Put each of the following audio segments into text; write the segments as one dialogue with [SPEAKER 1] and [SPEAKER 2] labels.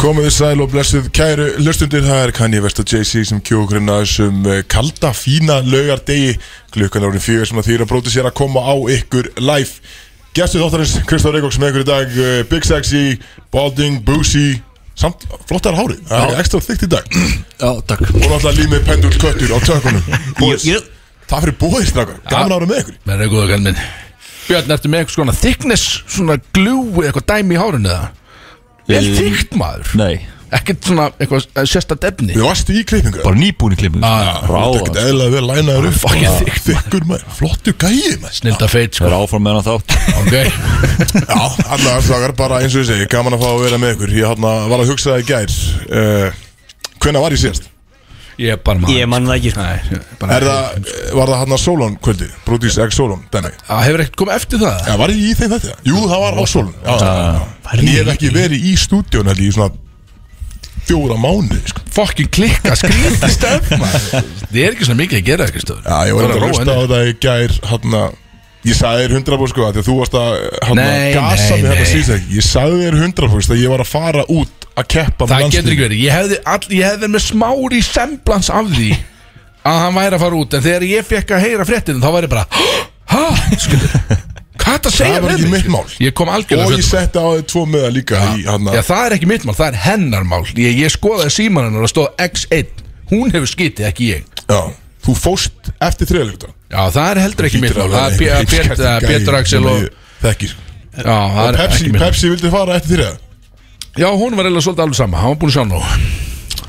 [SPEAKER 1] Komiði sæl og blessuð kæru löstundir, það er Kanye West og Jay-Z sem kjókurinn að þessum eh, kalda, fína laugardegi klukkan árið fjögur sem að þýra bróti sér að koma á ykkur live. Gæstu þáttarins Kristóf Reykjóks með ykkur í dag, eh, Big Sexy, Balding, Boosie, samt flottar hárið, það er ekstra þygt í dag
[SPEAKER 2] Já, takk
[SPEAKER 1] og náttúrulega límið pendul köttur á tökunum. Boys,
[SPEAKER 2] Ég-
[SPEAKER 1] það fyrir bóðir strákar, gaman að ára með ykkur.
[SPEAKER 2] Það er góða kall minn Björn, ertu með eitthvað svona thickness, svona glue, eitthvað dæmi í hárinu eða? Vel
[SPEAKER 3] Um,
[SPEAKER 2] þykkt maður
[SPEAKER 3] Nei,
[SPEAKER 2] Ekkert svona eitthvað eh, sérstakt efni
[SPEAKER 1] Við varstu í klippingu, það
[SPEAKER 3] bara nýbúin í klippingu
[SPEAKER 2] Já, já.
[SPEAKER 1] er ekkert
[SPEAKER 3] Ráða
[SPEAKER 1] eðlaði vel lænaður upp.
[SPEAKER 2] fucking
[SPEAKER 1] Ah,
[SPEAKER 2] þykkt,
[SPEAKER 1] Þykkur maður, flottu gæi maður.
[SPEAKER 2] Snilda
[SPEAKER 3] Það
[SPEAKER 2] feit, sko
[SPEAKER 3] er áfram með hana þátt
[SPEAKER 2] Ok
[SPEAKER 1] Já, allavega slagar, bara eins og ég segi, gaman að fá að vera með ykkur Ég hana, var að hugsa það í gær uh, Hvenær var ég síðast?
[SPEAKER 2] Ég er bara maður
[SPEAKER 4] Ég man það ekki sko.
[SPEAKER 2] Nei, ég bara
[SPEAKER 1] Er það, eh, var það hann að Solon kvöldi? Brúdís X Solon, denni
[SPEAKER 2] Það hefur ekkert komið eftir það
[SPEAKER 1] Já, var ég í þeim þetta? Jú, það var á Solon
[SPEAKER 2] Ah,
[SPEAKER 1] Já, já, já. Ég hef ekki verið í stúdíun held ég í svona fjóra mánu sko.
[SPEAKER 2] Fokkin klikka, skrítið stöf maður Það er ekki svona mikið að gera ekkert stöður
[SPEAKER 1] Já, ég var
[SPEAKER 2] Bara
[SPEAKER 1] að
[SPEAKER 2] róa
[SPEAKER 1] hlusta á
[SPEAKER 2] henni.
[SPEAKER 1] það í gær hana, Ég sagði þér 100% sko, af því að þú varst að hana,
[SPEAKER 2] Nei,
[SPEAKER 1] gasa
[SPEAKER 2] nei,
[SPEAKER 1] mig þetta
[SPEAKER 2] nei.
[SPEAKER 1] síðast ekki Ég sagði þér 100% að ég var að fara út að keppa með
[SPEAKER 2] Það getur
[SPEAKER 1] landsliðinu.
[SPEAKER 2] ekki verið Ég hefði, all, ég hefði verið með smári semblans af því að hann væri að fara út en þegar ég fekk að heyra fréttin þá var ég bara Hæ? Skuldur Hvað er það að segja
[SPEAKER 1] Það var
[SPEAKER 2] við
[SPEAKER 1] ekki
[SPEAKER 2] mig?"
[SPEAKER 1] mitt mál.
[SPEAKER 2] Ég kom algjörlega
[SPEAKER 1] Og
[SPEAKER 2] fullur.
[SPEAKER 1] ég setti á þau tvo möða líka í, hana,
[SPEAKER 2] Hérna Já, það er ekki mitt mál, það er hennar mál Ég, ég skoðaði síman hennar og stóð X1 Hún hefur skitið, ekki ég
[SPEAKER 1] Já, þú fórst eftir þriðalegta
[SPEAKER 2] Já, það er heldur ekki mitt mál Það er P- að Pét- að Pétur Axel og
[SPEAKER 1] Þekkir
[SPEAKER 2] Já, það
[SPEAKER 1] Og
[SPEAKER 2] er
[SPEAKER 1] Pepsi,
[SPEAKER 2] ekki mitt mál.
[SPEAKER 1] Pepsi vildi fara eftir þriða
[SPEAKER 2] Já, hún var eiginlega svolítið alveg sama Hann var búin að sjá nú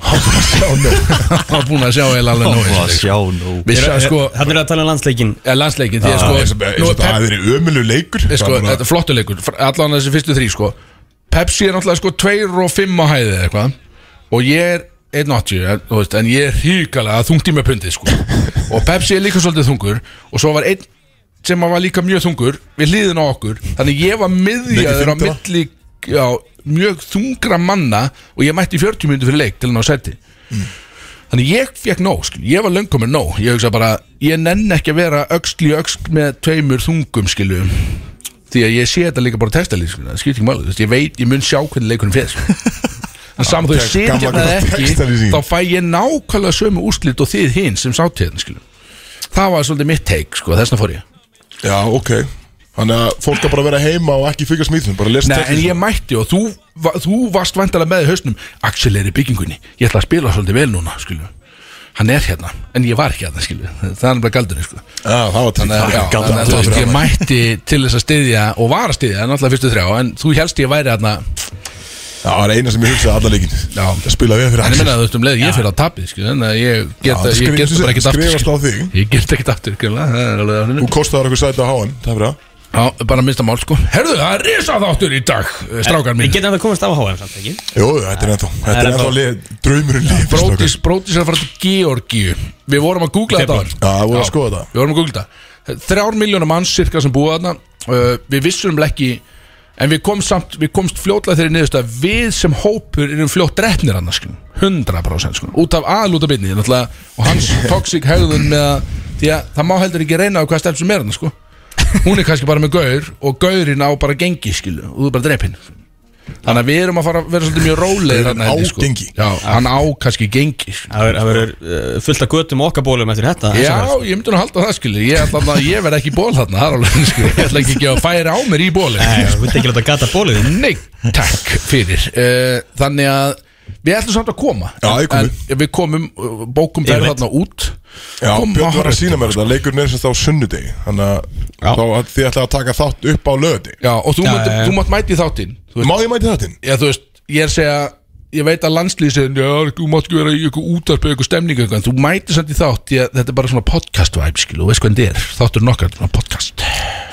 [SPEAKER 1] Já, no.
[SPEAKER 2] Hann var búin að sjá eiginlega alveg
[SPEAKER 3] Ó, að
[SPEAKER 1] sko.
[SPEAKER 2] nú
[SPEAKER 3] sjá nú
[SPEAKER 2] Við sagði sko
[SPEAKER 4] Þannig er að tala um landsleikin
[SPEAKER 2] eh, Landsleikin, því að
[SPEAKER 1] Það er
[SPEAKER 2] sko
[SPEAKER 1] sem- eins og
[SPEAKER 2] nú er
[SPEAKER 1] þetta
[SPEAKER 2] Pep-
[SPEAKER 1] hafi verið ömulu leikur
[SPEAKER 2] eh, sko,
[SPEAKER 1] Það var
[SPEAKER 2] Þetta er flottu leikur, fr- allan þessi fyrstu þrý sko Pepsi er náttúrulega sko 2 og 5 á hæði eða eitthvað Og ég er 1.80 en, þú veist, en ég er híkalega þungt í með pundið sko Og Pepsi er líka svolítið þungur Og svo var einn sem var líka mjög þungur Við hliðin á okkur Þannig ég var miðjaður á
[SPEAKER 1] þyngdar.
[SPEAKER 2] milli já, Mjög þungra manna Og ég mætti í 40 minúti fyrir leik til hann á seti Þannig ég fekk nóg, skil, ég var löngum með nóg Ég hugsa bara, ég nenn ekki að vera öxl í öxl með tveimur þungum, skilju Því að ég sé þetta líka bara testalið, skilju, það skiptir ekki máli, þú veist, ég veit, ég mun sjá hvernig leikunum fyrir, skilju En saman þú
[SPEAKER 1] Tek-
[SPEAKER 2] sé
[SPEAKER 1] gamla
[SPEAKER 2] hérna
[SPEAKER 1] góða
[SPEAKER 2] ekki,
[SPEAKER 1] textalýsing.
[SPEAKER 2] þá fæ ég nákvæmlega sömu úrslit og þið hinn sem sátt hérna, skilju Það var svolítið mitt take, sko, þessna fór ég
[SPEAKER 1] bara- Já, ok Þannig að fólk að bara vera heima og ekki fylgjast með íþjóðum Bara lesa
[SPEAKER 2] Nei, en
[SPEAKER 1] textin.
[SPEAKER 2] ég mætti og þú, va, þú varst vandalega með í hausnum Axel er í byggingunni, ég ætla að spila svolítið vel núna, skilju Hann er hérna, en ég var ekki hérna, skilju Það er bara galdurinn, sko
[SPEAKER 1] Já, það var
[SPEAKER 2] Þannig að, já,
[SPEAKER 1] gaman.
[SPEAKER 2] þannig að þú veist, ég mætti til þess að styðja og var að styðja, náttúrulega fyrstu þrjá en þú helst ég væri hérna aðna,
[SPEAKER 1] Það var eina sem ég hugsaði alla leikin
[SPEAKER 2] Já.
[SPEAKER 1] Að spila við fyrir
[SPEAKER 2] en ég
[SPEAKER 1] Axel
[SPEAKER 2] menna þú veist um leið ég fyrir á tapið, skilju, en að ég
[SPEAKER 1] Já,
[SPEAKER 2] get
[SPEAKER 1] það
[SPEAKER 2] ég get
[SPEAKER 1] skrifast-
[SPEAKER 2] bara ekkert aftur
[SPEAKER 1] Skrifast á
[SPEAKER 2] skilju.
[SPEAKER 1] þig
[SPEAKER 2] ég get ekkert aftur, skilju, það er alveg á hreinu.
[SPEAKER 1] Þú kostaði okkur sæti á háan Það fyrir það
[SPEAKER 2] já, bara minnsta mál, sko, herðu, það er risa þáttur í dag, eh, strákar
[SPEAKER 4] Við
[SPEAKER 2] mín
[SPEAKER 4] getum að komast af HM samt ekki
[SPEAKER 1] Jú, þetta er ennþá Þetta
[SPEAKER 4] Það
[SPEAKER 1] er
[SPEAKER 4] er
[SPEAKER 1] ennþá
[SPEAKER 4] ennþá-
[SPEAKER 1] lið- draumurinn lið
[SPEAKER 2] brótis, brótis er að fara til Georgíu við vorum að googla þetta á hann
[SPEAKER 1] Já, það voru að skoða það
[SPEAKER 2] Við vorum að googla það Þrjár miljónar manns cirka sem búið þarna uh, Við vissum um ekki En við komst, samt, við komst fljótlega þeirri niðurst að við sem hópur erum fljótt sko. drefnir annars skilum, 100% skilum, sko. út af aðal út af byrni náttúrulega, og hans toxic hegðun með að, því að það má heldur ekki reyna á hvað stelp sem er annars sko hún er kannski bara með gaur og gaurinn á bara gengi skilu og þú er bara drepinn þannig að við erum að fara að vera svolítið mjög rólegir
[SPEAKER 1] Gaurinn
[SPEAKER 2] þarna
[SPEAKER 1] á
[SPEAKER 2] inni,
[SPEAKER 1] gengi.
[SPEAKER 2] Já, hann á kannski gengi skilur.
[SPEAKER 4] Það verður- það verður uh, fullt af götum og okkabólum eftir þetta
[SPEAKER 2] Já, ég myndi nú að halda það skilur Ég, ætla að- ég verð ekki í ból þarna, það er alveg skilur Ég ætla ekki að gefa færi á mér í bóli
[SPEAKER 4] Nei, þú veit ekki láta gata bólið þín.
[SPEAKER 2] Nei, takk fyrir Eh, Þannig að við ætlum samt að koma
[SPEAKER 1] Já, ég komi.
[SPEAKER 2] En Við komum, uh, bókum
[SPEAKER 4] Ég
[SPEAKER 2] þær
[SPEAKER 4] veit.
[SPEAKER 2] þarna út
[SPEAKER 1] Já,
[SPEAKER 2] Komum á
[SPEAKER 1] Björn var að
[SPEAKER 2] hárrétt.
[SPEAKER 1] sína mér þetta, leikurinn er semst á sunnudegi Þannig að þá að þið ætlaði að taka þátt upp á löði
[SPEAKER 2] Já, og þú
[SPEAKER 4] Já,
[SPEAKER 2] mátt-
[SPEAKER 4] já, já.
[SPEAKER 2] þú mátt mæti í þáttinn Þú veist-
[SPEAKER 1] Má ég mæti þáttinn?
[SPEAKER 2] Já, þú veist, ég er að segja Ég veit að landslýsin, já, þú mátt ekki vera í ykkur útarp eða ykkur stemning eitthvað, en þú mæti samt í þátt því að þetta er bara svona podcast vibe, skilu, veist hvað þetta er, þáttur nokkar, svona podcast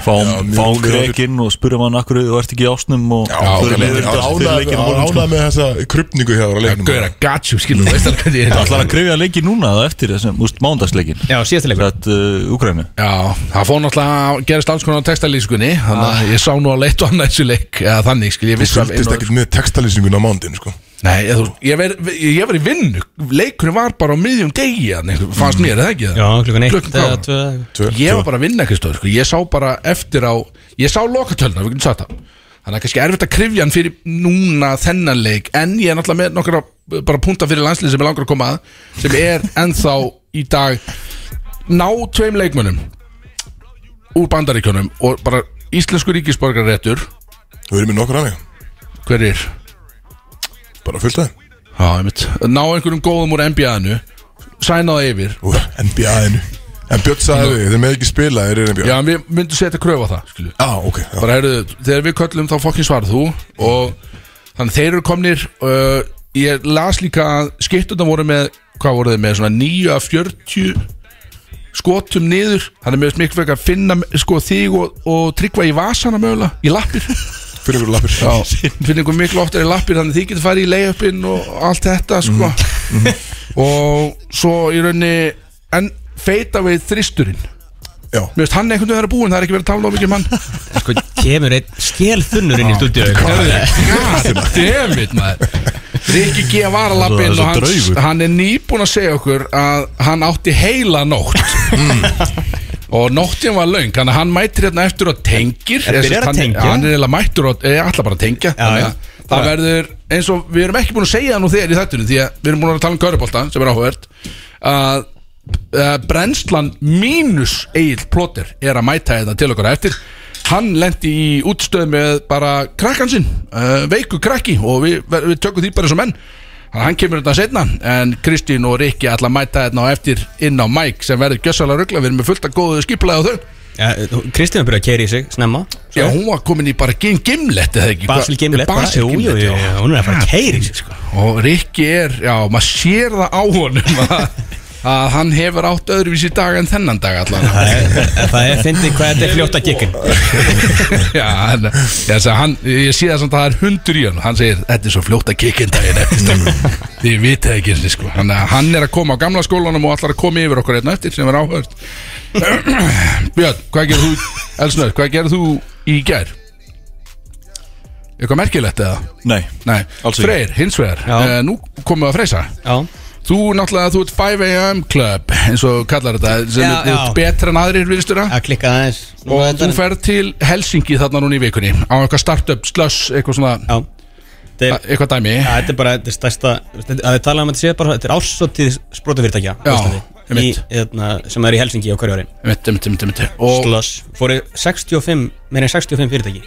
[SPEAKER 3] Fáum,
[SPEAKER 1] mjög
[SPEAKER 3] fáum
[SPEAKER 1] fyrir-
[SPEAKER 3] grekinn og spurum hann akkur þú ert ekki í ásnum og
[SPEAKER 1] Já, það
[SPEAKER 3] förum yfir
[SPEAKER 1] er
[SPEAKER 3] þetta fyrir leikinn á morgun, sko.
[SPEAKER 1] ánað með þessa krupningu hér á leiknum
[SPEAKER 2] Gauðra, got you, skilu, veist alveg hvað þetta
[SPEAKER 3] Það
[SPEAKER 2] er
[SPEAKER 3] ætlar að greiða leiki núna eða eftir þessum úst mándagsleikin
[SPEAKER 4] Já, síðasta leikur
[SPEAKER 3] Þetta uh, Ukraínu
[SPEAKER 2] Já, það fór náttúrulega að gerast alls konar á textalýskunni Þannig að ég sá nú að leitt og annað þessu leik Eða þannig, skil, ég
[SPEAKER 1] Þú
[SPEAKER 2] vissi að
[SPEAKER 1] fylgdist ekkert með textalýsingun á mándin sko.
[SPEAKER 2] Nei, ég, þú- ég, ver, ég var í vinnu Leikurinn var bara á miðjum degi þarna, einhver- Fannst mér, eða ekki það?
[SPEAKER 4] Já, klukkan eitt
[SPEAKER 2] Klukkan hvað?
[SPEAKER 4] eða tvö
[SPEAKER 1] Tvö-
[SPEAKER 2] Ég
[SPEAKER 1] tvö.
[SPEAKER 2] var bara að vinna, Kristóð, sko Ég sá bara eftir á Ég sá lokatölna, við getum sagt það Þannig að kannski erfitt að krifja hann fyrir núna þennan leik En ég er náttúrulega með nokkra uh, bara punta fyrir landslið sem er langar að koma að Sem er ennþá í dag Ná tveim leikmönnum Úr bandaríkjunum Og bara íslensku ríkisborgarréttur
[SPEAKER 1] Við erum með nokkur aðeins,
[SPEAKER 2] Hver er?
[SPEAKER 1] bara fullt af þeim
[SPEAKER 2] Já, einmitt Ná einhverjum góðum úr NBA-inu Sænaða yfir
[SPEAKER 1] Úr NBA-inu En Björn sagði við, þeir með ekki spila, þeir eru NBA
[SPEAKER 2] Já, en við myndum setja kröfu á það, skilju
[SPEAKER 1] Já, ok, já,
[SPEAKER 2] bara heyrðu, þegar við köllum þá fokkin svarð þú og þannig þeir eru komnir uh, ég las líka að skiptunum voru með hvað voru þeir með, svona 9 af 40 skotum niður þannig mér finnst miklu frekar að finna sko, þig og, og tryggva í vasana mögulega í lappir,
[SPEAKER 1] fyrir ykkur lappir
[SPEAKER 2] finna ykkur miklu oftar í lappir þannig þið getur farið í layupin og allt þetta sko. og svo í raunni en feita við þristurinn
[SPEAKER 1] Já,
[SPEAKER 2] mér finnst hann einhvern veginn að vera búinn það er ekki verið að tala of mikið um hann
[SPEAKER 4] Sko, kemur einn skelþunnur inn í stúdíu
[SPEAKER 2] Dammit maður Rikki G var að lappa inn og hans,
[SPEAKER 3] draugur.
[SPEAKER 2] hann er nýbúinn að segja okkur að hann átti heila nótt og nóttin var löng þannig að hann mættir hérna eftir og tengir
[SPEAKER 4] Er byrjar að
[SPEAKER 2] Hann-
[SPEAKER 4] tengja?
[SPEAKER 2] hann er eiginlega mættur og er alltaf bara að tengja þannig
[SPEAKER 4] já.
[SPEAKER 2] að það verður eins og við erum ekki búin að segja það nú þegar í þættunum því að við erum búin að tala um körubólta sem er áhugavert að uh, brennslan mínus Egil Plóter er að mæta þetta til okkur á eftir hann lendi í útstöð með bara krakkan sinn uh, veiku krakki og við, við tökum því bara sem menn Þannig að hann kemur þetta setna en Kristín og Rikki ætla að mæta þetta á eftir inn á Mike sem verður gjössalega ruggla við erum með fullt að góðu skiplaði á þau
[SPEAKER 4] Kristín var byrjað að keira í sig, snemma
[SPEAKER 2] Já, hún var komin í bara gim gimlet eða ekki
[SPEAKER 4] Basil
[SPEAKER 2] Hvað-
[SPEAKER 4] Gimlet bara-
[SPEAKER 2] Basil
[SPEAKER 4] Jú, jú,
[SPEAKER 2] Gimlet,
[SPEAKER 4] jú,
[SPEAKER 2] já. Ah,
[SPEAKER 4] Hún er að fara að keira í sig sko.
[SPEAKER 2] Og Rikki er, já, maður sér það á honum að, að hann hefur átt öðruvísi dag en þennan dag allan
[SPEAKER 4] Það er- Það er fyndið hvað þetta er fljótt að gekkin
[SPEAKER 2] Já, hann, ég, seg, hann, ég sé það samt að það er hundur í hann Hann segir, þetta er svo fljótt að kikinn daginn eftir strákar." Þið vitið ekki eins og sko hann, hann er að koma á gamla skólanum og allar að koma yfir okkur einn eftir sem er áhört Björn, hvað gerir þú, Elsnur, hvað gerir þú í gær? Eitthvað merkilegt eða?
[SPEAKER 3] Nei,
[SPEAKER 2] Nei,
[SPEAKER 3] Alls ekki.
[SPEAKER 2] Freyr, hins vegar,
[SPEAKER 4] Já.
[SPEAKER 2] uh, nú komum við að freysa
[SPEAKER 4] Já,
[SPEAKER 2] Þú náttúrulega, þú ert 5am club eins og kallar þetta sem
[SPEAKER 4] Já,
[SPEAKER 2] já, þú ert
[SPEAKER 4] já.
[SPEAKER 2] betra en aðrir viðstura
[SPEAKER 4] að klikka aðeins Nú
[SPEAKER 2] og
[SPEAKER 4] er
[SPEAKER 2] þú
[SPEAKER 4] þetta-
[SPEAKER 2] ferð til Helsingi þarna núna í vikunni á eitthvað startup, slush, eitthvað svona
[SPEAKER 4] Já Þetta er-
[SPEAKER 2] eitthvað dæmi
[SPEAKER 4] Já, þetta er bara, þetta er stærsta þetta- að við tala um að þetta sé bara, þetta er ársóttíð sprótafyrirtækja á
[SPEAKER 2] Já,
[SPEAKER 4] Íslandi, í,
[SPEAKER 2] einmitt.
[SPEAKER 4] hérna, sem er í Helsingi á hverju ári
[SPEAKER 2] mitt, mitt, mitt, mitt. og
[SPEAKER 4] Slush, fóru 65, meira en 65 fyrirtæki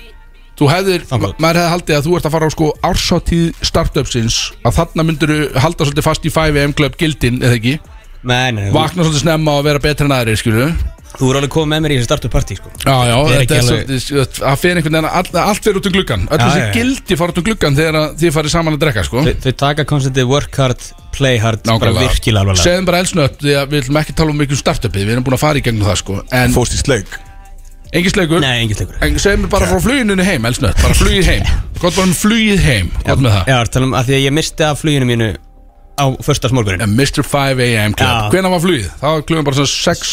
[SPEAKER 2] þú hefðir, ma
[SPEAKER 4] Þangað.
[SPEAKER 2] maður hefði haldið að þú ert að fara á sko ársáttíð startupsins að þarna myndir halda svolítið fast í 5am club gildin, eða ekki
[SPEAKER 4] Men, þú,
[SPEAKER 2] vakna svolítið snemma og vera betra en aðrir, skilur
[SPEAKER 4] þú er alveg komið með mér í þessi startup party sko.
[SPEAKER 2] já, já,
[SPEAKER 4] Þetta
[SPEAKER 2] þetta
[SPEAKER 4] er
[SPEAKER 2] er
[SPEAKER 4] ekki
[SPEAKER 2] svolítið það fer einhvern veginn, all, allt fer út um gluggan öll
[SPEAKER 4] Já,
[SPEAKER 2] þessi
[SPEAKER 4] já, já.
[SPEAKER 2] gildi fara út um gluggan þegar að þið farið saman að drekka, sko
[SPEAKER 4] þau, þau taka konstantið work hard, play hard bara virkilega alvarlega
[SPEAKER 2] Segðum bara elsnöpp því að við viljum ekki tala um mikil startupið Við erum búin að fara í gegnum það sko En
[SPEAKER 1] fórst í sleik
[SPEAKER 2] engin sleikur
[SPEAKER 4] Nei, engin leikur
[SPEAKER 2] En segðum bara frá fluginu heim elsnöpp Bara flugið heim Gott bara um flugið heim Gott með það
[SPEAKER 4] Já, tala um að því að ég misti af fluginu mínu á förstasmorgunin
[SPEAKER 2] En Mr. 5am
[SPEAKER 4] Já.
[SPEAKER 2] club Hvenær var flugið? Það var klugum bara svona 6,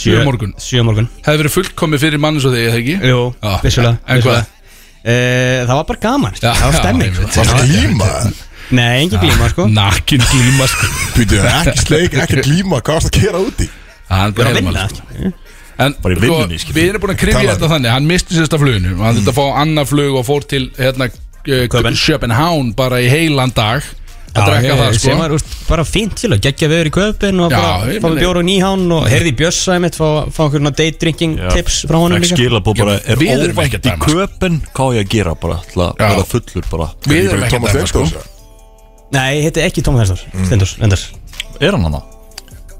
[SPEAKER 2] 7 morgun
[SPEAKER 4] Sjö morgun
[SPEAKER 2] Hefði verið fullkomið fyrir mann eins og þig, eða ekki?
[SPEAKER 4] Jú,
[SPEAKER 2] Já.
[SPEAKER 4] vissulega
[SPEAKER 2] En
[SPEAKER 4] vissulega.
[SPEAKER 2] hvað?
[SPEAKER 4] Eh, Það var bara gaman,
[SPEAKER 2] Já,
[SPEAKER 4] það var stemming
[SPEAKER 2] já,
[SPEAKER 4] sko.
[SPEAKER 2] ég
[SPEAKER 1] Varst að glíma
[SPEAKER 4] Nei, engin glíma sko
[SPEAKER 2] Nakin glíma sko
[SPEAKER 1] Býtu, ekki sleik, ekki glíma, hvað varst að gera úti?
[SPEAKER 2] Hann
[SPEAKER 4] Ég er
[SPEAKER 2] bara
[SPEAKER 4] að
[SPEAKER 2] heyrðum
[SPEAKER 4] vinna
[SPEAKER 2] alveg, sko. En
[SPEAKER 3] Bara í
[SPEAKER 2] sko,
[SPEAKER 3] vinnunni, skilur.
[SPEAKER 2] við erum búin að krifja
[SPEAKER 1] Talaðu.
[SPEAKER 2] þetta þannig Hann misti sérsta fluginu Hann þurfti að fá annað flug og fór til hérna,
[SPEAKER 4] Köben.
[SPEAKER 2] Sjöpenhán bara í heilan dag
[SPEAKER 4] Já,
[SPEAKER 2] að drekka
[SPEAKER 4] ég-
[SPEAKER 2] það sko
[SPEAKER 4] sem var úst, bara fínt til að geggja veður í köpinn og
[SPEAKER 2] Já,
[SPEAKER 4] bara
[SPEAKER 2] ég
[SPEAKER 4] fá
[SPEAKER 2] meina-
[SPEAKER 4] með bjór og nýhán og heyrði í Bjössa einmitt, fá, fá einhverjum day drinking tips frá honum
[SPEAKER 3] Ég skila búið bara, er
[SPEAKER 2] Við erum ekki að
[SPEAKER 3] óvænt í
[SPEAKER 2] dæma, sko.
[SPEAKER 3] köpen Hvað á ég að gera bara, til að
[SPEAKER 2] Já.
[SPEAKER 3] verða fullur bara
[SPEAKER 2] Við erum ekki að
[SPEAKER 1] Thomas
[SPEAKER 2] dæma sko
[SPEAKER 1] Stengdórs
[SPEAKER 4] Nei, ég heiti ekki Tom Hestor, mm. Stendors, Endars
[SPEAKER 3] Er hann hann?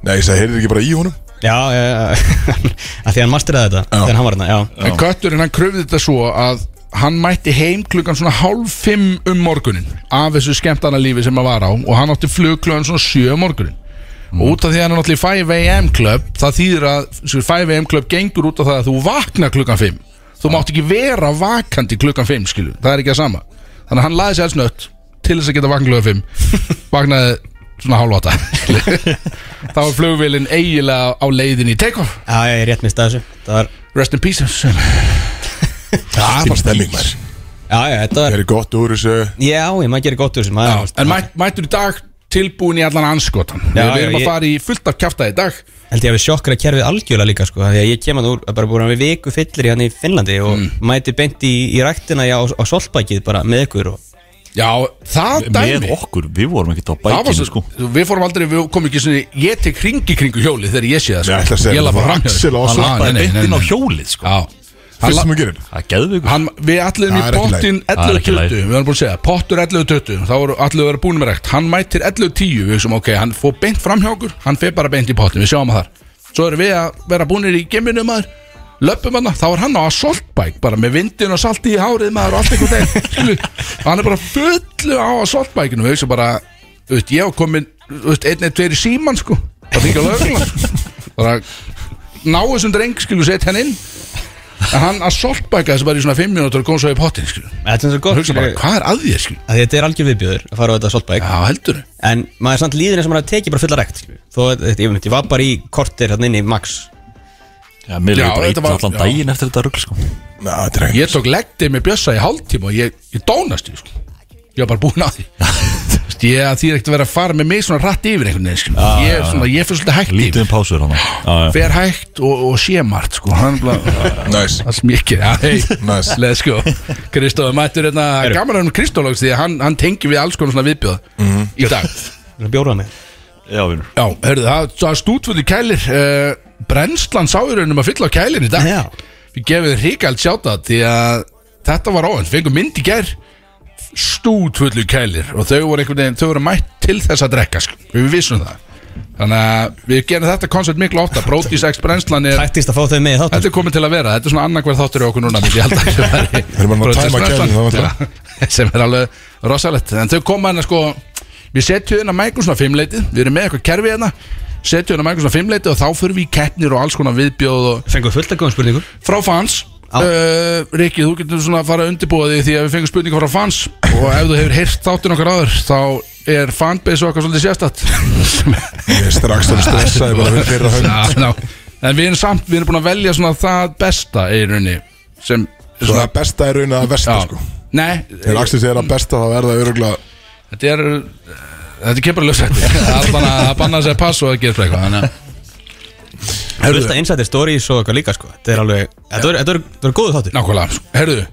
[SPEAKER 1] Nei, ég sagði, heyrðir ekki bara í honum
[SPEAKER 4] Já, uh, að því hann masteraði þetta
[SPEAKER 1] Já.
[SPEAKER 4] þegar hann var hérna, já
[SPEAKER 2] En kötturinn hann kröfði þetta svo að hann mætti heim klukkan svona hálf fimm um morgunin af þessu skemmtana lífi sem hann var á og hann átti flug klukkan svona sjö um morgunin og út af því að hann er náttúrulega í 5am club það þýðir að sko, 5am club gengur út af það að þú vakna klukkan fimm þú mátt ekki vera vakandi klukkan fimm skilu, það er ekki að sama þannig að hann laði sér snött til þess að geta vakna klukkan fimm vaknaði svona hálf átta þá var flugvélinn eiginlega á leiðin í take-off
[SPEAKER 4] Já, ég er rétt mist að þessu Það var,
[SPEAKER 2] rest in peace sem-
[SPEAKER 1] Það er bara stemming maður
[SPEAKER 4] já, já, þetta
[SPEAKER 1] Það
[SPEAKER 4] var
[SPEAKER 1] er gott úr þessu
[SPEAKER 4] Já, ég maður gerir gott úr þessum
[SPEAKER 2] Já, en mæ, mættur í dag tilbúin í allan anskotan
[SPEAKER 4] Já,
[SPEAKER 2] Við
[SPEAKER 4] já,
[SPEAKER 2] erum að
[SPEAKER 4] ég-
[SPEAKER 2] fara í fullt af kjafta í dag
[SPEAKER 4] held ég að við sjokkra kerfið algjörlega líka sko, af því að ég kem að úr, að bara búin að við viku fyllir í hann í Finnlandi og
[SPEAKER 2] Mm.
[SPEAKER 4] mæti beint í, í ræktina á, á solbækið bara með ykkur og
[SPEAKER 2] Já, það dæmi
[SPEAKER 3] Með okkur, við vorum ekkert á
[SPEAKER 2] Það var
[SPEAKER 3] bækinu
[SPEAKER 2] svo,
[SPEAKER 3] sko
[SPEAKER 2] við fórum aldrei, við komum ekki svona í- Ég tek ringi kringu hjólið þegar ég sé það sko.
[SPEAKER 1] Ég ætla að segja
[SPEAKER 2] Ég
[SPEAKER 1] það,
[SPEAKER 2] lafa
[SPEAKER 1] það var
[SPEAKER 2] fram hjá
[SPEAKER 1] Axel á að
[SPEAKER 2] því.
[SPEAKER 1] slappa
[SPEAKER 2] Ah,
[SPEAKER 3] Það er
[SPEAKER 2] nei, nei,
[SPEAKER 3] beint
[SPEAKER 2] nei,
[SPEAKER 3] inn á
[SPEAKER 2] nei. Ah.
[SPEAKER 3] hjólið sko
[SPEAKER 2] Já Hann
[SPEAKER 1] Fyrst
[SPEAKER 2] la-
[SPEAKER 1] sem að gera
[SPEAKER 3] Það er geðveikur
[SPEAKER 2] hann, Við allirum í
[SPEAKER 1] Það er ekki
[SPEAKER 2] pottin
[SPEAKER 3] Það er ekki í
[SPEAKER 2] 11.20
[SPEAKER 3] lagi.
[SPEAKER 2] Við varum búin að segja Pottur 11.20 Þá voru allir að vera búin með rekt Hann mætir 11.10 Við hugsaum, ok, hann fór beint fram hjá okkur Hann fer bara beint í pottin Við sjáum að þar Svo erum við að vera búinir í geminu maður Löpum hann, þá er hann á assaultbæk Bara með vindin og salti í hárið maður Og allt einhvern veginn skilur. Hann er bara fullu á assaultbækinu Við hugsaum bara, þú veist, ég var komin Þú veist, einn eitt tveir í síman sko Það þykja lögulega Bara ná þessum dreng, skilu, setja hann inn En hann assaultbæka þessu bara í svona 5 minútur og kom svo í pottin, skilu
[SPEAKER 4] þetta er svo
[SPEAKER 2] og
[SPEAKER 4] gott
[SPEAKER 2] hugsa bara,
[SPEAKER 4] skilur,
[SPEAKER 2] hvað er að þér, skilu?
[SPEAKER 4] að þetta er algjör viðbjöður að fara á þetta solbæk
[SPEAKER 2] Já, heldur
[SPEAKER 4] en maður er samt líðin eins og maður er tekið bara fulla rækt skilur. þó að- þetta, ég, veit, ég var bara í kortir hérna inn í Max
[SPEAKER 3] Já, mér leiði
[SPEAKER 2] Já,
[SPEAKER 3] bara
[SPEAKER 2] þetta
[SPEAKER 3] ítla
[SPEAKER 2] var-
[SPEAKER 3] allan
[SPEAKER 2] já.
[SPEAKER 3] daginn eftir þetta rugl sko
[SPEAKER 1] Ná, þetta er ekki
[SPEAKER 2] Ég tók legdið með bjössa í hálftíma og ég, ég dónast því, sko Ég var bara búinn að því Þú veist, Ég að því er ekkert að vera að fara með mig svona rætt yfir einhvern veginn, skilu Ég er svona, ég fyrir svolítið hægt
[SPEAKER 3] Lítið um
[SPEAKER 2] yfir
[SPEAKER 3] pásur hann Já, já.
[SPEAKER 2] Fer hægt og, og sé margt, sko Hann bara,
[SPEAKER 1] Næs,
[SPEAKER 2] alls mikið, já, hei
[SPEAKER 1] næs
[SPEAKER 2] Leð, sko Kristóð, mættur hérna gaman hann Kristólags því að hann, hann tengi við alls konar svona viðbjóð í dag
[SPEAKER 4] bjóraða mig
[SPEAKER 3] já vinnur
[SPEAKER 2] Já, heyrðu, það, það er stútfulli kælir uh, Brennslan sáurunum um að fylla á kælin í dag
[SPEAKER 4] Já.
[SPEAKER 2] Við gefum þér ríkald sjáta Því að þetta var óvænt Fengum mynd í gær Stútfulli kælir Og þau voru einhvern veginn, þau voru mætt til þess að drekka sko. Við vissum það Þannig að við gerum þetta koncept miklu ofta Brotis X brennslan er
[SPEAKER 4] Tæktist að fá þau með í þáttum
[SPEAKER 2] Þetta er komið til að vera, þetta er svona annarkvæð þáttur í okkur núna myndi ég held að það væri
[SPEAKER 1] erum bara að
[SPEAKER 2] Brothers
[SPEAKER 1] tæma
[SPEAKER 2] Brennslan.
[SPEAKER 1] kælið, það var það.
[SPEAKER 2] Já, sem er alveg rosalett en þau koma hérna sko við setjum hérna mækum svona fimmleitið við erum með eitthvað kerfi hérna setjum hérna mækum svona fimmleitið og þá fyrir við í keppnir og alls konar viðbjóð og
[SPEAKER 4] fengur fullt að góðum spurningum
[SPEAKER 2] frá fans
[SPEAKER 4] Já.
[SPEAKER 2] Uh, Rikki, þú getur svona að fara að undirbúa því því að við fengum spurningar frá fans og ef þú hefur heyrt þáttun okkar áður þá er fanbase okkar svolítið sérstatt
[SPEAKER 1] Ég er strax þannig stressaði bara fyrir fyrir hönd
[SPEAKER 2] Já, ná. En við erum samt, við erum búin að velja svona það besta í rauninni sem
[SPEAKER 1] Svo það besta er raun að versta
[SPEAKER 2] Já,
[SPEAKER 1] sko
[SPEAKER 2] nei
[SPEAKER 1] Þegar Axel segir að besta þá er það öruglega
[SPEAKER 2] Þetta er eh, Þetta kemur að lösa þetta Það er bara að banna sér pass og að gera eitthvað Þannig að
[SPEAKER 4] fullt að insider stories og eitthvað líka sko þetta er alveg þetta eru- þetta eru- þetta eru góðu þáttur
[SPEAKER 2] Nákvæmlega, sko. herruðu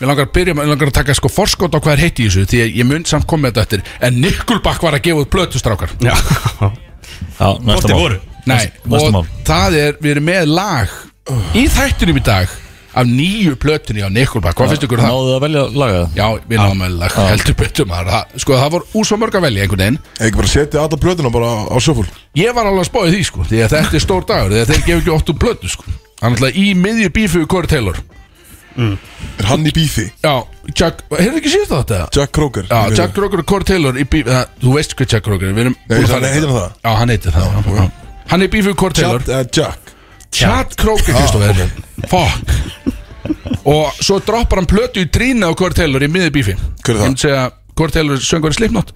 [SPEAKER 2] Mér langar að byrja, mér langar að taka sko forskot á hvað er heitt í þessu Því að ég mun samt komið þetta eftir En Nikkulbakk var að gefa út plötustrákar
[SPEAKER 4] já
[SPEAKER 3] Já, næsta
[SPEAKER 4] Kortin
[SPEAKER 3] mál
[SPEAKER 4] voru.
[SPEAKER 2] Nei,
[SPEAKER 3] næsta
[SPEAKER 2] og
[SPEAKER 3] mál.
[SPEAKER 2] það er, við erum með lag Í þættinum í dag Af nýju plötunni á Nikkulbakk Hvað finnst ykkur um það?
[SPEAKER 3] Náðu að velja laga það
[SPEAKER 2] Já, við náum með lag, heldur betur maður Það- Sko, það var úr svo mörg að velja einhvern veginn
[SPEAKER 1] Ekki bara setja alla plötuna bara á sjöfúl
[SPEAKER 2] Ég var alveg að spáði því sko Því að þetta er stór dagur Þegar þeir gefa ekki ótt um plötu sko Þannig að í miðju bífu Corey Taylor
[SPEAKER 1] Er hann í bífi?
[SPEAKER 2] Já, Jack Hefur ekki síðast þetta?
[SPEAKER 1] Jack Kroger
[SPEAKER 2] Já, Jack Kroger og Corey Taylor í bífu það, Þú veist hvað Jack Kroger er Við erum búin að
[SPEAKER 1] hann
[SPEAKER 2] fara-
[SPEAKER 1] heitir hann það?
[SPEAKER 2] Já, hann heitir það já, já. Hann er í bífu Corey Taylor
[SPEAKER 1] Jack, eh, Jack.
[SPEAKER 2] Chad Kroger, Kristoffer Fuck Og svo droppar hann plötu í trína á Corey Taylor í miðju bífi
[SPEAKER 1] Hver er það?
[SPEAKER 2] Ég myndi segja Corey Taylor söngur í Slipknot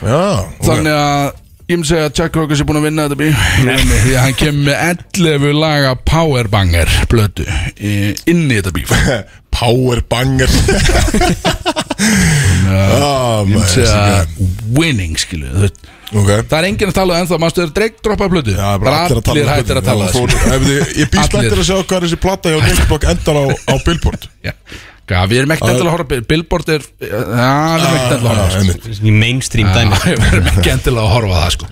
[SPEAKER 1] Já, ok
[SPEAKER 2] Þannig að ég myndi segja að Jack Rockers er búin að vinna þetta bíf Því að hann kemur með 11 laga powerbanger blötu í- inn í þetta bíf Ég
[SPEAKER 1] Power banger Já,
[SPEAKER 2] myndi
[SPEAKER 1] maður
[SPEAKER 2] segja að winning skilu þú veist.
[SPEAKER 1] Ok
[SPEAKER 2] Það er enginn að tala um ennþá, maður stöður dreik droppa blötu
[SPEAKER 1] Já, bara allir að tala um
[SPEAKER 2] hættir að
[SPEAKER 1] plötuna.
[SPEAKER 2] tala
[SPEAKER 1] Já, fór-
[SPEAKER 2] þessu.
[SPEAKER 1] ef þið- Ég býst
[SPEAKER 2] Allir.
[SPEAKER 1] eftir að sjá hvað er þessi platta hjá Nickbok endar á, á Billboard
[SPEAKER 2] Já, Já, við erum ekkert endilega að horfa á Bill- Billboard er, já, við erum ekkert endilega að horfa á það, sko.
[SPEAKER 1] Ah, Einmitt.
[SPEAKER 4] í mainstream dæmi
[SPEAKER 2] Já, Við erum ekki endilega að horfa á það sko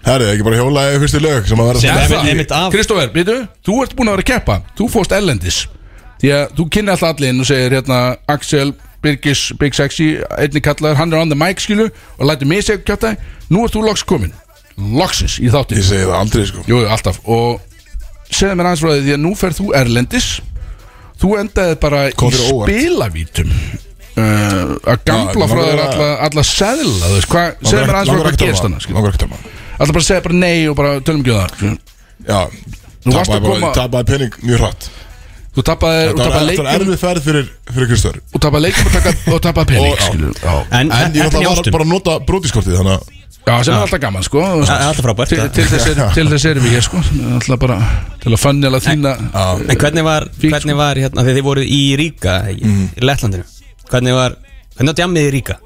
[SPEAKER 1] Herri, ekki bara hjólaði fyrstu lög sem að vera
[SPEAKER 4] Sem-
[SPEAKER 1] það
[SPEAKER 4] er einmitt- einmitt af-
[SPEAKER 2] Kristófer, veitu, þú ert búin að vera að keppa Þú fóst ellendis Því að þú kynni alltaf allir inn og segir hérna Axel, Birgis, Big Sexy Einni kallar, hann er on the mic skilu Og lætur mig segja kjáta Nú ert þú loks komin Loksins í þáttin
[SPEAKER 1] Ég segi það aldrei sko
[SPEAKER 2] Jú, jú, alltaf Og segðu mér aðeins frá því Því að nú ferð þú erlendis Þú endaði bara
[SPEAKER 1] Kom
[SPEAKER 2] í
[SPEAKER 1] fyrir óvart.
[SPEAKER 2] spilavítum Uh, að gambla
[SPEAKER 1] Já,
[SPEAKER 2] frá þér
[SPEAKER 1] langar að-
[SPEAKER 2] alla, alla seðla þú veist, hvað, segðu mér aðeins frá hvað sko. gerst hana
[SPEAKER 1] Langar ekki tala
[SPEAKER 2] alltaf bara að segja bara nei og bara tölum ekki um það skilu.
[SPEAKER 1] Já
[SPEAKER 2] Nú varstu að
[SPEAKER 1] Tapaði bara-
[SPEAKER 2] koma-
[SPEAKER 1] Tapaði pening mjög hratt
[SPEAKER 2] Þú tappaði
[SPEAKER 1] Þetta
[SPEAKER 2] og
[SPEAKER 1] var-
[SPEAKER 2] tappaði
[SPEAKER 1] þetta var
[SPEAKER 2] leikum
[SPEAKER 1] erfið ferð fyrir, fyrir Kristóður
[SPEAKER 2] og tappaði leikum og taka- og tappaði pening
[SPEAKER 1] Og-
[SPEAKER 2] skilur. Já,
[SPEAKER 4] en
[SPEAKER 1] En ég
[SPEAKER 4] þetta er
[SPEAKER 1] ætla
[SPEAKER 4] í
[SPEAKER 1] var
[SPEAKER 4] ástum
[SPEAKER 1] bara að nota brótiskortið Þannig að
[SPEAKER 2] já sem er alltaf gaman sko
[SPEAKER 4] Það er alltaf frábært,
[SPEAKER 2] Til-
[SPEAKER 4] það.
[SPEAKER 2] Til þess er- til þess erum við hér sko Alltaf bara til að fannjala þína
[SPEAKER 4] En hvernig var,
[SPEAKER 2] Fínt,
[SPEAKER 4] hvernig var hérna, þegar þið voruð í Ríka mm. í Lettlandinu hvernig var, hvernig var djammið í Ríka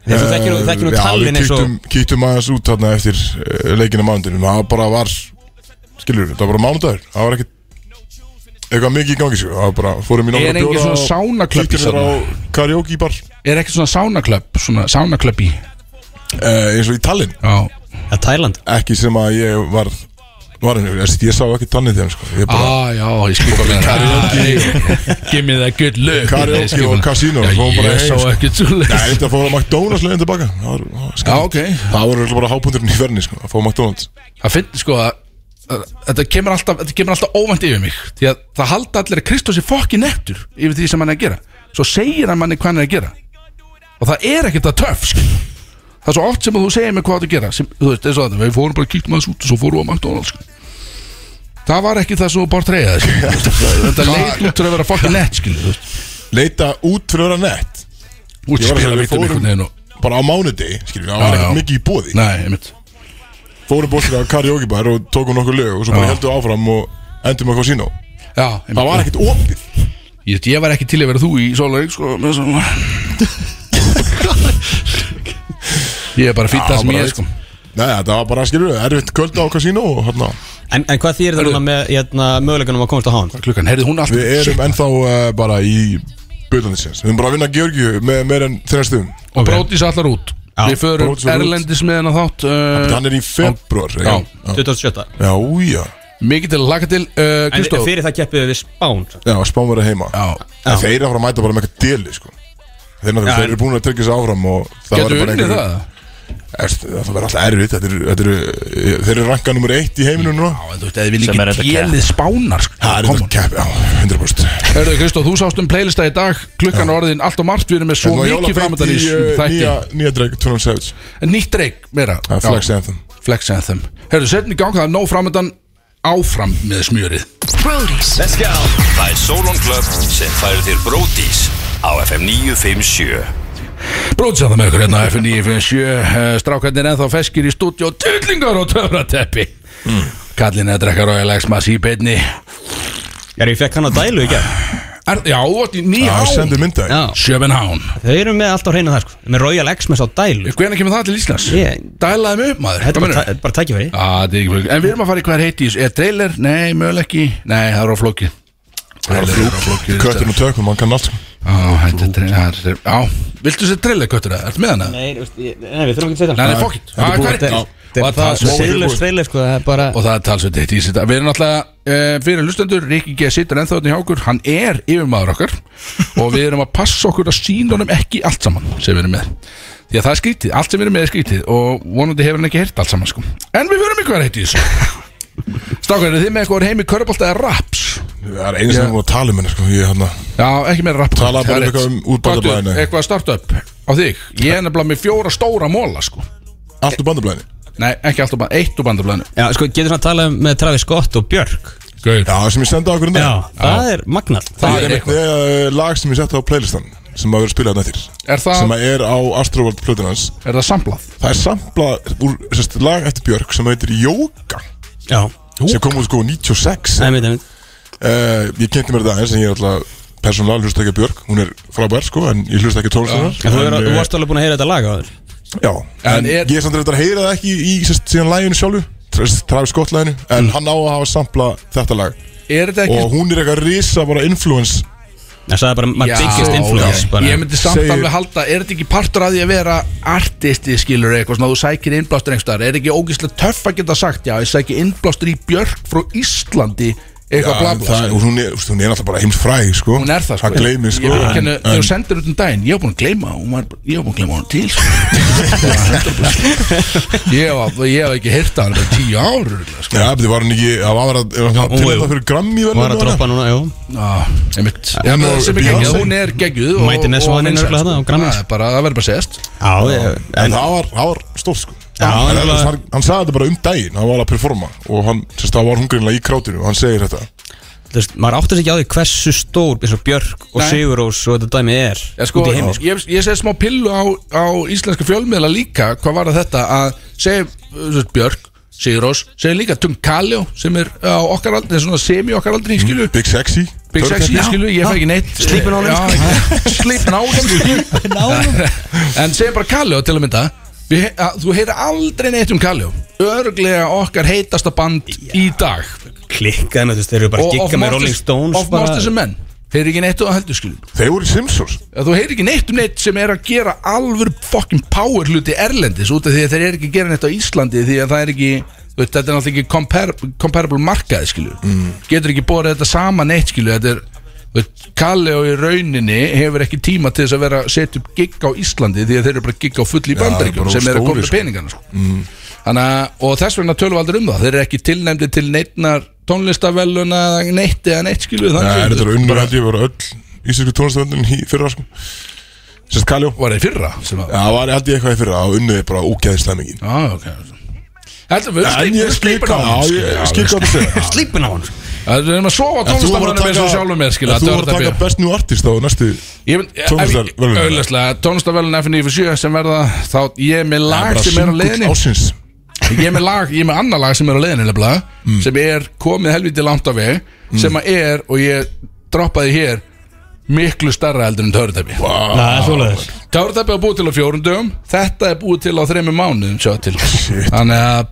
[SPEAKER 4] þegar þú þekkir nú- þekkir nú
[SPEAKER 1] Eh, Já,
[SPEAKER 4] talin
[SPEAKER 1] við
[SPEAKER 4] eins og
[SPEAKER 1] eh, kýttum, kýttum aðeins út þarna eftir uh, leikinu mándinu Það bara var skilur þetta var bara mánudagur það var ekkit eitthvað mikið í gangi sko. það var bara fórum í
[SPEAKER 2] Er
[SPEAKER 1] nokkra
[SPEAKER 2] engin svona sánaklöpp í
[SPEAKER 1] kýttum þér á karaoke bar
[SPEAKER 2] Er ekki svona sánaklöpp Svona sánaklöpp í
[SPEAKER 1] uh, eins og í Tallinn
[SPEAKER 2] Já
[SPEAKER 4] að Tæland
[SPEAKER 1] ekki sem að ég var var henni ég, ég sá ekki Tallinn þegar sko. ég bara
[SPEAKER 2] Ah, já, ég skil hvað með það Give me that good look
[SPEAKER 1] Karaoke
[SPEAKER 2] Ég skil
[SPEAKER 1] og
[SPEAKER 2] hvað-
[SPEAKER 1] casino,
[SPEAKER 2] Já,
[SPEAKER 1] fórum bara
[SPEAKER 2] Ég
[SPEAKER 1] heim,
[SPEAKER 2] sá
[SPEAKER 1] sko.
[SPEAKER 2] ekkert svo leið
[SPEAKER 1] Nei, þetta fór að McDonalds leiðin tilbaka Það var- það var
[SPEAKER 2] Já,
[SPEAKER 1] skemmtilegt.
[SPEAKER 2] Ah, ok
[SPEAKER 1] Það voru örugglega bara hápundurinn í verðinni sko, að fá McDonalds
[SPEAKER 2] Það finnir sko að að- Þetta kemur alltaf, þetta kemur alltaf óvænt yfir mig Því að það halda allir að Kristósi fokki nettur Yfir því sem hann er að gera Svo segir hann manni hvað hann er að gera Og það er ekkert að töff skil. Það er svo oft sem að þú segir mér hvað það að gera sem, Þú veist, eins og þetta, við fórum bara að kíktum aðeins út Og svo fórum við á McDonalds skil. Það var ekki það svo bara treyða Þetta leit út til að vera fokki nett skil, þú veist.
[SPEAKER 1] Leita út fyrir að vera nett Ég var að
[SPEAKER 2] Útspila
[SPEAKER 1] segja, við
[SPEAKER 2] vittum
[SPEAKER 1] fórum-
[SPEAKER 2] einhvern veginn og
[SPEAKER 1] Bara á mánudegi, skiljum við, það
[SPEAKER 2] Já,
[SPEAKER 1] var ekkert
[SPEAKER 2] Ah, já.
[SPEAKER 1] mikið í bóði
[SPEAKER 2] Nei, einmitt
[SPEAKER 1] Fórum bóðslega á karaoke bar og tókum nokkur lög Og svo bara
[SPEAKER 2] Já.
[SPEAKER 1] heldum við áfram og endum að casino
[SPEAKER 2] Já, einmitt
[SPEAKER 1] Það var ekkert opið
[SPEAKER 2] Ég, ég var ekki til að vera þú í sólarinn sko, með svona Ég er bara fýtt
[SPEAKER 1] Já,
[SPEAKER 2] það sem
[SPEAKER 1] bara
[SPEAKER 2] ég er
[SPEAKER 1] veit.
[SPEAKER 2] sko
[SPEAKER 1] Nei, þetta var bara, skiljum við, erfitt kvöld á casino og hérna
[SPEAKER 4] En, en hvað þýr það
[SPEAKER 2] Hörðu.
[SPEAKER 4] núna með hérna, möguleikunum að komast á hán?
[SPEAKER 2] Klukkan, heyrðu hún alltaf
[SPEAKER 1] Við erum ennþá uh, bara í Böðlandisins, við erum bara að vinna Georgiu með meir en þeirra stöðum
[SPEAKER 2] Og brótis allar út
[SPEAKER 4] Já,
[SPEAKER 2] Við förum
[SPEAKER 1] Brodís allar út.
[SPEAKER 2] Erlendis með hennar þátt uh,
[SPEAKER 1] Hann er í februar
[SPEAKER 2] Já.
[SPEAKER 4] 27.
[SPEAKER 1] já, já,
[SPEAKER 2] Mikið til að laka til uh,
[SPEAKER 4] En
[SPEAKER 2] Kristó
[SPEAKER 4] fyrir það keppið við Spán
[SPEAKER 1] já spáum vera heima
[SPEAKER 2] Já,
[SPEAKER 1] En þeir eru að fara að mæta bara með eitthvað deli sko. þeir, eru náttúrulega-
[SPEAKER 4] Já,
[SPEAKER 1] þeir eru búin að tryggja þessu áfram og það
[SPEAKER 2] getur
[SPEAKER 1] verður
[SPEAKER 2] við
[SPEAKER 1] bara
[SPEAKER 2] unnið
[SPEAKER 1] einhver-
[SPEAKER 2] það?
[SPEAKER 1] Erst, það verður alltaf erfitt þetta eru, þetta eru, þeir eru rankað nummer eitt í heiminu núna
[SPEAKER 2] Já, en þú veist, eða við
[SPEAKER 3] Sem er
[SPEAKER 2] líka
[SPEAKER 3] þetta kepp.
[SPEAKER 2] djelið spánar sko.
[SPEAKER 1] það er
[SPEAKER 2] Come
[SPEAKER 1] þetta
[SPEAKER 2] on.
[SPEAKER 1] kepp, já, 100%
[SPEAKER 2] Heyrðu Kristó, þú sást um playlista í dag Klukkan er orðin allt og margt Við erum með svo
[SPEAKER 1] Þetta var
[SPEAKER 2] mikið
[SPEAKER 1] jólabeint
[SPEAKER 2] framöndan í
[SPEAKER 1] í, uh,
[SPEAKER 2] þætti
[SPEAKER 1] nýja, nýja dreg, Tunan Savage
[SPEAKER 2] En Nýtt reik, meira
[SPEAKER 1] það er
[SPEAKER 2] Já.
[SPEAKER 1] flex anthem
[SPEAKER 2] Flex Anthem Herðu, setjum í gang, það er nóg framöndan Áfram með smjörið
[SPEAKER 5] Brodís
[SPEAKER 6] Let's go Það er Solon Club sem færir þér bródís á FM 957
[SPEAKER 2] Bróðsjáða með ykkur hérna á F957 Eh, Strákarnir ennþá feskir í stúdíu Tullingar og töfrateppi mm. Kallin eða drekkar og elegsmas í beinni er,
[SPEAKER 4] Já, ég fekk hann að dælu ekki
[SPEAKER 2] Já, þú átt í
[SPEAKER 1] það
[SPEAKER 2] nýjá
[SPEAKER 1] sendur myndag
[SPEAKER 4] Já,
[SPEAKER 2] Sjöbenhán
[SPEAKER 4] þau eru með allt á hreinu það sko Með Royal X-Mess á dælu
[SPEAKER 2] Hvernig kemur það til Íslands?
[SPEAKER 4] Ég-
[SPEAKER 2] Dælaði mig upp maður
[SPEAKER 4] Þetta er
[SPEAKER 2] Hvað
[SPEAKER 4] bara,
[SPEAKER 2] meinarðu?
[SPEAKER 4] ta- bara tækifæri
[SPEAKER 2] Já, þetta er ekki flókið En við erum að fara í hver heiti í þessu. Er trailer? Nei, möguleg ekki Nei, það er á flóki
[SPEAKER 1] köttur og tökum, hann kann allt sko.
[SPEAKER 2] Já, þetta er trailer Já, viltu sér trailer köttur það? Ertu með hana?
[SPEAKER 4] Nei, veist, ég- nei, við þurfum ekki að segja
[SPEAKER 2] Nei, nei,
[SPEAKER 4] það
[SPEAKER 2] fokk it. Ah, hvað er þetta? Og
[SPEAKER 4] Það er
[SPEAKER 2] það-
[SPEAKER 4] svo seilur streilir sko Það er bara
[SPEAKER 2] og það er talsveit eitt í þetta við erum alltaf uh, fyrir lustendur Rikki G. sittur ennþá þetta hjá okkur hann er yfirmaður okkar og við erum að passa okkur að sína honum ekki allt saman sem við erum með því að það er skrítið, allt sem við erum með er skrítið og vonandi hefur hann ekki heyrt allt saman sko. en við förum ykkur heitt í þessu Stákar, eru þið með eitthvað heimi körpálta eða raps?
[SPEAKER 1] það er einu sem við erum að tala um henni sko. ég hérna
[SPEAKER 2] Já, ekki meira raps
[SPEAKER 1] Talaðu bara
[SPEAKER 2] Það er
[SPEAKER 1] eitthvað
[SPEAKER 2] rétt.
[SPEAKER 1] um útbandablaðinu.
[SPEAKER 2] Gottur, Eitthvað startup á þig Ég er nefnilega með fjóra stóra móla sko
[SPEAKER 1] allt úr bandablæðinni
[SPEAKER 2] Nei, ekki alltaf bara eitt úr bandablaðinu
[SPEAKER 4] Já, sko, getur svona að tala um með Travis Scott og Björk
[SPEAKER 2] Gauð
[SPEAKER 1] já, sem ég sendi á okkur um dag
[SPEAKER 4] Það er magnað
[SPEAKER 2] Það
[SPEAKER 1] það
[SPEAKER 2] er
[SPEAKER 1] er
[SPEAKER 2] eitthvað
[SPEAKER 1] eitthvað lag sem ég setti á playlistan sem að vera að spila þetta eftir
[SPEAKER 2] Er það-
[SPEAKER 1] sem að er á Astroworld plötunans
[SPEAKER 2] Er það samblað?
[SPEAKER 1] Það er samplað úr sérst, lag eftir Björk sem heitir Jóka
[SPEAKER 4] Já
[SPEAKER 1] sem kom út sko 96
[SPEAKER 4] Það er mitt, það er mitt
[SPEAKER 1] uh, Ég kynnti mér það eins en ég er alltaf persónulega hlust ekki að Björk, hún er frábær sko en ég hlust ekki tónlistunar
[SPEAKER 4] En þú er- þú varst alveg búin að heyra þetta lag á þér
[SPEAKER 1] eh, Já, en
[SPEAKER 2] En er-
[SPEAKER 1] ég er samt reyndar að heyra það ekki í sérst, síðan læginu sjálfu sérst, Travis Scott læginu en hann á að hafa samplað þetta lag
[SPEAKER 2] Er þetta Mm. ekki
[SPEAKER 1] og hún er eitthvað risa bara influence
[SPEAKER 4] En það er bara my
[SPEAKER 2] Já,
[SPEAKER 4] biggest influence
[SPEAKER 2] já.
[SPEAKER 4] bara.
[SPEAKER 2] Ég myndi samt
[SPEAKER 1] Segir-
[SPEAKER 2] alveg halda, er þetta ekki partur af því að vera artisti skilur eitthvað svona, þú sækir innblástur einhverstaðar, er ekki ógíslega töff að geta sagt já, ég sækir innblástur í Björk frá Íslandi eitthvað
[SPEAKER 1] Já,
[SPEAKER 2] bla bla
[SPEAKER 1] það, og hún er, veist, hún er alltaf bara heimsfræg sko
[SPEAKER 2] hún er það sko
[SPEAKER 1] Það gleymir sko
[SPEAKER 2] Ég viðurkenni,
[SPEAKER 1] en-
[SPEAKER 2] þegar
[SPEAKER 1] en-
[SPEAKER 2] þú sendir út um daginn, ég var búin að gleyma hún var, bara- ég var búin að gleyma hún til sko. ég, var, ég hef ekki heyrt að hann bara í tíu ár örugglega, sko.
[SPEAKER 1] Já, það var hann ekki, það var að tilhæta fyrir grammi
[SPEAKER 4] Var að droppa núna, jú
[SPEAKER 2] Já, Ah, einmitt Já,
[SPEAKER 1] Hún
[SPEAKER 2] með
[SPEAKER 1] og
[SPEAKER 2] sem er geggjuð,
[SPEAKER 1] Beyonce.
[SPEAKER 2] hún er geggjuð og-
[SPEAKER 4] Mighty Ness
[SPEAKER 2] og
[SPEAKER 4] var hann
[SPEAKER 2] vinsæl,
[SPEAKER 4] örugglega þarna á
[SPEAKER 2] sko.
[SPEAKER 4] Grammys.
[SPEAKER 2] Það er bara- Það verður bara sest
[SPEAKER 4] Já, ég-
[SPEAKER 1] En
[SPEAKER 4] en
[SPEAKER 1] það var, það var stórt sko
[SPEAKER 4] Já,
[SPEAKER 1] en,
[SPEAKER 4] það
[SPEAKER 1] en,
[SPEAKER 4] var-
[SPEAKER 1] hann, hann sagði þetta bara um daginn Hann var að performa Og hann, sérst, það var hungrinlega í krátinu Og hann segir þetta
[SPEAKER 4] þú veist, maður áttur sig ekki á því hversu stór eins og Björk og
[SPEAKER 2] Nei.
[SPEAKER 4] Sigurós og þetta dæmi er
[SPEAKER 2] Já, sko,
[SPEAKER 4] út í heimi sko.
[SPEAKER 2] ég, ég segi smá pillu á, á íslenska fjölmiðla líka hvað var að þetta að segja uh, Björk, Sigurós, segja líka Tung Kaljó sem er á okkar aldri sem semi okkar aldri,
[SPEAKER 4] Mm.
[SPEAKER 2] skilu
[SPEAKER 1] Big Sexy
[SPEAKER 2] Big Sex,
[SPEAKER 1] Turkey.
[SPEAKER 2] ég skilu, ég fæ ekki neitt
[SPEAKER 4] Sleeping on him.
[SPEAKER 2] Sleepin á honum Sleepin á honum En segja bara Kaljó til að mynda Við, að, þú heyrir aldrei neitt um Kaljó Örglega okkar heitasta band í dag
[SPEAKER 4] Klikkaði með þú veist, þeir eru bara að gigga með Rolling Stones
[SPEAKER 2] Of Masters and Men Þeir eru ekki neitt á að heldur skilum
[SPEAKER 1] Þeir voru í Simpsons
[SPEAKER 2] Þú heyrir ekki neitt um neitt sem er að gera alvöru fucking power hluti erlendis út af því að þeir eru ekki að gera neitt á Íslandi því að það er ekki, þú veit, þetta er náttúrulega ekki comparable, comparable markaði skilju
[SPEAKER 1] Mm.
[SPEAKER 2] getur ekki borið þetta sama neitt skilju þetta er, þú veit, Kalle og í rauninni hefur ekki tíma til þess að vera að setja upp gig á Íslandi því að þeir eru bara gig á fulli í
[SPEAKER 1] bara
[SPEAKER 2] bandaríkjum sem
[SPEAKER 1] stórir,
[SPEAKER 2] er að koma
[SPEAKER 1] sko.
[SPEAKER 2] sko. peningana sko. Þannig að, og þess vegna tölum við aldrei um það þeir eru ekki tilnæmdi til neitnar tónlistavelluna neitt eða neitt skilju
[SPEAKER 1] Nei,
[SPEAKER 2] þannig
[SPEAKER 1] þetta
[SPEAKER 2] séu-
[SPEAKER 1] er unnur held ég voru öll Íslenski tónlistöndin í fyrra sko Sérst Kaljó Já,
[SPEAKER 2] var það í fyrra sem að
[SPEAKER 1] það var held ég eitthvað í fyrra og unnuði bara ógæðislega mikið
[SPEAKER 2] Já, ok Heldur við
[SPEAKER 1] En ég skil
[SPEAKER 2] sleipum á
[SPEAKER 1] hvað Já, ég skil hvað þú segir
[SPEAKER 4] Sleepin á hann
[SPEAKER 2] Það er um að sofa
[SPEAKER 1] En þú voru að
[SPEAKER 2] tónlistamannum eins og sjálfum
[SPEAKER 1] taka-
[SPEAKER 2] mér skilja
[SPEAKER 1] en þú voru að taka best new artist á næstu tónlistarverðlaun.
[SPEAKER 2] Tónlistarvelun Tónlistarvelun FNF7 sem verða þá ég er með lag sem er á leiðinni
[SPEAKER 1] Ásins
[SPEAKER 2] Ég er með lag, ég er með annað lag sem er á leiðinni nefnilega
[SPEAKER 1] Mm.
[SPEAKER 2] sem er komið helviti langt af veg sem að er og ég droppaði hér miklu starra heldur en törutæpi
[SPEAKER 3] Það er svoleiðis
[SPEAKER 2] Törutæpi var búið til á fjórundum þetta er búið til á þreymum mánuðum sjá til
[SPEAKER 1] Shit.
[SPEAKER 2] Þannig að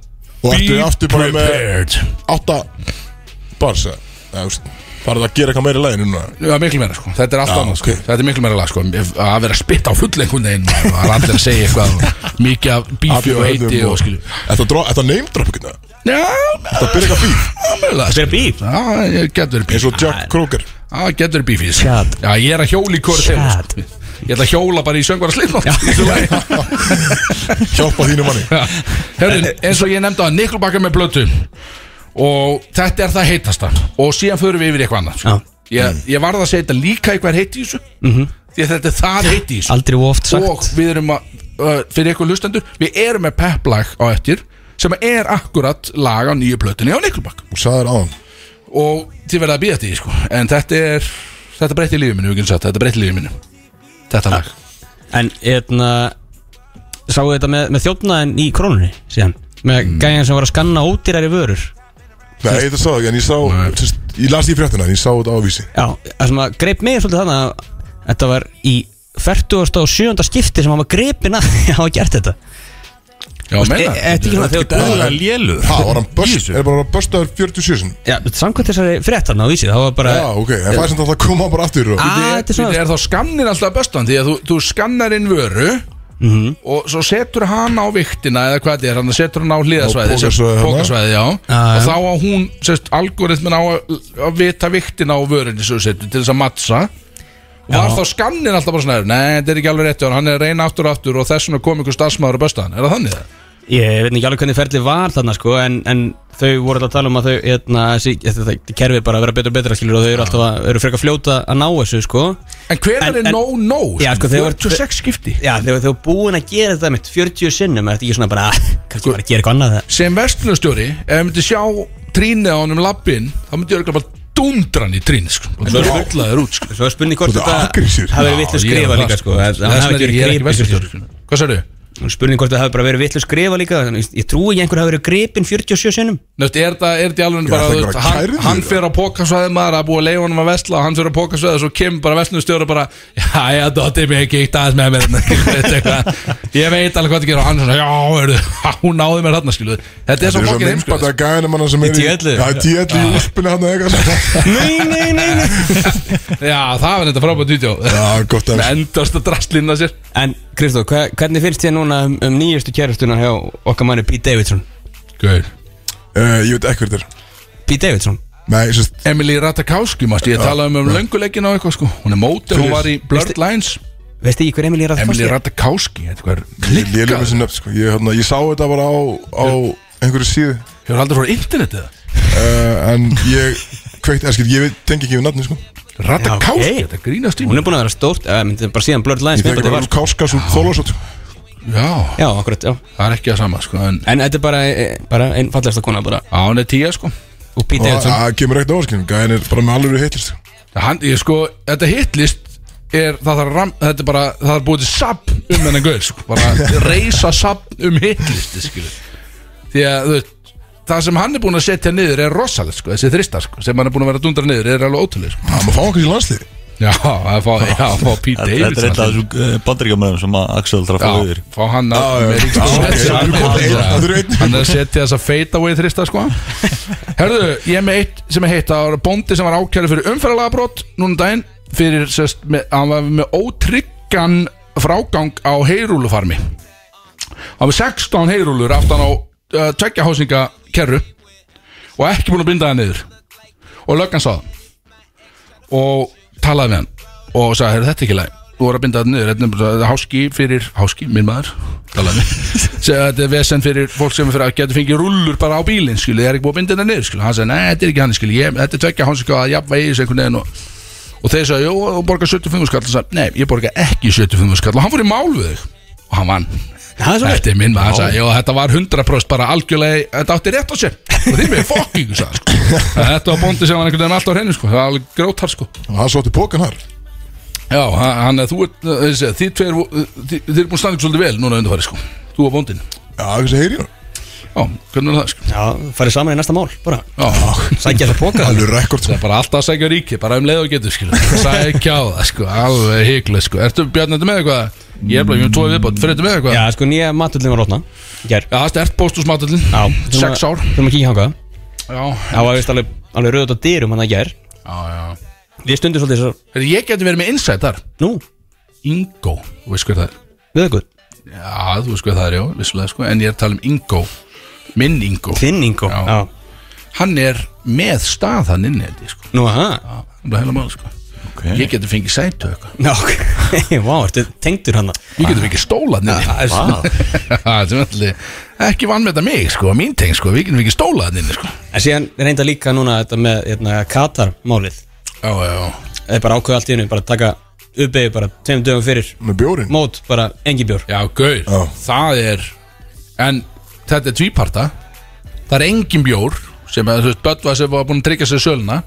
[SPEAKER 1] Og ertu aftur bara með
[SPEAKER 2] prepared
[SPEAKER 1] átta bars eða, eða, þú veist, farið að gera eitthvað meira í læginu núna
[SPEAKER 2] Já, miklu meira sko, þetta er allt
[SPEAKER 1] Já,
[SPEAKER 2] annað sko.
[SPEAKER 1] ok.
[SPEAKER 2] Þetta er miklu meira lag sko, Ef- að vera að spitta á full einhvern veginn maður, Það er allir að segja eitthvað og Mikið af bífi og heiti og skilju
[SPEAKER 1] Þetta er name drop ekki það
[SPEAKER 2] Já,
[SPEAKER 1] Þetta byrja eitthvað bíf
[SPEAKER 2] mögulega sko.
[SPEAKER 4] Þeir eru bíf
[SPEAKER 2] Já, ég getur
[SPEAKER 1] eins
[SPEAKER 2] verið bífi
[SPEAKER 1] og Jack Kroger
[SPEAKER 2] Já, getur verið bífi sko.
[SPEAKER 4] Shut.
[SPEAKER 2] Já, ég er að hjóla í hvort þeim
[SPEAKER 4] Shut.
[SPEAKER 2] sko. Ég ætla að hjóla bara í söngvara slipnátt
[SPEAKER 1] Hjálpa þínu manni
[SPEAKER 2] Hörru, eins og ég nefndi að Niklbakka með blötu Og þetta er það heitasta Og síðan förum við yfir í eitthvað annað sko.
[SPEAKER 4] Já. Mhm.
[SPEAKER 2] ég, ég varð að setja líka eitthvað heiti í þessu Því að þetta er það heiti í þessu
[SPEAKER 4] Aldrei of oft sagt
[SPEAKER 2] og við erum að uh, fyrir ykkur hlustendur, við erum með pepplag á eftir sem er akkurat lag á nýju plötunni á Niklbakk
[SPEAKER 1] Þú sagði þér áðan
[SPEAKER 2] og þið verða að býja því sko. en þetta er, þetta breytti lífið minu við getum sagt, þetta breytti lífið minu þetta lag,
[SPEAKER 4] En hérna Sáu þetta með, með þjófnaðin í krónunni síðan Með mm. gæjan sem var að skanna ódýrari vörur
[SPEAKER 1] Nei, þetta sá það ekki, en ég sá sérst, Ég las því fréttina, en ég sá þetta ávísi
[SPEAKER 4] Já, það sem að greip mig svolítið þannig að Þetta var í 47. skipti sem hann var greipin að því að hafa gert þetta
[SPEAKER 2] já meina
[SPEAKER 4] E- e- Þetta er ekki svona
[SPEAKER 3] Þetta er
[SPEAKER 4] þjófnaðin
[SPEAKER 3] alveg lélur
[SPEAKER 1] Ha, var hann
[SPEAKER 3] Í
[SPEAKER 1] börst,
[SPEAKER 3] þessu?
[SPEAKER 1] er bara börstaður 47 sinni?
[SPEAKER 4] Já, samkvæmt þessari fréttarna á vísi Það var bara
[SPEAKER 1] Já, ok, en það er sem þetta að koma bara aftur og
[SPEAKER 4] Ah.
[SPEAKER 2] Þetta
[SPEAKER 4] þetta er
[SPEAKER 2] er,
[SPEAKER 4] svona-
[SPEAKER 2] er þá skamnin alltaf bestan því að þú, þú skannar inn vöru
[SPEAKER 4] Mhm.
[SPEAKER 2] og svo setur hann á viktina eða hvað þetta er, hann setur hann á hliðasvæði
[SPEAKER 1] Á pókasvæði hana.
[SPEAKER 2] pókasvæði, já
[SPEAKER 4] hérna. Já,
[SPEAKER 2] og
[SPEAKER 4] já.
[SPEAKER 2] þá á hún, sérst, algoritmin á að, að vita viktina á vörunni sem þú setur til þess að mattsa og var
[SPEAKER 4] Já.
[SPEAKER 2] þá skannin alltaf bara svona nei, þetta er ekki alveg rétt hjá hann, hann er að reyna aftur og aftur og þess vegna kom ykkur starfsmaður að bestan, er það þannig það?
[SPEAKER 4] Ég veit ekki alveg hvernig ferlið var þarna sko en, en þau voru alltaf að tala um að þau hérna, þessi, þetta, þetta kerfi er bara að vera betra og betra skilur og þau eru alltaf að, eru frekar fljóta að ná þessu sko
[SPEAKER 2] En hver
[SPEAKER 4] En-
[SPEAKER 2] er
[SPEAKER 4] en-
[SPEAKER 2] no-no?
[SPEAKER 4] Já, sko, þegar-
[SPEAKER 2] 46 skipti
[SPEAKER 4] Já, þegar þau eru búin að gera þetta mitt 40 sinnum er þetta ekki svona bara, "Ah, kannski bara að gera eitthvað annað
[SPEAKER 2] sem vestlunastjóri ef ég myndi sjá trínið á honum lappin þá myndi ég örgulega bara dundra hann í trínið sko. og það rullaður út sko.
[SPEAKER 4] Svo er spurning hvort
[SPEAKER 1] Þú ert aggressív.
[SPEAKER 4] þetta hafi verið
[SPEAKER 2] Já, ég er
[SPEAKER 4] vitlu skrifa
[SPEAKER 2] það,
[SPEAKER 4] líka sko að-
[SPEAKER 2] Þess
[SPEAKER 4] að hann hafi
[SPEAKER 2] vegna er ég
[SPEAKER 4] ekki verið
[SPEAKER 2] ekki
[SPEAKER 4] gripinn,
[SPEAKER 2] vestlunastjóri
[SPEAKER 4] skilur.
[SPEAKER 2] sko. hvað sérðu?
[SPEAKER 4] Spurning hvort það hafi bara verið vitlu skrifa líka þannig, Ég trúi ekki einhver hafi verið gripin 47 sinnum
[SPEAKER 2] Nöft, er þetta er þetta í alveg
[SPEAKER 1] Já,
[SPEAKER 2] bara,
[SPEAKER 1] það er
[SPEAKER 2] þú veist,
[SPEAKER 1] bara
[SPEAKER 2] hann,
[SPEAKER 1] kærður,
[SPEAKER 2] hann
[SPEAKER 1] það.
[SPEAKER 2] fyrir á pókasvæði maður að búa að leiða honum að vesla og hann fyrir á pókasvæði og svo kemur bara vestlunastjóri og bara já, já, dotti mig ekki, eitt aðeins með mér hérna." Þetta er eitthvað. ég veit alveg hvað það gerir og hann svona, já, heyrðu, hún náði mér þarna skiluðu þetta er
[SPEAKER 1] Þetta er
[SPEAKER 2] svo
[SPEAKER 1] svo
[SPEAKER 2] fokkin
[SPEAKER 1] minnbætt
[SPEAKER 2] heimskuð
[SPEAKER 1] að gæðinu manna sem er
[SPEAKER 4] T11.
[SPEAKER 1] Já, tíallu í úlpunni hann eitthvað
[SPEAKER 4] Nei, nei, nei, nei
[SPEAKER 2] já, það var þetta frábært vídeo
[SPEAKER 1] Já, gott að
[SPEAKER 2] endast að drastlina sér
[SPEAKER 4] En Kristó, hva- hvernig finnst þér núna um, um nýjastu kærastuna hjá okkar manni Pete Davidson?
[SPEAKER 2] Gauð
[SPEAKER 1] uh, Ég veit ekki hver þetta er
[SPEAKER 4] Pete Davidson?
[SPEAKER 1] Nei, sérst,
[SPEAKER 2] Emily Ratajkowski, mást ég talaði um um lönguleikin á eitthvað sko Hún er mótir, hún var í Blurred Lines
[SPEAKER 4] Veist þið ekki hver Emily Ratajkowski
[SPEAKER 2] Emily
[SPEAKER 4] er?
[SPEAKER 2] Ratajkowski, þetta hvað er
[SPEAKER 1] ég lélum
[SPEAKER 2] klikkað
[SPEAKER 1] þessi nöfn sko. ég, hérna, ég sá þetta bara á, á einhverju síðu
[SPEAKER 2] Hefur aldrei frá internetið það?
[SPEAKER 1] uh, En ég kveikt, eða skil, ég veit- tengi ekki við nafni sko.
[SPEAKER 2] Ratajkowski,
[SPEAKER 4] Já, ok.
[SPEAKER 2] þetta grínast í
[SPEAKER 4] Hún er búin að vera stórt, uh, myndi, bara síðan Blurred Lines
[SPEAKER 1] Ég
[SPEAKER 4] myndi
[SPEAKER 1] tengi
[SPEAKER 4] þetta
[SPEAKER 1] bara
[SPEAKER 4] var
[SPEAKER 2] sko.
[SPEAKER 1] úr Káskas úr Þólásótt
[SPEAKER 2] mér Já,
[SPEAKER 4] Já, akkurat, já
[SPEAKER 2] það er ekki að sama sko En
[SPEAKER 4] En þetta er bara, eh, bara einn fallegasta kona bara
[SPEAKER 2] á hún er tíja sko
[SPEAKER 4] Og Pete
[SPEAKER 1] Og
[SPEAKER 4] Davidson
[SPEAKER 1] það kemur ekkert áskil Gæðin er bara með alveg hitlist
[SPEAKER 2] Hann, ég sko, þetta hitlist er, það þarf að ram, þetta er bara, það er búið til sub um hennan gauð, sko, bara reysa sub um hitlisti, skilur því að, þú veist, það sem hann er búin að setja niður er rosalega, sko, þessi þristar, sko, sem hann er búin að vera að dundra niður er alveg ótrúlega, sko
[SPEAKER 1] Það maður fá okkur í landslið
[SPEAKER 2] Já, að fá, já, að fá Pete
[SPEAKER 3] Þetta
[SPEAKER 2] Davidson
[SPEAKER 3] er eitt af
[SPEAKER 2] alltaf.
[SPEAKER 3] þessum bandaríkjamöðum sem að Axel þarf að fá
[SPEAKER 2] Já,
[SPEAKER 3] yfir
[SPEAKER 2] fá hann að
[SPEAKER 1] Já, já,
[SPEAKER 2] með
[SPEAKER 1] já,
[SPEAKER 2] Ríkis-
[SPEAKER 1] já, ok,
[SPEAKER 2] Hann-
[SPEAKER 1] þú komið einn,
[SPEAKER 2] hann-
[SPEAKER 1] þú eru einn.
[SPEAKER 2] Hann er að setja þess að feita away þrista sko Herðu, ég er með eitt sem er heitt Það var bóndi sem var ákjæri fyrir umferðalagabrot Núna um daginn fyrir, sest, með, Hann var með ótryggan frágang á heyrúlufarmi Hann var með 16 heyrúlur Aftan á uh, tveggja hásinga kerru Og ekki búin að binda það niður Og löggan sá það og talaði við hann og sagði, "Heyrðu, þetta er ekki læg þú voru að binda þetta niður, þetta er nefnilega háski fyrir háski, minn maður, talaði við segði þetta er vesen fyrir fólk sem er fyrir að geta fengið rullur bara á bílinn, skilu, ég er ekki búið að binda þetta niður skilu, hann sagði, nei, þetta er ekki hann, skilu ég, þetta er tvekja hans ekki að jafnvægi þessu einhvern veginn og, og þeir sagði, jú, þú borgar 75 skall og sagði, nei, ég borgar ekki 75 skall og hann fór í mál við þig og hann vann
[SPEAKER 4] Það er svo
[SPEAKER 2] Þetta er minn maður, hann sagði, já þetta var 100% bara algjörlega, þetta átti rétt á sér og þeir með fokking, sagði hann, sko. þetta var bóndi sem var einhvern veginn alltaf á hreinu, sko, það var alveg grótar, sko
[SPEAKER 1] Hann sótti pókan þar
[SPEAKER 2] Já, hann hann að þú ert, þessi, þið tveir, eh, þið, þið er búin að standa ykkur svolítið vel núna undarfæri sko Þú og bóndin
[SPEAKER 1] Já, þessi heyri hann
[SPEAKER 2] Já, hvernig er það sko
[SPEAKER 4] Já, farið saman í næsta mál, bara
[SPEAKER 2] Já,
[SPEAKER 4] Sækja það póka
[SPEAKER 1] Alveg rekord sko.
[SPEAKER 2] það er bara alltaf að sækja ríki, bara um leið og getur skilu Sækja á það sko, alveg hiklu sko Ertu Bjarni, ertu með eitthvað? Ég er bara, ég er tóið viðbót, fyrir ertu með eitthvað?
[SPEAKER 4] Já, sko nýja matullin var rótna Gær
[SPEAKER 2] Já, það er ert bóstusmatullin,
[SPEAKER 4] Já,
[SPEAKER 2] sex ár
[SPEAKER 4] Þú maður kíkja hanga
[SPEAKER 2] Já,
[SPEAKER 4] Það var vist alveg, alveg rauðt á dyrum hann að gær
[SPEAKER 2] já, já
[SPEAKER 4] Við stundum svolítið svo
[SPEAKER 2] Heyrðu, Ég geti verið með insight þar
[SPEAKER 4] Nú,
[SPEAKER 2] Ingo, þú veist hver það er
[SPEAKER 4] við okkur
[SPEAKER 2] Já, þú veist hver það er, já, vissulega sko En ég er að tala um Ingo, minn Ingo
[SPEAKER 4] Finningo
[SPEAKER 2] Já.
[SPEAKER 4] Já
[SPEAKER 2] Hann er með stað hann inni, held ég sko
[SPEAKER 4] Nú, aha
[SPEAKER 2] Já, það er heila mál sko Ég geti fengið sætu eitthvað
[SPEAKER 4] Já, ok Vá, ertu tengdur hann
[SPEAKER 2] Ég geti fengið stóla nynni
[SPEAKER 4] Vá
[SPEAKER 2] Það er allir ekki vannmeta mig sko Mín teng sko, við getum fengið stóla nynni sko
[SPEAKER 4] En síðan reynda líka núna þetta með hérna, Katar-málið
[SPEAKER 2] Já, já, já
[SPEAKER 4] Það er bara ákveð allt í hennu, bara taka uppeyju bara tveim dögum fyrir
[SPEAKER 1] Með bjórin
[SPEAKER 4] Mót, bara engi bjór
[SPEAKER 2] Já, gaur,
[SPEAKER 1] Já.
[SPEAKER 2] það er En þetta er tvíparta Það er engin bjór sem að, þú veist, Böttva sem var búin að tryggja sér söluna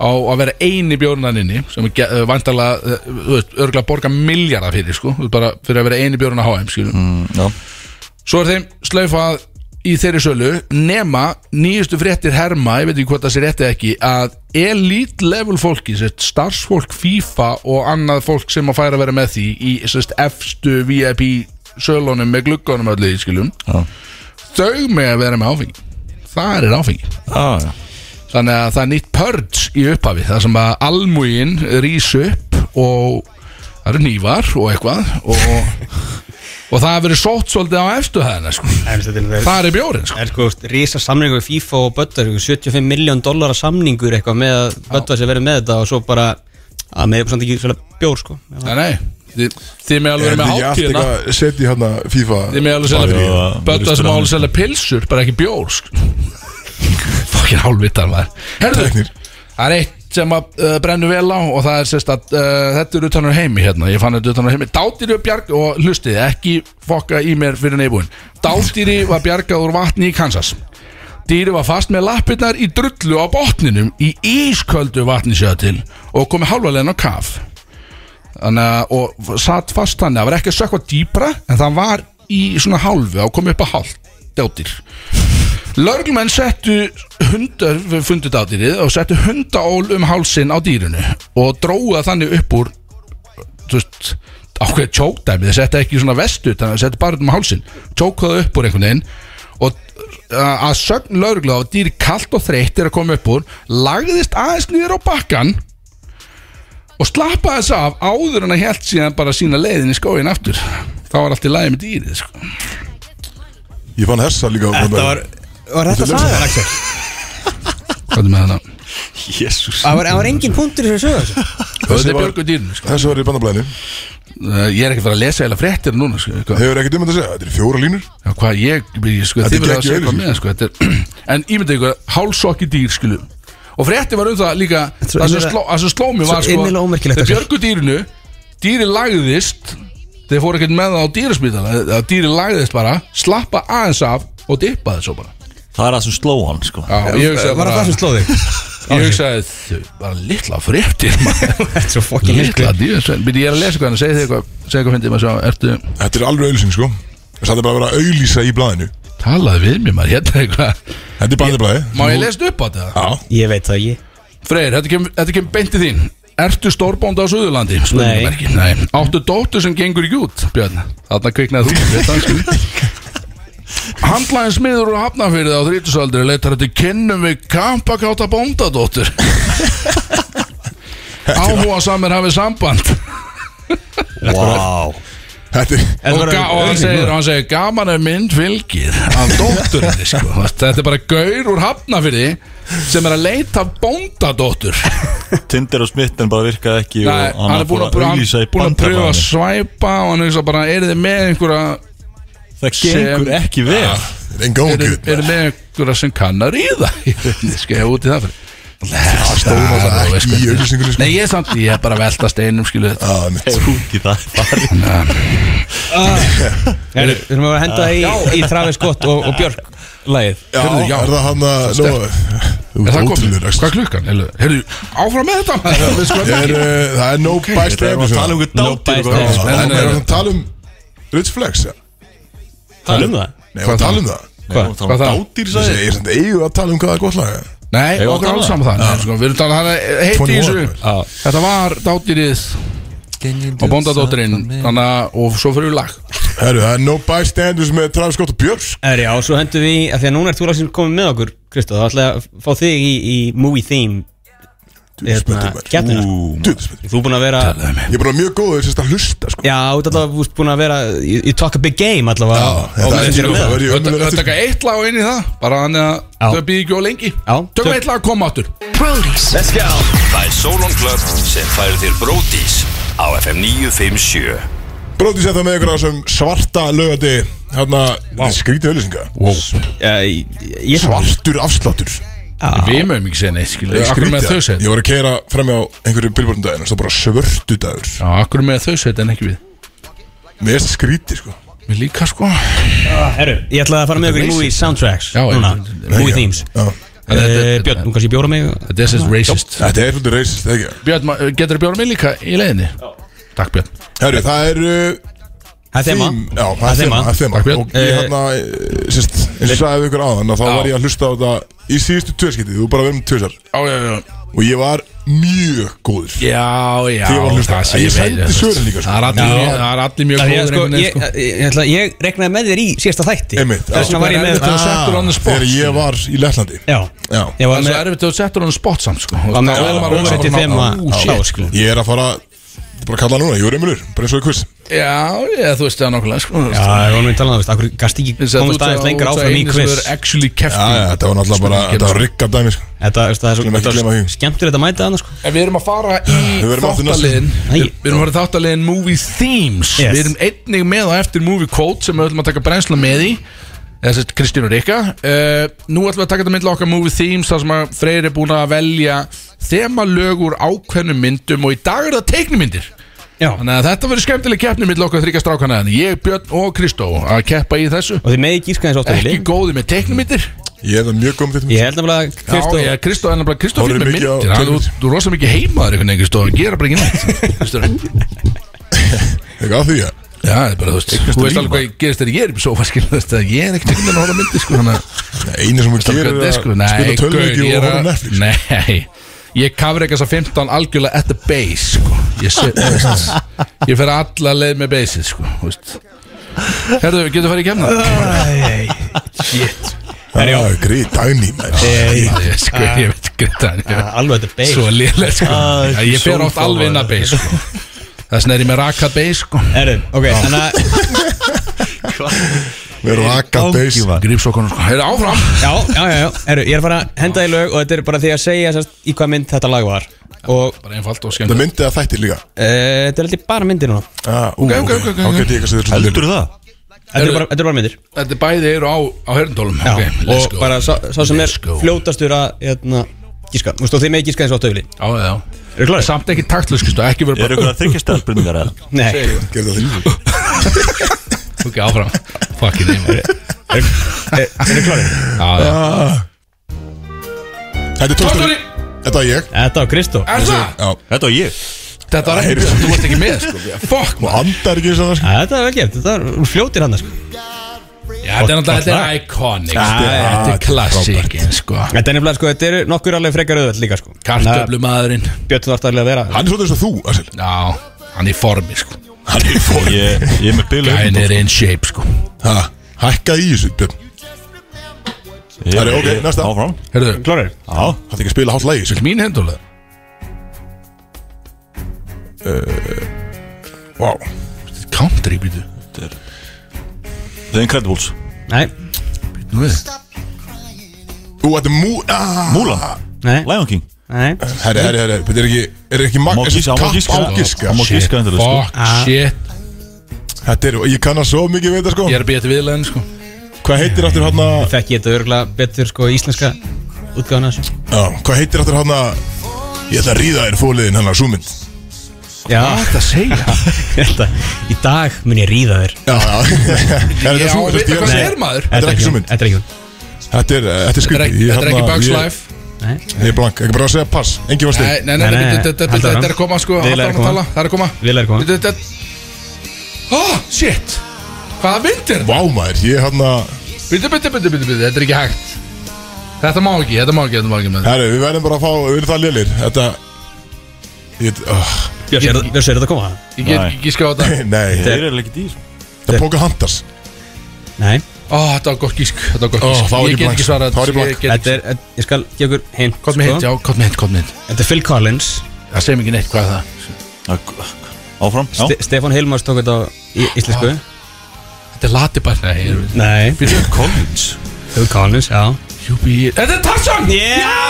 [SPEAKER 2] á að vera eini bjórnan inni sem er uh, vantarlega, uh, þú veist, örgulega borga miljardar fyrir, sko, þú veist, bara fyrir að vera eini bjórnan á HM, skilum
[SPEAKER 3] Já,
[SPEAKER 2] Svo er þeim slaufað í þeirri sölu nema nýjustu fréttir herma, ég veit ekki hvort það sé rétt eða ekki að elite level fólki sérst, starfsfólk FIFA og annað fólk sem að færa að vera með því í sérst, efstu VIP sölunum með gluggunum öllu í skiljum
[SPEAKER 3] Já.
[SPEAKER 2] þau með að vera með áfengi þar er áfengi
[SPEAKER 3] já, já
[SPEAKER 2] þannig að það er nýtt purge í upphafi það sem að almúgin rís upp og það eru nývar og eitthvað og, og það verið sótt svolítið á efstu hæðina sko.
[SPEAKER 4] En þetta er
[SPEAKER 2] Það er bjórin sko.
[SPEAKER 4] er sko rísa samningur við FIFA og Böttvar, sko, 75 miljón dollara samningur eitthvað með að Böttvar sem verið með þetta og svo bara að með eitthvað samt ekki svona bjór sko
[SPEAKER 2] Nei, nei, þið, þið með alveg
[SPEAKER 1] Er
[SPEAKER 2] vera með
[SPEAKER 1] þetta ekki allt
[SPEAKER 2] hátíðina
[SPEAKER 1] eitthvað að setja í hann FIFA
[SPEAKER 2] Þið með alveg selja
[SPEAKER 3] Já,
[SPEAKER 2] bjór Bötta sem
[SPEAKER 3] ristur
[SPEAKER 2] á
[SPEAKER 3] hann.
[SPEAKER 2] alveg selja pilsur, bara ekki bjór sko. Fokkin hálfvittar maður Herðu,
[SPEAKER 1] Tæknir.
[SPEAKER 2] það er eitt sem að uh, brennu vel á og það er sérst að uh, þetta er utanur heimi hérna, ég fann þetta utanur heimi Dátýri var bjarg og hlustið, ekki fokka í mér fyrir neybúin Dátýri var bjargað úr vatni í Kansas Dýri var fast með lappirnar í drullu á botninum í ísköldu vatni séða til og komið hálfalegin á kaf þannig að og satt fast þannig að það var ekki að sökva dýpra en það var í svona hálfu og komið upp að hálf djátir Lörglumenn settu hundar fundu dátýrið og settu hundaól um hálsin á dýrinu og dróðu það þannig upp úr þú veist ákveð tjókdæmi, þeir settu ekki svona vestu þannig að settu bara um hálsin, tjóku það upp úr einhvern veginn og uh, að sögn lörglu á dýri kalt og þreytt er að koma upp úr, lagðist aðeins nýður á bakkan og slappa þess af áður en að held síðan bara sína leiðin í skóin aftur þá var allt í lagi með dýrið sko.
[SPEAKER 1] Ég fann þessa líka
[SPEAKER 4] Þetta var, var þetta sagan Axel?
[SPEAKER 2] hvað er með þetta?
[SPEAKER 3] Jésús
[SPEAKER 4] Það var, það var engin punktur í sko. þessu sögur
[SPEAKER 2] Þetta er björgu dýrinu sko.
[SPEAKER 1] Þessu var í bandablæðinu
[SPEAKER 2] Uh, ég er ekki að fara að lesa eða fréttir núna sko. Hvað-
[SPEAKER 1] Hefur ekkert um þetta að segja Þetta er fjóra línur
[SPEAKER 2] Já, hvað ég, ég sko,
[SPEAKER 1] Þetta
[SPEAKER 2] þið
[SPEAKER 1] er
[SPEAKER 2] verður að
[SPEAKER 1] geggjuð
[SPEAKER 2] segja hvað með sko, þetta er, en ég myndi ykkur, hálsokki dýr skilu og frétti var um það líka
[SPEAKER 4] Þetta er
[SPEAKER 2] það sem
[SPEAKER 4] innilega-
[SPEAKER 2] sló, það sem sló mig
[SPEAKER 4] Svo
[SPEAKER 2] var sko
[SPEAKER 4] innilega ómerkilegt
[SPEAKER 2] þeir
[SPEAKER 4] þessu.
[SPEAKER 2] björgu dýrinu, dýri lagðist þeir fóru ekkert með það á dýraspítala dýri lagðist bara, slappa aðeins af og dippaði svo bara
[SPEAKER 3] Það er það sem sló hann sko
[SPEAKER 2] Já, ég hugsaði
[SPEAKER 4] Var það það sem sló þig?
[SPEAKER 2] Ég hugsaði þau bara litla fréttir maður.
[SPEAKER 4] Þetta er svo fokkin
[SPEAKER 2] Litla
[SPEAKER 4] hilkla
[SPEAKER 2] dýrasvein Býtti ég er að lesa hvað hann segir þig eitthvað Segir hvað fyndið maður svo Ertu
[SPEAKER 1] Þetta er alveg auðlýsing sko Þetta er bara að vera að auðlýsa í blæðinu
[SPEAKER 2] talaði við mér maður Hérna eitthvað
[SPEAKER 1] Þetta er bandablæði
[SPEAKER 2] Má ég lesa þetta upp á þetta?
[SPEAKER 1] Já
[SPEAKER 4] Ég veit það, ég
[SPEAKER 2] Freyr, þetta kemur kem beint til þín Ertu stórbónda á Suðurlandi? Spurningamerki. Nei Áttu dóttu sem gengur ekki út, Björn Þarna kviknaði þú við danskunni Handlæðin smiður úr hafnafyrði á þrítusaldri leitar þetta kynnum við kampakáta bóndadóttur Áhuga samir hafið samband
[SPEAKER 3] Vá
[SPEAKER 1] Þetta er
[SPEAKER 2] og, ga- og hann, segir, hann segir gaman er mynd fylgir af dótturinni sko. Þú veist, þetta er bara gaur úr hafnafyrði sem er að leita af bóndadóttur
[SPEAKER 3] Tinder og smitten bara virkaði ekki og
[SPEAKER 2] Nei, hann er búin að,
[SPEAKER 3] fór
[SPEAKER 2] hann,
[SPEAKER 3] auglýsa í
[SPEAKER 2] búin að pröfa að
[SPEAKER 3] bandaræðinu.
[SPEAKER 2] svæpa og hann hugsa bara, er þið með einhverja
[SPEAKER 3] Það gengur
[SPEAKER 2] sem-
[SPEAKER 3] ekki vel
[SPEAKER 1] enga
[SPEAKER 2] er
[SPEAKER 1] ógjöð
[SPEAKER 2] þið með einhverja sem kann að ríða sko, ég er út í það fyrir
[SPEAKER 1] stóra
[SPEAKER 2] Nei,
[SPEAKER 1] það
[SPEAKER 2] þú veist
[SPEAKER 1] ekki í
[SPEAKER 2] hvernig.
[SPEAKER 1] auglýsingunni, sko. Ah,
[SPEAKER 2] Nei, ég er samt, ég er bara að velta steinum skilu þetta
[SPEAKER 3] Ekki það er bara
[SPEAKER 4] Við þurfum að henda í, í Travis Scott og, og Björk Lægið
[SPEAKER 1] Já,
[SPEAKER 2] Heyrðu, já.
[SPEAKER 1] er það hann að Nú, Þú
[SPEAKER 2] Er
[SPEAKER 1] ert
[SPEAKER 2] það komið?
[SPEAKER 1] ótrúlegur,
[SPEAKER 2] Hvað er klukkan? Heyrðu, áfram með þetta maður, við skulum
[SPEAKER 1] Ég er,
[SPEAKER 2] ekki.
[SPEAKER 1] uh, Það er no by
[SPEAKER 3] Við erum að
[SPEAKER 1] step
[SPEAKER 3] tala um einhver
[SPEAKER 4] No
[SPEAKER 3] dátir
[SPEAKER 4] bystander.
[SPEAKER 3] og-
[SPEAKER 2] Nei,
[SPEAKER 1] Það
[SPEAKER 2] nei,
[SPEAKER 1] er
[SPEAKER 2] nei.
[SPEAKER 1] að tala um Rich Flex ja.
[SPEAKER 4] Hvað um það?
[SPEAKER 1] Nei, við tala um það
[SPEAKER 4] Hvað?
[SPEAKER 3] Það var
[SPEAKER 2] Hvað það?
[SPEAKER 3] dátir
[SPEAKER 1] Ég
[SPEAKER 3] sagði
[SPEAKER 1] segi, ég er samt eigu að tala um hvaða gott lag er.
[SPEAKER 2] Nei,
[SPEAKER 3] Eigum við að
[SPEAKER 2] okkur
[SPEAKER 3] tala
[SPEAKER 2] alls
[SPEAKER 3] um
[SPEAKER 2] saman það Nei, sko, Við erum talað, hann heiti
[SPEAKER 1] 21
[SPEAKER 2] í þessu
[SPEAKER 1] maður.
[SPEAKER 2] Já. Þetta var dátýrið og bóndadóttirinn Þannig að, og svo fyrir við lag
[SPEAKER 1] Herru, það er no bystanders með Travis Scott og Björns
[SPEAKER 4] Er, Eh, já, svo hendum við, af því að núna er þú lagsinn komið með okkur Kristó, þá ætla ég að fá þig í, í movie theme hérna, Gætnina sko.
[SPEAKER 1] Ég
[SPEAKER 4] Þú er búin að vera
[SPEAKER 1] er bara mjög góður sérst að hlusta sko.
[SPEAKER 4] Já, þú ert allavega þú ert búin að vera You, you talk a big game allavega
[SPEAKER 1] Já,
[SPEAKER 4] á- á
[SPEAKER 1] þetta er
[SPEAKER 4] meðan þér
[SPEAKER 1] ekki nóg.
[SPEAKER 4] með.
[SPEAKER 1] ég ömmulegur
[SPEAKER 2] Við
[SPEAKER 1] eftir.
[SPEAKER 2] taka eitt lag inn í það Bara hann að
[SPEAKER 4] Já.
[SPEAKER 2] þau býði ekki á lengi
[SPEAKER 4] Já.
[SPEAKER 2] Tökum eitt lag að koma áttur
[SPEAKER 5] Brody's
[SPEAKER 6] Let's go Það er Solon Club sem færir þér Brótis á FM 957
[SPEAKER 1] Bróti sér það með ykkur á þessum svarta lögati Hérna, wow. skrítið öllusinga
[SPEAKER 4] Já, ég, ég,
[SPEAKER 1] Svartur afsláttur
[SPEAKER 2] Við mögum ekki segja neitt, skilur við Akkur með þau
[SPEAKER 1] Skrítið
[SPEAKER 2] segja
[SPEAKER 1] Ég var að keira fram á einhverju billboardundaginn og það bara svörtu dagur
[SPEAKER 2] Já, akkur með þau segja þetta en ekki við
[SPEAKER 1] Mér er skrítið sko
[SPEAKER 2] Við líka sko
[SPEAKER 4] Heru, Ah, ég ætla að fara með okkur í
[SPEAKER 2] Þetta er
[SPEAKER 4] movie soundtracks
[SPEAKER 2] Já,
[SPEAKER 4] núna,
[SPEAKER 2] ég-
[SPEAKER 4] Movie themes
[SPEAKER 1] Já.
[SPEAKER 2] Þetta-
[SPEAKER 4] Eh,
[SPEAKER 2] þetta-
[SPEAKER 4] Björn, nú kannski ég bjóra mig og-
[SPEAKER 2] This is racist
[SPEAKER 1] Þetta er svolítið reysist, ekki?
[SPEAKER 2] Björn, ma- getur þú bjóra mig líka í leiðinni? Takk Björn
[SPEAKER 1] Herru, það er uh,
[SPEAKER 4] Það er þema
[SPEAKER 1] þím- Já, það
[SPEAKER 4] Það er
[SPEAKER 1] er þema
[SPEAKER 4] þema.
[SPEAKER 1] Það er þema
[SPEAKER 2] Takk, Björn.
[SPEAKER 1] Og ég hérna, eh, sérst, eins og sagði við ykkur áðan að Þá
[SPEAKER 2] Já.
[SPEAKER 1] var ég að hlusta á þetta í síðustu tvöskitið Þú bara verðum tvösar
[SPEAKER 2] Já, já, já
[SPEAKER 1] Og ég var mjög góður
[SPEAKER 2] Já, já
[SPEAKER 1] Því ég var að hlusta.
[SPEAKER 2] það sé
[SPEAKER 1] Ég
[SPEAKER 2] veit,
[SPEAKER 1] sendi
[SPEAKER 2] þú veist.
[SPEAKER 1] svörin líka, sko.
[SPEAKER 2] Það er allir mjög- það er allir mjög
[SPEAKER 4] Það er ég,
[SPEAKER 2] góður
[SPEAKER 4] sko,
[SPEAKER 2] einhvern veginn,
[SPEAKER 4] ég,
[SPEAKER 2] sko.
[SPEAKER 4] ég, ég, ætla- ég reknaði með þér í síðasta þætti
[SPEAKER 1] Einmitt, já.
[SPEAKER 4] Þess vegna var ég með
[SPEAKER 2] Það er settur on the spot,
[SPEAKER 1] Þegar ég var í Lettlandi
[SPEAKER 4] Já,
[SPEAKER 1] Já.
[SPEAKER 4] ég var
[SPEAKER 2] Það er svo
[SPEAKER 4] með
[SPEAKER 2] erfitt að þú settur hann spott samt sko
[SPEAKER 4] var með overrated þema
[SPEAKER 2] Ú,
[SPEAKER 4] þá,
[SPEAKER 2] Oh, shit
[SPEAKER 4] sko.
[SPEAKER 1] Ég er að fara Bara að kalla það núna, ég er umulur Bara eins og í quiz
[SPEAKER 2] Já, ég, þú veist það nokkulega sko
[SPEAKER 4] Já, ég var nú að tala um það, veist, akkur gast ekki komast aðeins lengur áfram í quiz
[SPEAKER 2] Actually kefti
[SPEAKER 1] Já, já, þetta var náttúrulega bara Þetta var rikka dæmi sko.
[SPEAKER 4] Þetta veist, það
[SPEAKER 1] Skulum
[SPEAKER 4] er svo
[SPEAKER 1] ekki
[SPEAKER 4] þetta
[SPEAKER 1] gleyma því.
[SPEAKER 4] var skemmtilegt að mæta þannig sko
[SPEAKER 2] En við erum að fara í
[SPEAKER 1] Við erum aftur næst.
[SPEAKER 2] þáttaliðin
[SPEAKER 4] Æ.
[SPEAKER 2] Við við erum að fara í þáttaliðin movie themes
[SPEAKER 4] Yes.
[SPEAKER 2] Við erum einnig með á eftir movie quote sem við ætlum að taka brennsla með í eða sérst Kristín og Rikka uh, Nú ætlum við að taka þetta myndla okkar movie themes þar sem að Freyr er búin að velja þemalög úr ákveðnum myndum og í dag er það teiknumyndir
[SPEAKER 4] Já
[SPEAKER 2] Þannig að þetta verður skemmtileg keppni mitt okkar þryggja strákana en ég, Björn og Kristó að keppa í þessu
[SPEAKER 4] Og þið meði gíska eins ofta
[SPEAKER 2] ekki góði með teiknumittir
[SPEAKER 1] Ég er það mjög góð með þetta
[SPEAKER 4] Ég held nefnilega að
[SPEAKER 2] Kristó
[SPEAKER 4] Kristó
[SPEAKER 2] er nefnilega Kristó
[SPEAKER 1] Horfir
[SPEAKER 2] fyrir með
[SPEAKER 1] mikið á
[SPEAKER 2] myndir Hann- þú,
[SPEAKER 1] teiknimyndir.
[SPEAKER 2] þú er rosa mikið heimaður einhvern veginn Kristó hann gera bara ekki neitt Veistu það?
[SPEAKER 1] Ekki að því að
[SPEAKER 2] Já, það er bara þú veist þú veist alveg hvað ég gerist þegar ég er í sofa skil þú veist að ég er ekkert einhvern veginn að horfa á myndir sko þannig að
[SPEAKER 1] Nei, Einu sem hún
[SPEAKER 2] Strákar,
[SPEAKER 1] gerir
[SPEAKER 2] þetta
[SPEAKER 1] er
[SPEAKER 2] er
[SPEAKER 1] að
[SPEAKER 2] sko-
[SPEAKER 1] spila
[SPEAKER 2] Nei, gaur,
[SPEAKER 1] tölvöki og
[SPEAKER 2] ég er
[SPEAKER 1] horfa á
[SPEAKER 2] að-
[SPEAKER 1] Netflix
[SPEAKER 2] Nei, ég kafir ekki þess að 15 algjörlega at the base sko. Ég, sé- þú veist, ég fer alla leið með baseið sko, þú veist. Herðu, getur farið í kemna?
[SPEAKER 1] Ah,
[SPEAKER 2] Shit
[SPEAKER 1] Já, greið dæmi maður.
[SPEAKER 2] Ég- sko, Ég
[SPEAKER 1] Ah.
[SPEAKER 2] veit ekki hvað það er.
[SPEAKER 4] Alveg þetta beig
[SPEAKER 2] Svo lélega sko.
[SPEAKER 3] Ah,
[SPEAKER 2] Já, Ég fer oft
[SPEAKER 3] sólfáður.
[SPEAKER 2] alveg inn að base sko. Þess vegna er ég með raka base sko.
[SPEAKER 4] Erðu, ok, þannig að
[SPEAKER 1] Við erum akka beis
[SPEAKER 3] Gangi, maður.
[SPEAKER 2] Grípsokkanum sko, heyrðu áfram
[SPEAKER 4] Já, já, já, já, erðu, ég er að fara að henda í lög Og þetta er bara því að segja sérst, í hvað mynd þetta lag var Og
[SPEAKER 2] Bara einfalt og
[SPEAKER 1] Það
[SPEAKER 2] skemmt
[SPEAKER 1] myndi það þættir líka
[SPEAKER 4] e, þetta er alltaf bara myndir núna Þetta
[SPEAKER 1] Ah, ú,
[SPEAKER 2] Ok, ok, ok, ok.
[SPEAKER 1] Þá geti ég kannski þurftur
[SPEAKER 3] Heldur það?
[SPEAKER 4] eru bara, þetta er bara myndir
[SPEAKER 2] Þetta er bæði eru á, á herndólum
[SPEAKER 4] Já, og bara sá, sá sem er fljótastur að hérna, gíska, þú veist, og þið með gíska eins og töfli
[SPEAKER 2] Já, já,
[SPEAKER 4] Eru
[SPEAKER 2] já
[SPEAKER 4] klárir?
[SPEAKER 2] Samt ekki taktlust, sko, ekki verið
[SPEAKER 3] Er eitthvað
[SPEAKER 2] bara
[SPEAKER 3] að þryggja stærðbyrningar eða?
[SPEAKER 4] Nei,
[SPEAKER 1] Gerðu það líka
[SPEAKER 2] Ok, áfram Fucking name
[SPEAKER 4] er þið klárið?
[SPEAKER 2] Já, já
[SPEAKER 1] Þetta er tóstur Þetta er ég
[SPEAKER 4] Þetta var Kristó
[SPEAKER 2] Er það?
[SPEAKER 1] Já
[SPEAKER 3] Þetta var ég
[SPEAKER 2] Þetta var ekki Þú varst ekki með, sko Fuck,
[SPEAKER 1] Og andar ekki eins og það sko.
[SPEAKER 4] Þetta var vel gert, þetta var hún fljótir hann sko.
[SPEAKER 2] maður þetta er náttúrulega þetta er iconic sko, Þetta er klassíkin sko
[SPEAKER 4] Þetta er nefnilega sko, þetta eru nokkur alveg frekar auðvöld líka sko
[SPEAKER 2] Kartöflumadurinn
[SPEAKER 4] Þannig að Björn þarf alveg að vera
[SPEAKER 1] Hann er svona eins og þú, Axel
[SPEAKER 2] Já, hann er í formi sko
[SPEAKER 1] Hann er fór
[SPEAKER 3] Ég, ég er með bílu
[SPEAKER 2] Gæn er in shape sko
[SPEAKER 1] Ha, Hækkaði í þessu, Björn Það er ok, næsta.
[SPEAKER 3] Áfram
[SPEAKER 2] Herðu,
[SPEAKER 4] Klárir
[SPEAKER 3] Já,
[SPEAKER 1] Það er ekki að spila hálf lægi
[SPEAKER 2] Sjökk mín hendulega
[SPEAKER 1] Vá
[SPEAKER 2] Country býtu
[SPEAKER 3] The Incredibles
[SPEAKER 4] Nei,
[SPEAKER 2] Nú veist
[SPEAKER 1] Ú, þetta er mú... ah.
[SPEAKER 3] Múlan
[SPEAKER 4] nei,
[SPEAKER 3] Lion King
[SPEAKER 4] nei
[SPEAKER 1] Herri, herri, herri Þetta er ekki Er ekki
[SPEAKER 3] Má
[SPEAKER 1] magna
[SPEAKER 3] gíska, má gíska.
[SPEAKER 1] ágiska
[SPEAKER 3] Hann má gíska
[SPEAKER 2] Shit,
[SPEAKER 3] endilega, sko.
[SPEAKER 2] fuck, shit
[SPEAKER 1] Þetta er Ég kann að svo mikið við þetta sko
[SPEAKER 2] Ég er að býja til viðlegin sko
[SPEAKER 1] Hvað heitir aftur hann að
[SPEAKER 4] Þekki ég þetta örgulega betur sko íslenska sko. útgáðan þessu
[SPEAKER 1] Já, hvað heitir aftur hann að Ég ætla að ríða þér fóliðin hann að súmynd
[SPEAKER 4] Já,
[SPEAKER 2] Þetta segja
[SPEAKER 4] þetta Í dag mun ég ríða þér
[SPEAKER 1] Já, já Er
[SPEAKER 2] Já,
[SPEAKER 1] þetta sú-
[SPEAKER 2] veit
[SPEAKER 1] þetta
[SPEAKER 2] það
[SPEAKER 1] er-
[SPEAKER 2] hvað segir maður
[SPEAKER 1] Þetta er ekki
[SPEAKER 4] hún,
[SPEAKER 1] summit.
[SPEAKER 4] Þetta er ekki hún
[SPEAKER 1] Þetta er, eh, þetta er
[SPEAKER 2] Þetta er
[SPEAKER 1] skrítið
[SPEAKER 2] ekki-
[SPEAKER 1] Ég
[SPEAKER 2] þetta er ekki
[SPEAKER 1] hérna-
[SPEAKER 2] Bugs
[SPEAKER 1] ég-
[SPEAKER 2] Life
[SPEAKER 4] Nei,
[SPEAKER 1] Ég er blank, ekki bara að segja pass Engi var
[SPEAKER 2] Nei,
[SPEAKER 1] stið
[SPEAKER 2] nei, nei,
[SPEAKER 4] Nei, nei,
[SPEAKER 2] nei,
[SPEAKER 4] nei,
[SPEAKER 2] þetta- þetta
[SPEAKER 4] halda
[SPEAKER 2] þetta er
[SPEAKER 4] áfram.
[SPEAKER 2] að koma sko halda áfram
[SPEAKER 4] Viðlag er
[SPEAKER 2] að
[SPEAKER 4] koma.
[SPEAKER 2] tala, Það er að koma
[SPEAKER 4] Viðlag er koma.
[SPEAKER 2] Þetta- þetta- Ó, shit Hvaða mynd er þetta?
[SPEAKER 1] Vá maður, ég hann að
[SPEAKER 2] Byttu, byttu, byttu, byttu, byttu, þetta er ekki hægt Þetta má ekki, þetta má ekki, þetta má ekki með
[SPEAKER 1] Herru, við verðum bara að fá Við verðum það lélir Þetta Ég oh,
[SPEAKER 4] Björn, sér- Björn, sér þetta að koma?
[SPEAKER 2] Ég get
[SPEAKER 3] Nei.
[SPEAKER 2] ekki gíska á þetta
[SPEAKER 1] Nei,
[SPEAKER 3] Þeir eru ekki dýr
[SPEAKER 1] þetta er Pocahontas
[SPEAKER 4] Nei
[SPEAKER 2] Ó, þetta var gott gísk, þetta var gott
[SPEAKER 1] Ó,
[SPEAKER 2] gísk
[SPEAKER 1] þá er ég
[SPEAKER 2] Ég get
[SPEAKER 1] blank.
[SPEAKER 2] ekki svarað
[SPEAKER 1] Þá er ég blank.
[SPEAKER 2] ég get
[SPEAKER 4] Þetta
[SPEAKER 2] ekki-
[SPEAKER 4] er, ég skal gefa ykkur hint sko.
[SPEAKER 2] Hvað með hint, já, hvað með hint, hvað með hint
[SPEAKER 4] Þetta er Phil Collins
[SPEAKER 2] Það segir mér ekki neitt hvað er það
[SPEAKER 3] Áfram Já
[SPEAKER 4] Ste Stefan Hilmars tók þetta á í íslensku
[SPEAKER 2] Þetta er latibært Nei, ég er
[SPEAKER 4] Nei
[SPEAKER 2] Phil Collins
[SPEAKER 4] Phil Collins, já
[SPEAKER 2] Júbi Þetta er Tarzan
[SPEAKER 4] Já!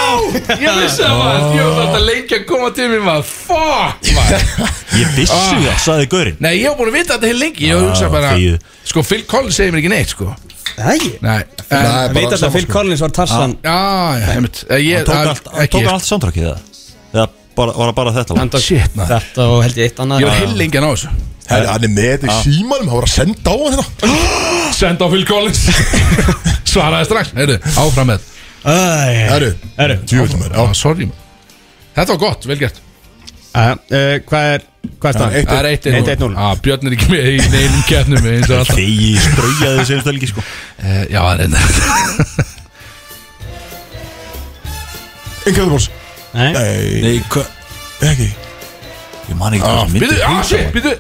[SPEAKER 2] Ég vissi það maður Ég var þetta lengi að koma til mér maður Fuck maður
[SPEAKER 3] Ég vissi
[SPEAKER 2] Ah.
[SPEAKER 3] það, sagði Gaurinn
[SPEAKER 2] Nei, ég var búin að vita þetta hér lengi Ég hugsa bara
[SPEAKER 3] þegið.
[SPEAKER 2] Sko, Phil Collins segir mér ekki neitt, sko
[SPEAKER 4] Það ekki
[SPEAKER 2] Nei en-
[SPEAKER 4] Það veit alltaf að Phil Collins var Tarzan
[SPEAKER 2] Já, já, heimitt Ég
[SPEAKER 3] Tók allt,
[SPEAKER 2] ekki-
[SPEAKER 3] tók allt soundtrackið það Eða bara, var það bara þetta lag?
[SPEAKER 4] Hann tók
[SPEAKER 2] Shit, maður.
[SPEAKER 4] þetta og held ég eitt annað
[SPEAKER 2] Ég
[SPEAKER 3] Ah.
[SPEAKER 2] var heil lengi á þessu
[SPEAKER 1] Herru, hann er með þetta í símanum Hann var að senda á hann hérna. þetta
[SPEAKER 2] Send á Phil Collins Svaraði strax Heyrðu, áfram með
[SPEAKER 4] Æ,
[SPEAKER 1] Herru,
[SPEAKER 4] Herru.
[SPEAKER 1] djúvöldum er
[SPEAKER 2] Já, sorry maður. Þetta var gott, vel gert
[SPEAKER 4] Æ, eh, Hvað er Hvað er
[SPEAKER 1] Það er eitt-
[SPEAKER 4] staðan?
[SPEAKER 2] Það er 1-1-0
[SPEAKER 4] 1-1-0
[SPEAKER 2] Já, Ah, Björn er ekki með í neinum keppnum eins og alltaf
[SPEAKER 3] Þegi straujaði sem stelgi sko
[SPEAKER 2] Eh, Já, það er enda
[SPEAKER 1] Incredibles
[SPEAKER 4] Nei,
[SPEAKER 1] Nei,
[SPEAKER 3] Nei, hvað?
[SPEAKER 1] ekki
[SPEAKER 3] Ég man ekki hvað sem
[SPEAKER 2] Býtu,
[SPEAKER 3] myndi
[SPEAKER 2] á, Ah, shit, býtu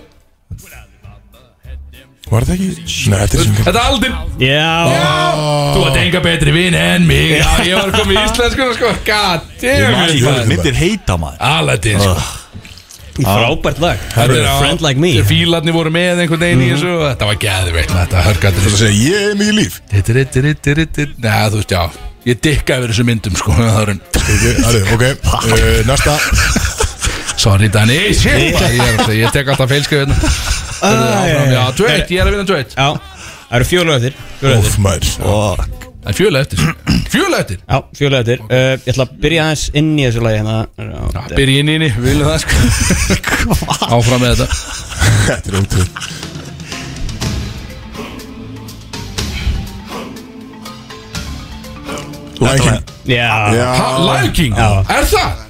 [SPEAKER 1] Var þetta ekki? Nei, þetta er sem
[SPEAKER 2] Þetta er aldinn
[SPEAKER 4] Já
[SPEAKER 2] Þú að enga betri vinn en mig Já, ég var að koma í íslenskuna, sko God
[SPEAKER 3] Ég man ekki hvað
[SPEAKER 2] damn
[SPEAKER 3] sem
[SPEAKER 2] it
[SPEAKER 3] myndir heita maður
[SPEAKER 2] Aladdin, sko
[SPEAKER 4] Frábært lag
[SPEAKER 2] Þetta er á-
[SPEAKER 4] Friend like me Mhm.
[SPEAKER 2] þeir Fílarnir voru með einhvern veginn í þessu og Þetta var gæðveikt, þetta hörgættur
[SPEAKER 1] Þetta segja, ég er mikið líf
[SPEAKER 2] Nei, þú veist, já Ég dikka yfir þessu myndum, sko Það er
[SPEAKER 1] Herru, ok uh, Næsta
[SPEAKER 2] Sorry Dani Shit, maður, Ég, er alltaf- ég tek alltaf feilskrifin Já, tveit, ég er að vinna tveit
[SPEAKER 4] Já Það eru fjóla eftir Fjóla eftir
[SPEAKER 1] Óf, maður
[SPEAKER 3] Og
[SPEAKER 2] En fjöla eftir Fjöla eftir
[SPEAKER 4] Já, fjóla eftir Eh, Ég ætla að byrja aðeins inn í þessu lagi hérna
[SPEAKER 2] Já, Byrja inn í henni, við viljum það sko Áfram með þetta
[SPEAKER 1] Þetta er ótrúð Lion King
[SPEAKER 4] Já
[SPEAKER 1] Já,
[SPEAKER 2] ha,
[SPEAKER 3] Ah.
[SPEAKER 2] Lion King,
[SPEAKER 4] Já.
[SPEAKER 2] er það?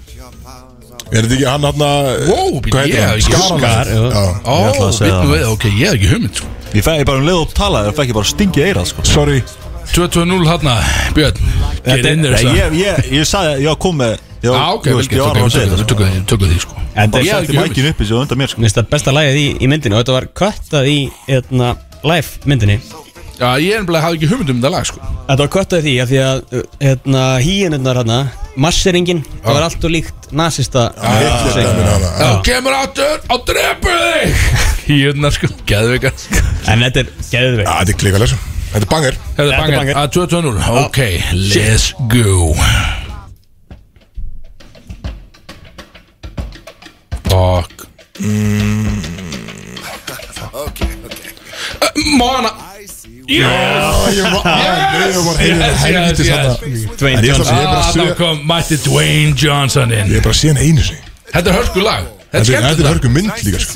[SPEAKER 1] er þetta ekki hann hann að
[SPEAKER 2] Wow, býtu,
[SPEAKER 1] Hvað
[SPEAKER 2] ég
[SPEAKER 1] heitir
[SPEAKER 2] hef
[SPEAKER 1] hann?
[SPEAKER 2] ekki
[SPEAKER 4] Skar,
[SPEAKER 1] Skaran
[SPEAKER 4] já.
[SPEAKER 1] Já,
[SPEAKER 2] Ó,
[SPEAKER 3] ætlaði að segja
[SPEAKER 2] við nú
[SPEAKER 3] það.
[SPEAKER 2] við, ok, ég hef ekki hugmynd sko
[SPEAKER 3] ég fæði bara um leið og tala Það fæk ég bara stingi eira sko
[SPEAKER 1] sorry
[SPEAKER 2] 2-2-0 hérna, Björn Get in there,
[SPEAKER 3] Nei,
[SPEAKER 2] sir.
[SPEAKER 3] Ég, ég, ég sagði, ég kom með ég-
[SPEAKER 2] Já, Ah,
[SPEAKER 3] ég
[SPEAKER 2] ok, vel
[SPEAKER 3] veist, ég var
[SPEAKER 2] gert,
[SPEAKER 3] að
[SPEAKER 2] ok,
[SPEAKER 3] segja
[SPEAKER 2] við
[SPEAKER 3] þetta sko.
[SPEAKER 2] tökum því, tökum því sko
[SPEAKER 4] En
[SPEAKER 3] Bara
[SPEAKER 4] þetta er
[SPEAKER 3] setti mækin uppi svo undan mér sko
[SPEAKER 4] Minnst það besta lagið í, í myndinu og þetta var köttað í hérna, live myndinni
[SPEAKER 2] Já, ég er bara, hafði ekki hugmynd um þetta lag sko
[SPEAKER 4] Þetta var köttað í því að því að uh, hérna, híinunnar hérna, masseringin það var allt og líkt nasista
[SPEAKER 1] Hitler dæmin hana
[SPEAKER 2] Ah, Já, kemur áttur og drepur þig Hérna sko, geðveikar
[SPEAKER 4] En þetta er geðveik
[SPEAKER 1] Já, Ah, Þetta er klíkalega Þetta er banger
[SPEAKER 2] Hefðu
[SPEAKER 4] Þetta er
[SPEAKER 2] bangað, Ah,
[SPEAKER 4] bangað.
[SPEAKER 2] að 2-2-0 Ok, let's go Fuck Mm. Eh, Mana Yes
[SPEAKER 1] Ég var Ég var heilin að
[SPEAKER 2] yes,
[SPEAKER 1] helviti
[SPEAKER 2] yes.
[SPEAKER 1] sann
[SPEAKER 4] Dwayne
[SPEAKER 1] En ég ætla að segja
[SPEAKER 4] Johnson
[SPEAKER 1] bara
[SPEAKER 2] Ah,
[SPEAKER 1] að
[SPEAKER 2] þá
[SPEAKER 1] segja
[SPEAKER 2] kom mætti Dwayne Johnson inn
[SPEAKER 1] Ég er bara að segja hann einu sig
[SPEAKER 2] Þetta er hörku lag
[SPEAKER 1] Þetta
[SPEAKER 2] Þetta er
[SPEAKER 1] er-
[SPEAKER 2] skemmt
[SPEAKER 1] þetta er hörgum mynd líka sko.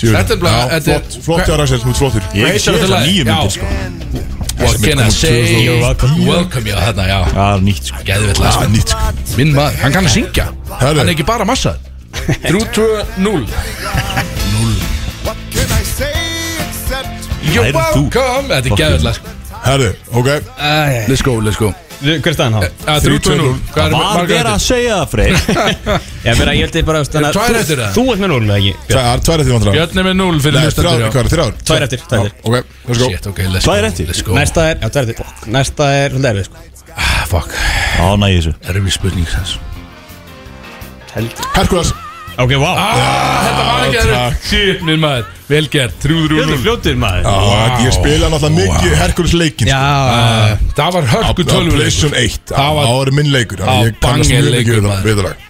[SPEAKER 2] Þetta er bara-
[SPEAKER 1] Já,
[SPEAKER 2] þetta er-
[SPEAKER 1] flott- Flott hjá Rassel, þú ert flottur
[SPEAKER 3] Ég
[SPEAKER 2] Heitir
[SPEAKER 3] sé
[SPEAKER 2] þetta
[SPEAKER 3] þetta
[SPEAKER 2] lag?
[SPEAKER 3] nýju
[SPEAKER 2] Já.
[SPEAKER 3] myndir sko
[SPEAKER 2] What can I say
[SPEAKER 4] You're welcome.
[SPEAKER 2] Welcome you Þarna, já
[SPEAKER 3] Já, nýtt sko
[SPEAKER 2] Geðvill lag
[SPEAKER 1] Það er nýtt sko
[SPEAKER 2] Minn maður, hann kann að syngja
[SPEAKER 1] Herðu.
[SPEAKER 2] Hann er ekki bara massa 3-2-0
[SPEAKER 5] What can I say except
[SPEAKER 2] You're
[SPEAKER 3] Væri þú.
[SPEAKER 2] welcome Þetta er
[SPEAKER 3] Fuck
[SPEAKER 2] geðvöld
[SPEAKER 3] you.
[SPEAKER 2] lag sko.
[SPEAKER 1] Herðu, ok
[SPEAKER 2] Let's go, let's go
[SPEAKER 4] Hver er staðan þá?
[SPEAKER 2] Ah, 3-2-0 Hvað er
[SPEAKER 3] Var
[SPEAKER 2] margar
[SPEAKER 3] verið að
[SPEAKER 2] eftir?
[SPEAKER 3] segja það, Freyr?
[SPEAKER 4] Ég meira, ég held þið bara þannig að
[SPEAKER 2] Tvær
[SPEAKER 4] þú-
[SPEAKER 2] eftir, eða?
[SPEAKER 4] Þú ert með núl, eða ekki?
[SPEAKER 1] Það er tvær eftir vandrar
[SPEAKER 2] Björn er með 0 fyrir
[SPEAKER 1] Nei, þrjár, hvað
[SPEAKER 2] hlustandur
[SPEAKER 1] er þrjár?
[SPEAKER 4] Tvær eftir, tvær
[SPEAKER 1] Já,
[SPEAKER 4] eftir
[SPEAKER 1] Ok, let's go
[SPEAKER 2] Shit, ok, let's
[SPEAKER 3] Tvær
[SPEAKER 2] go,
[SPEAKER 3] eftir.
[SPEAKER 2] let's go.
[SPEAKER 4] Næsta er, já, tvær eftir Fuck. Næsta er svolítið erfið, sko
[SPEAKER 2] Ah, Fuck,
[SPEAKER 3] Á, næ, þessu
[SPEAKER 2] erfið spurning þess
[SPEAKER 4] Heldur
[SPEAKER 1] Herkules
[SPEAKER 4] Ok, wow
[SPEAKER 2] Ah, Þetta var ekki erfið
[SPEAKER 1] takk.
[SPEAKER 2] Shit, minn maður Vel gert, 3-3-0
[SPEAKER 4] fljótið, maður
[SPEAKER 1] Já, Ég spila náttúrulega mikið Herkules leikin
[SPEAKER 4] Já,
[SPEAKER 2] Ah, Það var hörku
[SPEAKER 1] Á
[SPEAKER 2] 12
[SPEAKER 1] Playstation 1
[SPEAKER 2] Það
[SPEAKER 1] Það
[SPEAKER 2] var-
[SPEAKER 1] var minn leikur þannig
[SPEAKER 2] Á,
[SPEAKER 1] Ég kannast mjög mikið
[SPEAKER 2] bangin
[SPEAKER 1] við
[SPEAKER 2] leikur,
[SPEAKER 1] það-
[SPEAKER 2] maður.
[SPEAKER 1] við það lag.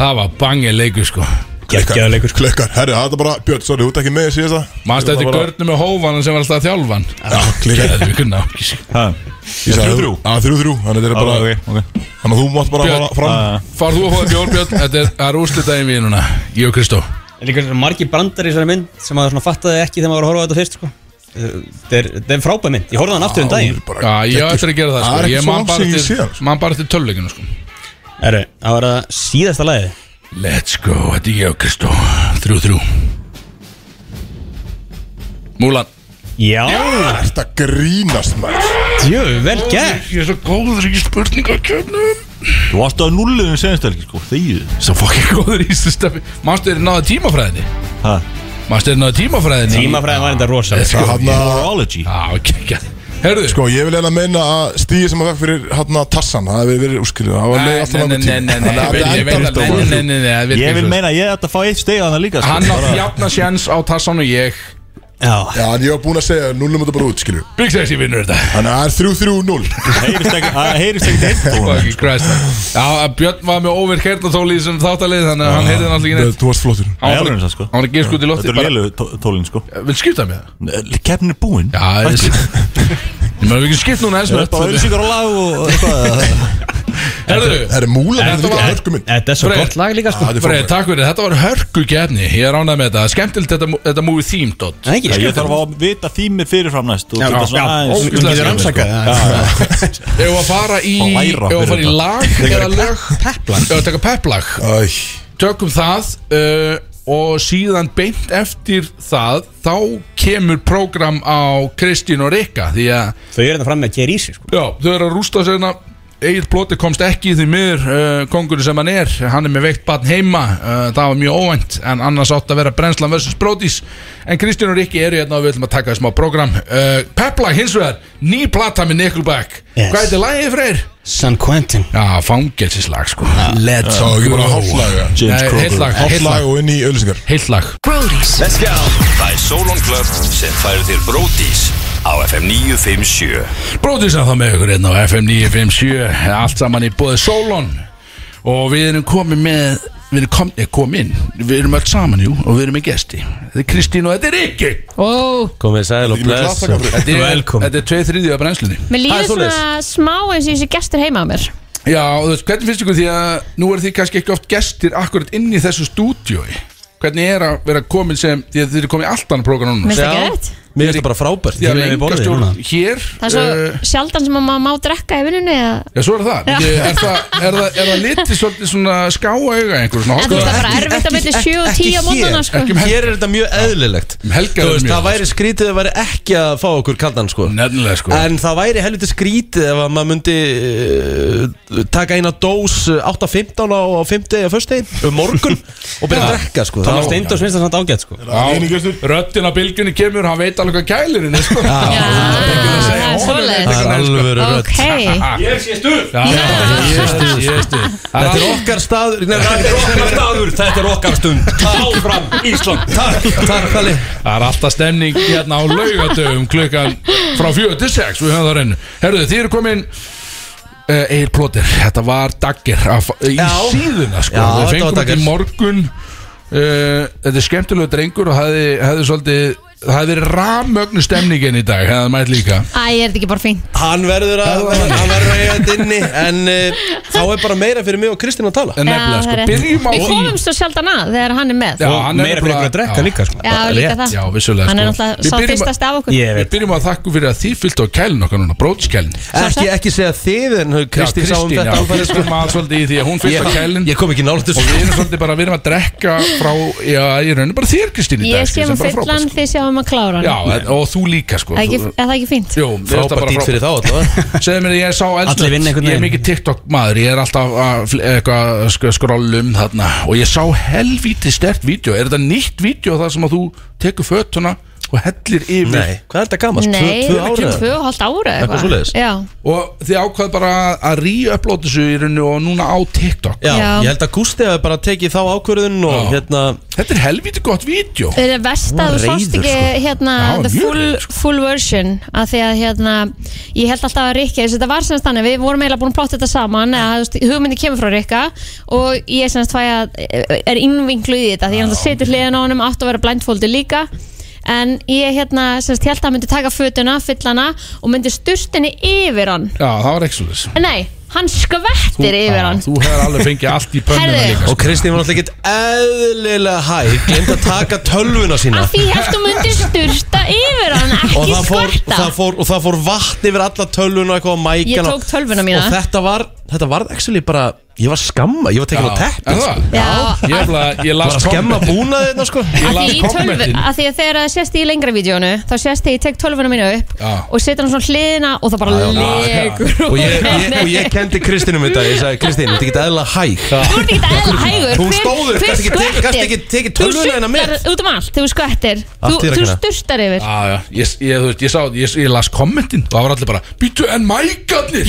[SPEAKER 2] Það var bangið leikur sko
[SPEAKER 4] geggjaður leikur, sko
[SPEAKER 1] Klikkar, herri, það er bara Björn, sorry, þú ert ekki með síðast það
[SPEAKER 2] Manstu eftir görnum með hófanan sem var alltaf að þjálfa hann
[SPEAKER 1] Já, klikkar
[SPEAKER 2] Geðveikur náungi. sko.
[SPEAKER 3] Ha,
[SPEAKER 1] Ég sagði
[SPEAKER 3] Þrjú-þrjú?
[SPEAKER 1] þú- Já, þrjú þrjú Þannig þetta er bara
[SPEAKER 3] ok, ok
[SPEAKER 1] Þannig að þú mátt bara
[SPEAKER 2] Björn.
[SPEAKER 1] fara fram
[SPEAKER 7] Ah.
[SPEAKER 2] Far þú að fóða bjór Björn Þetta er- það er úrslitaðin við núna Ég og Kristó
[SPEAKER 4] Líka svona margir brandar í þessari mynd sem maður svona fattaði ekki þegar maður var að horfa á þetta fyrst, sko Þetta er- Þetta er frábæð mynd, ég horfði á hann aftur um daginn
[SPEAKER 2] Já, ég á eftir að gera það
[SPEAKER 1] Það er
[SPEAKER 2] sko
[SPEAKER 1] ekki
[SPEAKER 2] Ég
[SPEAKER 1] svo
[SPEAKER 2] man
[SPEAKER 1] langt
[SPEAKER 2] bara
[SPEAKER 1] sem ég sé
[SPEAKER 2] til,
[SPEAKER 1] það, sko.
[SPEAKER 2] man bara til töluleikinu sko
[SPEAKER 4] Erru, það var það síðasta lagið
[SPEAKER 2] Let's go, þetta er ég og Kristó Þrjú, þrjú Múlan
[SPEAKER 4] Já,
[SPEAKER 1] Þetta grínast maður
[SPEAKER 4] jú, vel gert
[SPEAKER 2] Ég er svo góður í spurningakjöfnum
[SPEAKER 3] Þú varst á nulluðum senastelgi, sko, þegið
[SPEAKER 2] Svo fokkin góður í stöfi Manstu þeir náða tímafræðinni?
[SPEAKER 3] Ha,
[SPEAKER 2] Manstu þeir náða tímafræðinni?
[SPEAKER 4] Tímafræðin var þetta rosa sko.
[SPEAKER 2] Let's go.
[SPEAKER 1] Það hann að
[SPEAKER 3] Morology
[SPEAKER 2] Já, ok, Herðu
[SPEAKER 1] Sko, ég vil eiginlega meina að stíði sem að fekk fyrir hann að Tassan, það hefur verið úrskilur, það var leið alltaf langur
[SPEAKER 2] Nei, nei, nei,
[SPEAKER 1] tíma.
[SPEAKER 2] nei, nei,
[SPEAKER 1] Þannig að
[SPEAKER 2] nei, ég
[SPEAKER 1] þetta
[SPEAKER 2] veit
[SPEAKER 1] endar
[SPEAKER 2] að-
[SPEAKER 1] alltaf
[SPEAKER 2] nei,
[SPEAKER 1] bara-
[SPEAKER 2] nei, nei, nei, það virkar
[SPEAKER 3] Ég vil
[SPEAKER 2] svo.
[SPEAKER 3] meina að ég ætti að fá eitt steg að það líka, sko
[SPEAKER 2] Hann átti
[SPEAKER 3] Bara-
[SPEAKER 2] jafna sjens á Tassan og ég
[SPEAKER 4] Já,
[SPEAKER 1] Já, en ég var búin að segja, núlum þetta bara út, skilur.
[SPEAKER 2] Big Sexy vinnur þetta
[SPEAKER 1] Þannig að það er 3-3-0.
[SPEAKER 3] Það heyrist ekki- það heyrist ekki eitt
[SPEAKER 2] Fucking Christ man. Já, Björn var með óvirk hernatóli sem þáttalið Þannig að hann heyrði náttúrulega ekki neitt
[SPEAKER 1] Þú varst flottur.
[SPEAKER 2] Hann var
[SPEAKER 3] Nei, alveg
[SPEAKER 2] bara-
[SPEAKER 3] eins, sko.
[SPEAKER 2] hann var að gefa skut í
[SPEAKER 3] Þetta
[SPEAKER 2] lofti
[SPEAKER 3] er
[SPEAKER 2] bara-
[SPEAKER 3] lélu tólin, sko
[SPEAKER 2] Vil skipta mig það?
[SPEAKER 3] Kefnin er búinn
[SPEAKER 2] Já, það er Ég maður ekki skipt núna eins
[SPEAKER 3] Það er
[SPEAKER 2] og
[SPEAKER 3] bara auðvísingar á lag og eitthvað
[SPEAKER 2] Herðu,
[SPEAKER 1] Það er múlan, það er
[SPEAKER 2] Þetta
[SPEAKER 1] líka
[SPEAKER 2] var-
[SPEAKER 1] hörku minn.
[SPEAKER 4] þetta er svo
[SPEAKER 2] Freyr.
[SPEAKER 4] gott lag líka, sko
[SPEAKER 1] Það er
[SPEAKER 2] Freyr,
[SPEAKER 1] frábært.
[SPEAKER 2] takk fyrir, þetta var hörku gefni Ég er ánægð með þetta, skemmtilegt þetta, þetta movie theme dot
[SPEAKER 4] Það er ekki, sko.
[SPEAKER 3] Ég þarf að vita þými fyrirfram næst og
[SPEAKER 4] Já,
[SPEAKER 3] geta svona
[SPEAKER 4] já,
[SPEAKER 3] aðeins
[SPEAKER 2] ógeðslega
[SPEAKER 3] Getur
[SPEAKER 2] skemmtilegt,
[SPEAKER 3] rannsakað
[SPEAKER 4] sko.
[SPEAKER 3] það. Já, já.
[SPEAKER 2] Ef að fara í,
[SPEAKER 3] Fá
[SPEAKER 2] ef
[SPEAKER 3] læra
[SPEAKER 2] að
[SPEAKER 3] fyrir
[SPEAKER 2] fara í
[SPEAKER 3] þetta.
[SPEAKER 2] lag eða lög Peplag Ef að taka peplag
[SPEAKER 1] Æ,
[SPEAKER 2] Tökum það uh, og síðan beint eftir það Þá kemur program á Kristín og Rikka Því að
[SPEAKER 4] Þau eru þetta fram með að gera í sig, sko
[SPEAKER 2] Já, þau eru að rústa sérna Egil Blóti komst ekki í því miður uh, kongurinn sem hann er, hann er með veikt barn heima uh, það var mjög óvænt en annars átt að vera brennslan versus brótis en Kristján og Rikki eru hérna og við ætlum að taka smá program uh, Pepla hins vegar, ný plata með Nickelback
[SPEAKER 4] Yes.
[SPEAKER 2] hvað er þetta lagið freyr?
[SPEAKER 4] San Quentin
[SPEAKER 2] Já, fangelsislag sko Let's
[SPEAKER 1] þá ekki bara hálflaga.
[SPEAKER 3] James
[SPEAKER 2] Nei, heilt lag,
[SPEAKER 3] Crocker
[SPEAKER 2] heilt lag,
[SPEAKER 1] Hálflaga og inn í öllisingar.
[SPEAKER 2] heilt lag
[SPEAKER 5] Brody's
[SPEAKER 6] Let's go Það er Solon Club sem færir þér Brótis á FM 957
[SPEAKER 2] Bróðisann þá með ykkur einn á FM 957 Allt saman í bóði Solon Og við erum komið með Við erum kom, eh, komið inn Við erum öll saman jú og við erum með gesti Þetta er Kristín og þetta er Rikki
[SPEAKER 8] Komið sæl og
[SPEAKER 1] Ég með
[SPEAKER 8] bless
[SPEAKER 1] klapptaka fyrir.
[SPEAKER 2] Þetta er,
[SPEAKER 4] Velkomin.
[SPEAKER 2] þetta er tveið þriðið af brennslunni
[SPEAKER 9] Mér
[SPEAKER 8] Það er
[SPEAKER 9] líður
[SPEAKER 8] svoleiðis.
[SPEAKER 9] svona smá eins og ég sé gestur heima á mér
[SPEAKER 2] Já, og þú veist, hvernig finnst ykkur því að Nú eru þið kannski ekki oft gestir akkurat inn í þessu stúdíói Hvernig er að vera komin sem Því að þið eru komið í allt annað prógram núna
[SPEAKER 9] Mér finnst
[SPEAKER 8] Já.
[SPEAKER 9] það geðvægt
[SPEAKER 8] Mér finnst það bara frábært
[SPEAKER 2] Því að
[SPEAKER 8] Þið erum við
[SPEAKER 2] enga
[SPEAKER 8] borðið
[SPEAKER 2] stjórn
[SPEAKER 8] núna
[SPEAKER 2] hér
[SPEAKER 9] Það er svo
[SPEAKER 2] eh,
[SPEAKER 9] sjaldan sem að maður má drekka í vinnunni eða...
[SPEAKER 2] Já, svo er það
[SPEAKER 9] Já.
[SPEAKER 2] Ég- Er það, er það, er það litið svolítið svona skáa auga einhver svona
[SPEAKER 9] En þú veist það er bara erfitt
[SPEAKER 8] sko, ekki-
[SPEAKER 9] að
[SPEAKER 8] ekki-
[SPEAKER 9] myndi 7 og
[SPEAKER 8] ekki
[SPEAKER 9] 10 á mótana
[SPEAKER 8] hér.
[SPEAKER 9] sko.
[SPEAKER 2] Ekki um helgar
[SPEAKER 8] Hér er þetta mjög eðlilegt
[SPEAKER 2] Um helgar
[SPEAKER 8] Þú
[SPEAKER 2] er
[SPEAKER 8] veist,
[SPEAKER 2] mjög
[SPEAKER 8] það væri skrítið ef það væri ekki að fá okkur kaldan sko
[SPEAKER 2] Nefnilega sko
[SPEAKER 8] En það væri helviti skrítið ef að maður myndi uh, taka eina dós uh, 8.15 á 5. eða 1. um morgun og byrja að drekka sko
[SPEAKER 4] Thomas
[SPEAKER 8] Það-
[SPEAKER 4] Steindors finnst það samt ágætt sko
[SPEAKER 2] Röttin á bylgjunni kemur, hann veit alveg hvað kælirinn er sko
[SPEAKER 9] Já, það er
[SPEAKER 8] Það
[SPEAKER 9] svoleiðis
[SPEAKER 8] er alvöru rödd
[SPEAKER 9] Ok
[SPEAKER 2] sko. Já, já, ég stuð, ég stuð
[SPEAKER 8] Þetta er okkar staður Nei, Þetta er okkar staður, þetta er okkar stund Áfram Ísland Takk, takk Kalli
[SPEAKER 2] Það er alltaf stemning hérna á laugadöfum klukkan frá 4 til 6 Við höfum það á reynu Herðu, þið eru komin uh, Egil Plóter, þetta var daggir af, í
[SPEAKER 8] Já.
[SPEAKER 2] síðuna sko Við
[SPEAKER 8] Já, þetta var
[SPEAKER 2] fengum
[SPEAKER 8] dagger.
[SPEAKER 2] þetta í morgun uh, Þetta er skemmtilegu drengur og hefði, hefði svolítið Það hefði verið rammögnu stemningin í dag Hefði mætt líka
[SPEAKER 9] Æ, er þetta ekki bara fínt
[SPEAKER 8] Hann verður að Hann verður að eiga þetta inni En uh, þá er bara meira fyrir mig og Kristín að tala
[SPEAKER 2] En
[SPEAKER 9] Já,
[SPEAKER 2] nefnilega
[SPEAKER 9] það
[SPEAKER 2] sko,
[SPEAKER 9] er rétt.
[SPEAKER 2] byrjum á
[SPEAKER 9] Við
[SPEAKER 2] því
[SPEAKER 9] komumst svo sjaldan að þegar hann er með
[SPEAKER 2] Já,
[SPEAKER 4] Og
[SPEAKER 2] hann er
[SPEAKER 4] meira fyrir
[SPEAKER 2] bara-
[SPEAKER 4] ykkur að drekka
[SPEAKER 2] já.
[SPEAKER 4] líka sko
[SPEAKER 9] Já, líka það
[SPEAKER 2] Já, vissulega
[SPEAKER 9] Hann er
[SPEAKER 2] sko.
[SPEAKER 9] náttúrulega
[SPEAKER 2] Við
[SPEAKER 9] sá
[SPEAKER 2] byrjum að-
[SPEAKER 9] fyrstast af okkur
[SPEAKER 4] Ég
[SPEAKER 2] Við
[SPEAKER 4] veit
[SPEAKER 2] byrjum á að þakku fyrir að þið fyllt á kælin okkar núna, brótskælin
[SPEAKER 8] Ekki, ekki segja þið en Kristín sá um þetta
[SPEAKER 2] við
[SPEAKER 8] alfarið, sko.
[SPEAKER 2] erum að svolítið í því að hún fyllt á kælin
[SPEAKER 8] Ég, ég kom ekki nála til
[SPEAKER 2] Og við erum svolítið bara, við erum að drekka frá, já, ég raunir bara þér Kristín í dag
[SPEAKER 9] Ég
[SPEAKER 2] sko,
[SPEAKER 9] sé
[SPEAKER 2] sem
[SPEAKER 9] um
[SPEAKER 2] bara frábært,
[SPEAKER 9] fullan,
[SPEAKER 2] sko.
[SPEAKER 9] þið sjáum náðum að klára hann
[SPEAKER 2] Já, og þú líka sko
[SPEAKER 9] Er ekki- er það ekki fínt?
[SPEAKER 2] Jú, mér finnst það bara
[SPEAKER 8] Frábært dýt
[SPEAKER 2] frábært.
[SPEAKER 8] fyrir þá allavega
[SPEAKER 2] Segðu mér að ég sá
[SPEAKER 4] Allir
[SPEAKER 2] eldsnögt
[SPEAKER 4] vinna einhvern
[SPEAKER 2] Ég er
[SPEAKER 4] veginn.
[SPEAKER 2] mikið TikTok maður Ég er alltaf að fl- eitthvað sk skrollum þarna Og ég sá helvítið stert vídeo Er þetta nýtt vídeo þar sem að þú tekur fötuna og hellir yfir
[SPEAKER 8] Nei, hvað er þetta gamast?
[SPEAKER 9] Nei,
[SPEAKER 8] tvö ára eða?
[SPEAKER 9] tvö og hálft ára eða
[SPEAKER 8] Eitthvað svoleiðis.
[SPEAKER 9] Já,
[SPEAKER 2] Og þið ákvað bara að ríupplóta þessu í rauninu og núna á TikTok
[SPEAKER 8] Já,
[SPEAKER 9] Já.
[SPEAKER 8] ég held að Gústi hafi bara tekið þá ákvörðun og
[SPEAKER 2] Já.
[SPEAKER 8] hérna
[SPEAKER 2] Þetta er helvítið gott vídeo
[SPEAKER 9] er það verst að þú
[SPEAKER 8] Hún var
[SPEAKER 9] sást
[SPEAKER 8] reiður,
[SPEAKER 9] ekki hérna
[SPEAKER 2] Já,
[SPEAKER 9] the
[SPEAKER 2] mjög
[SPEAKER 9] full,
[SPEAKER 2] reiður, sko.
[SPEAKER 9] full version að því að hérna ég held alltaf að Rikki, þess að þetta var semst þannig við vorum eiginlega búin að plotta þetta saman eða þú veist, hugmyndi kemur frá Rikka og ég semst fæ að er innvinklu í þetta því ég náttúrulega situr hliðin á honum átt að vera blindfoldi líka en ég hérna semst held að hann myndi taka fötuna, fyllana og myndi sturtinni yfir hann
[SPEAKER 2] Já, það var ekki svo þess
[SPEAKER 9] en nei, hann skvettir yfir hann
[SPEAKER 2] Þú hefur alveg fengið allt í pönnuna
[SPEAKER 9] Herðu.
[SPEAKER 2] líka sko.
[SPEAKER 8] Og Kristín var alltaf ekkert eðlilega hæg Glemt að taka tölvuna sína
[SPEAKER 9] að því heldur myndir styrta yður hann
[SPEAKER 8] og
[SPEAKER 9] ekki
[SPEAKER 8] það, fór, og,
[SPEAKER 9] skvarta
[SPEAKER 8] það fór, og það fór vatn yfir alla tölvuna og eitthvað á mækana
[SPEAKER 9] Ég tók tölvuna mína.
[SPEAKER 8] Og þetta var, þetta var actually bara Ég var skamma, ég var tekin á sko. teppi
[SPEAKER 2] Er það?
[SPEAKER 9] Já,
[SPEAKER 2] Ég, er bara- ég
[SPEAKER 8] Bara
[SPEAKER 2] las
[SPEAKER 8] að skemma
[SPEAKER 2] kommentin.
[SPEAKER 8] búnaði þetta sko
[SPEAKER 2] Ég
[SPEAKER 9] að
[SPEAKER 2] las
[SPEAKER 9] því, í tölvu,
[SPEAKER 2] kommentin
[SPEAKER 9] að því að þegar það sést í lengra vídjónu þá sést þið, ég tek tölvuna mínu upp
[SPEAKER 2] Já.
[SPEAKER 9] og setja hann svona hliðina og það bara legur
[SPEAKER 8] Og ég, ég, og ég kendi Kristínum þetta Ég sagði Kristín, þetta er ekki eðlilega hæg
[SPEAKER 9] Þú ert ekki eðla hægur
[SPEAKER 8] Hún
[SPEAKER 9] Hver-
[SPEAKER 8] stóð upp,
[SPEAKER 9] hver
[SPEAKER 8] gast ekki tekið-
[SPEAKER 9] skvettir?
[SPEAKER 8] gast ekki tekið
[SPEAKER 9] Þú
[SPEAKER 8] tölvuna hennar með.
[SPEAKER 9] sultar út um allt, þú skvettir Þú,
[SPEAKER 8] Allt í hérna.
[SPEAKER 9] þú
[SPEAKER 8] regluna.
[SPEAKER 9] sturstar yfir
[SPEAKER 2] Ah, Já, já, ég, ég, þú veist, ég, sá, ég, ég las kommentin og það var allir bara Býtu, en mækarnir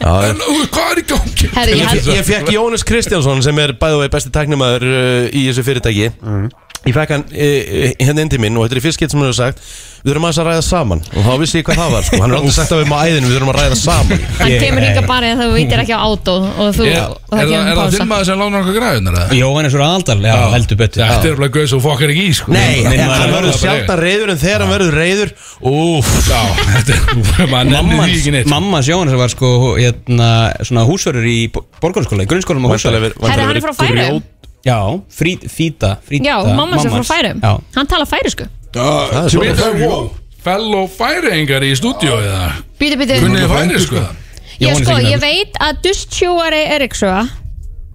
[SPEAKER 2] En uh, hvað er í gangi?
[SPEAKER 9] Herri, ég
[SPEAKER 8] Ég,
[SPEAKER 9] held-
[SPEAKER 8] ég fekk Jónas Kristjánsson sem er bæðu vei besti tæknumæður uh, í þessu fyrirtæki
[SPEAKER 10] Mhm.
[SPEAKER 8] Ég fekk hann uh, henni inn til minn og þetta er í fyrst getur sem hann hefur sagt Við þurfum aðeins að ræða saman og þá vissi ég hvað það var sko. Hann er aldrei sagt að við erum á æðinu, við þurfum að ræða saman
[SPEAKER 9] Hann kemur hingað
[SPEAKER 8] hérna.
[SPEAKER 9] bara þegar þú veitir ekki á átó og þú,
[SPEAKER 2] Er,
[SPEAKER 9] og
[SPEAKER 2] er,
[SPEAKER 9] það
[SPEAKER 2] það- er
[SPEAKER 9] kemur
[SPEAKER 2] það
[SPEAKER 9] pása
[SPEAKER 2] þinn maður sem lánar okkur græðunar?
[SPEAKER 4] Jóhannes úr aðaldal, já, heldur betur
[SPEAKER 2] Þetta
[SPEAKER 4] Já.
[SPEAKER 2] er bara gauð sem fokkar ekki í sko
[SPEAKER 8] Nei,
[SPEAKER 2] Nei,
[SPEAKER 8] en
[SPEAKER 2] maður
[SPEAKER 8] hann
[SPEAKER 2] er
[SPEAKER 8] verður
[SPEAKER 2] bara-
[SPEAKER 8] sjaldan reyður en þegar hann verður reyður Úf,
[SPEAKER 2] Já, þetta er, maður nennir því ekki neitt sko.
[SPEAKER 4] Mammans Jóhannes var sko hérna, svona húsverður í borgarskóla í grunnskólanum á húsverður
[SPEAKER 9] Herri, hann er frá færum
[SPEAKER 4] Já, frí, fíta, fríta
[SPEAKER 9] Já, mamma sem frá
[SPEAKER 4] Mammans.
[SPEAKER 9] færum
[SPEAKER 4] Já,
[SPEAKER 9] Hann talar færisku
[SPEAKER 1] Það
[SPEAKER 2] Sem er það, wow Fellow færingar í stúdíu eða
[SPEAKER 9] Býtu, býtu
[SPEAKER 2] Kunnið færi sko
[SPEAKER 9] Ég,
[SPEAKER 4] Jóhannes
[SPEAKER 9] sko,
[SPEAKER 4] Einar.
[SPEAKER 9] ég veit að Dustjúari Eriksöa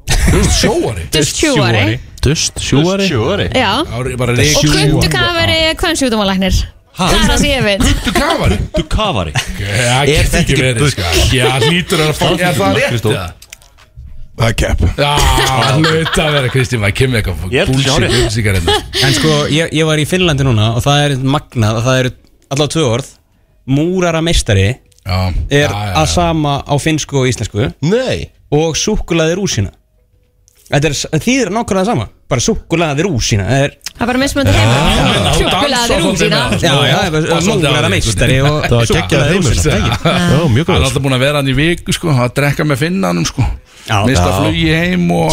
[SPEAKER 2] Sjóari
[SPEAKER 9] Dustjúari
[SPEAKER 8] dust, sjúari
[SPEAKER 9] Já
[SPEAKER 2] Það er bara
[SPEAKER 9] Og
[SPEAKER 2] reykjum
[SPEAKER 9] kundu kafari hvern sjúkdómalæknir Það er það sem ég veit
[SPEAKER 2] Kundu kafari
[SPEAKER 3] Þú kavari
[SPEAKER 2] Já,
[SPEAKER 8] Er
[SPEAKER 2] getur
[SPEAKER 8] þetta
[SPEAKER 2] ekki
[SPEAKER 8] ekki
[SPEAKER 2] verið
[SPEAKER 8] bull?
[SPEAKER 2] sko Já, hlýtur að fá Er það rétt
[SPEAKER 3] Kristó.
[SPEAKER 2] eða?
[SPEAKER 1] er kepp
[SPEAKER 2] Já, hlut að vera Kristín maður kemur eitthvað
[SPEAKER 3] Ég held að sé
[SPEAKER 2] bullshit
[SPEAKER 3] hárrétt.
[SPEAKER 2] upplýsingar hérna.
[SPEAKER 4] en sko, ég, ég var í Finnlandi núna og það er magnað að það eru allavega tvö orð Múrara meistari
[SPEAKER 2] Já,
[SPEAKER 4] er
[SPEAKER 2] já, já,
[SPEAKER 4] að
[SPEAKER 2] já.
[SPEAKER 4] sama á finnsku og íslensku
[SPEAKER 8] Nei,
[SPEAKER 4] og súkkulaði rúsina Þetta er, þýðir nákvæmlega sama bara súkkulaði rúsina Það er,
[SPEAKER 9] Það er bara mismunandi heima
[SPEAKER 2] Já, dansa
[SPEAKER 9] Sjúkulaði
[SPEAKER 2] svolítið
[SPEAKER 9] rúsina
[SPEAKER 2] með það,
[SPEAKER 4] já,
[SPEAKER 2] sko.
[SPEAKER 4] já,
[SPEAKER 2] Passa svolítið á
[SPEAKER 4] múrara
[SPEAKER 2] því,
[SPEAKER 4] meistari
[SPEAKER 2] sko.
[SPEAKER 4] og
[SPEAKER 8] var geggjaður heimur,
[SPEAKER 4] súkkulaði
[SPEAKER 8] þetta
[SPEAKER 4] rúsina
[SPEAKER 8] já,
[SPEAKER 2] Hann er
[SPEAKER 8] mjög góð
[SPEAKER 2] alltaf búin að vera hann í viku sko að drekka með finnanum sko
[SPEAKER 4] Já.
[SPEAKER 2] mista
[SPEAKER 4] Já.
[SPEAKER 2] flugi heim og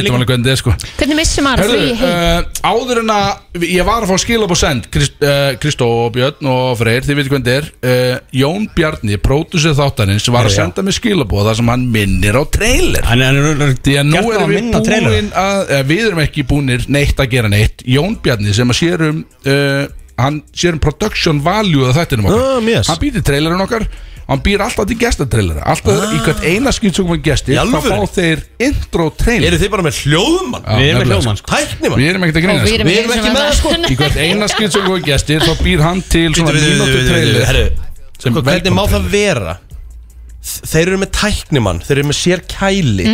[SPEAKER 2] þú veitum
[SPEAKER 4] líka.
[SPEAKER 2] alveg hvernig þetta er sko
[SPEAKER 9] Hvernig missum maður
[SPEAKER 2] Herðu,
[SPEAKER 9] því heim?
[SPEAKER 2] uh, áður en að ég var að fá skilab og send Krist, uh, Kristó og Björn og Freyr, þið veitum hvernig þetta er uh, Jón Bjarni, pródusir þáttanins var að senda mig skilab og það sem hann minnir á trailer
[SPEAKER 4] Hann er, hann er,
[SPEAKER 2] Því að nú
[SPEAKER 4] Bjarni var
[SPEAKER 2] erum
[SPEAKER 4] að
[SPEAKER 2] við
[SPEAKER 4] minna á trailerinn.
[SPEAKER 2] búin að, að Við erum ekki búinir neitt að gera neitt Jón Bjarni sem að sér um uh, Hann sér um production value Það þættinum okkar
[SPEAKER 8] Um, yes.
[SPEAKER 2] Hann býtir trailerinn okkar Hann býr alltaf til gestatrailera Alltaf í hvert eina skýtsugum við gesti
[SPEAKER 8] Ah.
[SPEAKER 2] Þá
[SPEAKER 8] Í alvöru?
[SPEAKER 2] fá þeir intro trailer
[SPEAKER 8] Eru þið bara með hljóðmann?
[SPEAKER 2] Já,
[SPEAKER 4] Við erum með
[SPEAKER 2] nefnilega,
[SPEAKER 4] hljómann sko
[SPEAKER 8] Tækni
[SPEAKER 2] Við
[SPEAKER 8] mann?
[SPEAKER 2] erum ekkert að
[SPEAKER 9] Og
[SPEAKER 2] grina
[SPEAKER 9] við
[SPEAKER 2] sko.
[SPEAKER 9] erum
[SPEAKER 8] við erum ekki með það, sko.
[SPEAKER 2] Í hvert eina skýtsugum við gesti Þá býr hann til svona mínútu trailer sem
[SPEAKER 8] Sko, Hvernig
[SPEAKER 2] velkom
[SPEAKER 8] má það vera? Þeir eru með tæknimann, þeir eru með sér kæli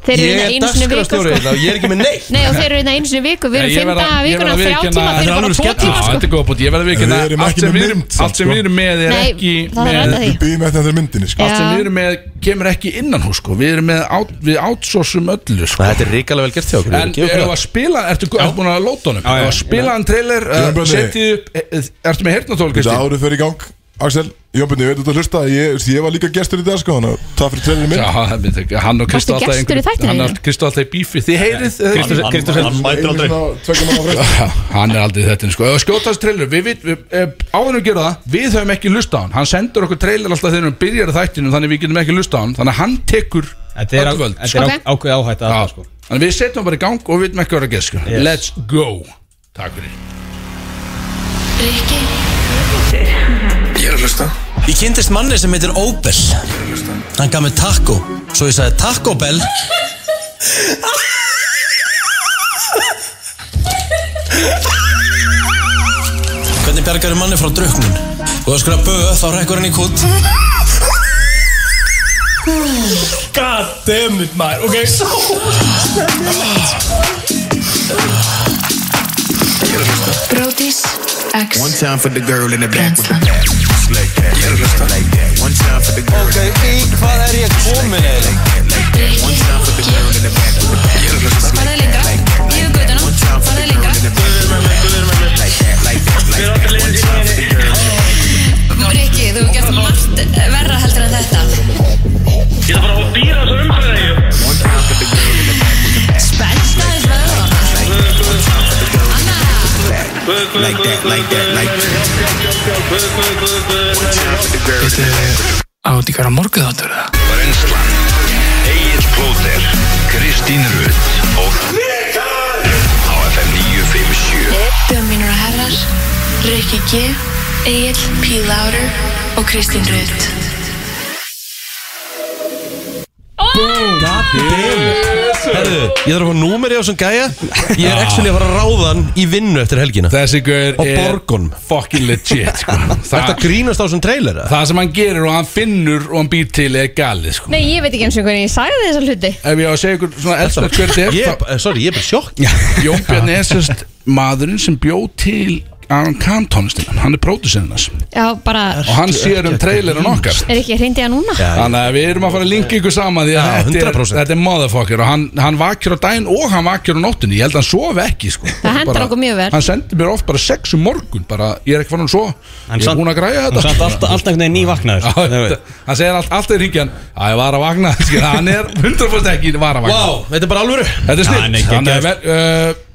[SPEAKER 9] Þeir eru
[SPEAKER 8] Ég
[SPEAKER 9] hérna
[SPEAKER 8] er
[SPEAKER 9] einu sinni í viku
[SPEAKER 8] dagskrafstjóri
[SPEAKER 9] sko.
[SPEAKER 8] hérna og ég er ekki með neitt
[SPEAKER 9] Nei og þeir eru hérna einu sinni í viku Við
[SPEAKER 2] Ég verð
[SPEAKER 9] erum fimm
[SPEAKER 2] að-
[SPEAKER 9] daga að
[SPEAKER 2] ég verð
[SPEAKER 9] vikuna
[SPEAKER 2] að
[SPEAKER 9] Þrjá
[SPEAKER 2] viðurkenna-
[SPEAKER 9] tíma, þeir
[SPEAKER 2] Þetta er
[SPEAKER 9] eru bara
[SPEAKER 2] alveg
[SPEAKER 9] tvo
[SPEAKER 2] skellur. Já,
[SPEAKER 9] tíma sko.
[SPEAKER 2] Þetta er góða búti, ég verð að viðkynna
[SPEAKER 1] Við erum
[SPEAKER 2] Allt
[SPEAKER 1] ekki
[SPEAKER 2] sem
[SPEAKER 1] með
[SPEAKER 2] við erum-
[SPEAKER 1] mynd samt,
[SPEAKER 2] allt sem
[SPEAKER 1] sko.
[SPEAKER 2] við erum með er
[SPEAKER 9] Nei,
[SPEAKER 2] ekki
[SPEAKER 9] það er
[SPEAKER 2] með-
[SPEAKER 9] rætt að því
[SPEAKER 1] Við býðum eftir þetta myndinni sko
[SPEAKER 9] Já.
[SPEAKER 2] allt sem við erum með kemur ekki innan hús sko. við erum með, out, við outsourcum öllu sko.
[SPEAKER 8] Þetta er ríkalega vel gert hjá okkur
[SPEAKER 2] en ef að spila, ertu ertu búin að lóta honum ef að spila hann trailer,
[SPEAKER 1] Jón
[SPEAKER 2] uh,
[SPEAKER 1] Bjarni.
[SPEAKER 2] setjið upp eh, eh, ertu með
[SPEAKER 1] Þetta
[SPEAKER 2] heyrnatól, Kristín?
[SPEAKER 1] árið fyrir í gang Axel, Jónbjörn, ég veit út að hlusta Ég, ég var líka gestur í dag sko Þannig að það fyrir trailerinn
[SPEAKER 2] Já,
[SPEAKER 1] minn
[SPEAKER 2] það myndi ekki- hann og Kristó
[SPEAKER 9] Varstu
[SPEAKER 2] alltaf
[SPEAKER 9] gestur í
[SPEAKER 2] einhverju-
[SPEAKER 9] þættinum
[SPEAKER 2] hann
[SPEAKER 9] þínum?
[SPEAKER 2] og Kristó alltaf í bífi þið heyrið
[SPEAKER 4] Kristó-
[SPEAKER 2] eh,
[SPEAKER 4] Kristó-
[SPEAKER 3] Hann mætir aldrei
[SPEAKER 1] Tveggja manna frétt
[SPEAKER 2] hann er aldrei þetta sko. Ef skjótast trailer, við, við, við eh, áður en við gera það við höfum ekki lust á hann, hann sendur okkur trailer alltaf þegar við byrjar þættinu þannig við getum ekki lust á hann þannig að hann tekur
[SPEAKER 4] Þetta er,
[SPEAKER 2] öll
[SPEAKER 4] á-
[SPEAKER 2] völd, sko.
[SPEAKER 4] þetta er
[SPEAKER 9] Ok.
[SPEAKER 4] okay. ákveð áhætt að
[SPEAKER 2] Já,
[SPEAKER 4] það
[SPEAKER 2] sko.
[SPEAKER 4] sko
[SPEAKER 2] Þannig við setjum bara í gang og við veitum ekki hvað er að gera sko.
[SPEAKER 4] Yes.
[SPEAKER 2] Let's go Takk fyrir
[SPEAKER 8] Ég kynntist manni sem heitir Opel Hann gaf mér taco Svo ég sagði Taco Bell
[SPEAKER 5] Hvernig bjargar manni frá drauknun? Og öskra böð þá rekkur hann í kút
[SPEAKER 11] God damn it maður Ok
[SPEAKER 12] Bróðís X
[SPEAKER 10] One time for the girl in the back with the
[SPEAKER 12] Brennslan
[SPEAKER 10] back. Like that, like that. One time for the girl in the
[SPEAKER 5] Í hvað er ég komin eða?
[SPEAKER 10] back. One time for the girl in the back with the back.
[SPEAKER 12] Farðu lengra Yfir göduna Farðu lengra Rikki, þú hefur gert margt verra heldur en þetta
[SPEAKER 11] Ég ætla bara að býra þessu umhverfið
[SPEAKER 12] Spennt aðeins vöðvana Anna
[SPEAKER 10] Like that, like that, like
[SPEAKER 11] Veistu, á þetta ekki að morguð áttur það?
[SPEAKER 6] Brennslan Egil Plóter Kristín Rutt og á FM 957
[SPEAKER 12] Dömínur og herrar Rikki G, Egil P. Lauder og Kristín Rutt
[SPEAKER 8] Herðu, ég þarf að fá númeri á þessum gæja Ég
[SPEAKER 10] Ah.
[SPEAKER 8] er actually að fara að ráða hann í vinnu eftir helgina
[SPEAKER 2] Þessi gaur
[SPEAKER 8] Og borgun
[SPEAKER 2] fucking legit sko.
[SPEAKER 10] Ah.
[SPEAKER 8] Þetta
[SPEAKER 2] það,
[SPEAKER 8] grínast á þessum trailer eða?
[SPEAKER 2] það sem hann gerir og hann finnur og hann býr til er galið sko.
[SPEAKER 9] Nei, ég veit ekki eins og hvernig ég sagði þessa hluti
[SPEAKER 2] Ef ég á að segja ykkur svona elskar hver þetta er
[SPEAKER 8] Ég, sorry, ég er bara sjokk
[SPEAKER 2] þá- Jón Björn er sérst maðurinn sem bjóð til Aron Kahn tónlistina Hann er pródusinn hans
[SPEAKER 9] Já, bara,
[SPEAKER 2] Og hann sér um trailerinn okkar
[SPEAKER 9] er ekki, hreindi ég núna?
[SPEAKER 2] Þannig að við erum að fara að linka ykkur saman Því að
[SPEAKER 8] Já,
[SPEAKER 2] þetta, er,
[SPEAKER 8] 100%.
[SPEAKER 2] þetta er motherfucker Og hann, hann vakir á daginn og hann vakir á nóttunni Ég held að hann sofi ekki sko.
[SPEAKER 9] Það hentar
[SPEAKER 2] Bara-
[SPEAKER 9] okkur mjög vel.
[SPEAKER 2] Hann sendir mér oft bara sex um morgun bara, Ég er ekki fann að sofa
[SPEAKER 4] Hann
[SPEAKER 2] Ég
[SPEAKER 4] samt-
[SPEAKER 2] er búin að græja
[SPEAKER 4] Hann
[SPEAKER 2] þetta
[SPEAKER 4] samt alltaf, alltaf einhvern veginn
[SPEAKER 2] Já,
[SPEAKER 4] nývaknaður
[SPEAKER 2] þetta- Hann segir allt, alltaf í ringjan Að ég var að vakna skilur, Hann er 100% ekki var að vakna
[SPEAKER 8] Vá, þetta er bara alvöru
[SPEAKER 2] Þetta er
[SPEAKER 3] hann
[SPEAKER 2] snill
[SPEAKER 3] er
[SPEAKER 2] Þannig að vel, uh,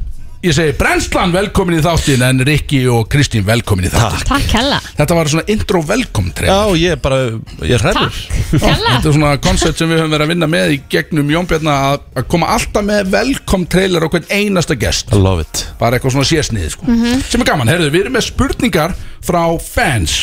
[SPEAKER 2] Ég segi Brennslan velkomin í þáttin En Rikki og Kristín velkomin í þáttin
[SPEAKER 9] Takk hella
[SPEAKER 2] Þetta var svona intro velkom treyð
[SPEAKER 8] Já, ég er bara, ég er hræður
[SPEAKER 9] Takk hella
[SPEAKER 2] Þetta er svona koncept sem við höfum verið að vinna með í gegnum Jónbjörna að að koma alltaf með velkom trailer á hvern einasta gest
[SPEAKER 8] I love it
[SPEAKER 2] bara eitthvað svona sérsniði sko. sem er gaman, herruðu, við erum með spurningar frá fans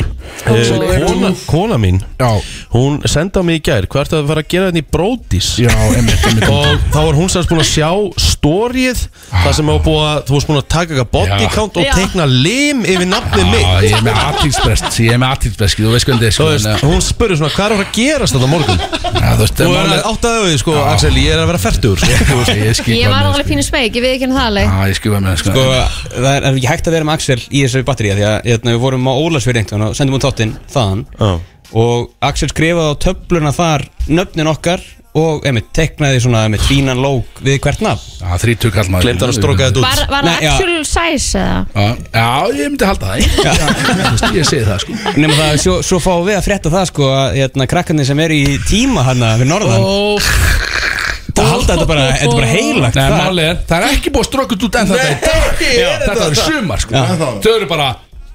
[SPEAKER 8] Eh, Kona, kona mín,
[SPEAKER 2] Já,
[SPEAKER 8] hún senda á mig í gær Hvað ertu að fara að gera þetta í brótis?
[SPEAKER 2] já, einmitt, einmitt
[SPEAKER 8] og þá var hún sem sagt búin að sjá stórið það sem var búin að þú varst búin að taka eitthvað body
[SPEAKER 2] Já.
[SPEAKER 8] count og
[SPEAKER 9] Já.
[SPEAKER 8] teikna lim yfir nafnið
[SPEAKER 2] Já,
[SPEAKER 8] mitt
[SPEAKER 2] ég er með aðtílsprest, ég er með aðtílsprest þú veist hvernig
[SPEAKER 8] Þú
[SPEAKER 2] þetta er
[SPEAKER 8] veist,
[SPEAKER 2] sko, en, eh,
[SPEAKER 8] hún spurði svona hvað er að fara að gerast þetta morgun
[SPEAKER 2] já, þú veist,
[SPEAKER 8] og
[SPEAKER 2] málið-
[SPEAKER 8] er að áttaðu við sko Axel ég er að vera fertur
[SPEAKER 2] sko. Ég skil
[SPEAKER 9] Ég
[SPEAKER 2] hvað
[SPEAKER 9] var
[SPEAKER 2] með,
[SPEAKER 9] alveg pínu smeg, ég við ekki hann það alveg
[SPEAKER 2] Já, ég skil hvað með sko.
[SPEAKER 4] Sko, það er, er ekki hægt að vera með Axel í þessu batteríja því að hérna, við vorum á Ólasfjörði einhvern og sendum hún þáttinn þaðan
[SPEAKER 8] Já.
[SPEAKER 4] og Axel skrifaði á töfluna þar nöfnin okkar og einmitt teknaði svona með tvínan lók við hvert nafn
[SPEAKER 2] Já, þrítug kall maður
[SPEAKER 8] glemt hann að stróka þetta
[SPEAKER 9] Var,
[SPEAKER 8] út
[SPEAKER 9] var
[SPEAKER 4] Nei,
[SPEAKER 9] það
[SPEAKER 4] já.
[SPEAKER 9] actual size eða?
[SPEAKER 2] Já, já, ég myndi halda það já. Já, þú veist, Ég segi það sko
[SPEAKER 4] nema það, svo, svo fáum við að frétta það sko að hérna, krakkarnir sem eru í tíma hana við norðan það halda þetta bara, þetta er bara heilagt
[SPEAKER 2] Nei,
[SPEAKER 4] þar.
[SPEAKER 2] málið er, það er ekki búið að stróka þetta út en þetta í dag Já, Þetta er sumar sko Þau eru bara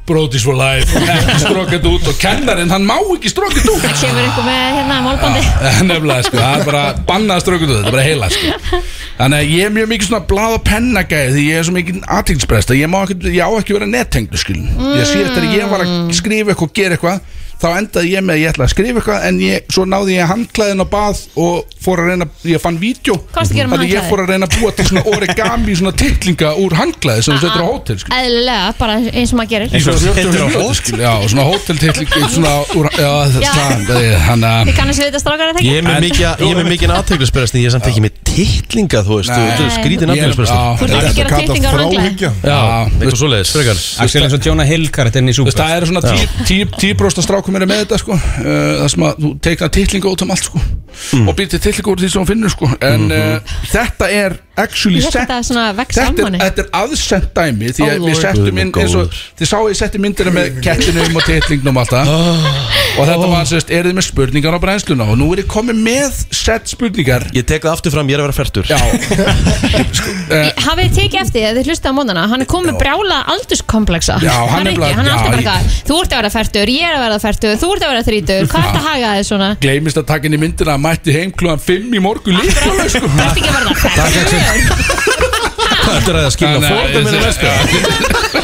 [SPEAKER 2] Brotis for life Ekki stróka þetta út og kennarinn, hann má ekki stróka þetta út
[SPEAKER 9] Það kemur einhver með hérna málbandi
[SPEAKER 2] Nefnilega sko, það er bara bannað strökkundu þetta, er bara heila sko Þannig að ég er mjög mikið svona blað og pennagæði því ég er svo mikið aðtílsprest að ég, má ekki, ég á ekki að vera nettengdu skil Ég sé eftir að ég var að skrifa eitthvað og gera eitthvað þá endaði ég með að ég ætla að skrifa eitthvað en ég, svo náði ég handklæðin á bað og fór að reyna, ég fann vídeo
[SPEAKER 9] Komst ekki um
[SPEAKER 2] Þannig að ég
[SPEAKER 9] handklæði?
[SPEAKER 2] fór að reyna að búa til svona origami svona titlinga úr handklæði sem þú setur á hótel skil
[SPEAKER 9] Eðlilega, bara eins og maður gerir
[SPEAKER 2] Eins og setur ah. á hótel Já, svona hóteltitling svona úr, já,
[SPEAKER 9] Já.
[SPEAKER 2] það er hann að
[SPEAKER 9] Þið kannast við þetta strákar að
[SPEAKER 8] ég er með mikið að- ég er með mikið aðteglispresti ég er samt ekki með titlinga þú veist þú- þú
[SPEAKER 9] Nei.
[SPEAKER 2] Ég-
[SPEAKER 8] skrítin
[SPEAKER 2] já.
[SPEAKER 8] aðteglispresti
[SPEAKER 9] Þú ert ekki að gera teikningar á handklæði
[SPEAKER 8] já eitthvað svoleiðis frekar
[SPEAKER 4] Axel er eins og Jonah Hill karakterinn í
[SPEAKER 2] Þú
[SPEAKER 4] Super
[SPEAKER 2] veist, það eru svona tí, tí, tíbrósta strákum er með þetta sko uh, Það sem að þú teikna titlinga út um allt sko Og býr til titlinga úr því sem hún finnur sko En uh, þetta er actually sent
[SPEAKER 9] Ég held að þetta er svona vex
[SPEAKER 2] Þetta er,
[SPEAKER 9] saman
[SPEAKER 2] þetta er aðsend dæmi Því
[SPEAKER 9] Ó,
[SPEAKER 2] að
[SPEAKER 9] Lord.
[SPEAKER 2] við settum inn
[SPEAKER 8] Guð minn
[SPEAKER 2] eins og
[SPEAKER 8] góður.
[SPEAKER 2] Þið sáu ég setti myndina með kettinum og titlingnum og allt það
[SPEAKER 9] Ah.
[SPEAKER 2] Og þetta var sérst, er þið með spurningar á brennsluna Og nú er ég komið með sett spurningar
[SPEAKER 8] ég tek það aftur fram ég er að vera fertur
[SPEAKER 2] Já,
[SPEAKER 9] Hafið þið tekið eftir því að þið hlusta á móðana Hann er komið brjála aldurskompleksa
[SPEAKER 2] Já, hann
[SPEAKER 9] hann er
[SPEAKER 2] er
[SPEAKER 9] ekki,
[SPEAKER 2] bara-
[SPEAKER 9] hann er alltaf
[SPEAKER 2] Já,
[SPEAKER 9] bara
[SPEAKER 2] ég-
[SPEAKER 9] eitthvað, Þú ert að vera færtur, ég er að vera færtur Þú ert að vera þrítur, hvað ert að haga þið svona?
[SPEAKER 2] gleymist að taka inn í myndina að Mætti heim klugan 5 í morgun líka alveg, sko.
[SPEAKER 9] Þú ert ekki að verða færtur
[SPEAKER 8] hvað ertu að ræða að skilja
[SPEAKER 2] Þannig að-
[SPEAKER 8] fórta minna mest
[SPEAKER 2] Já.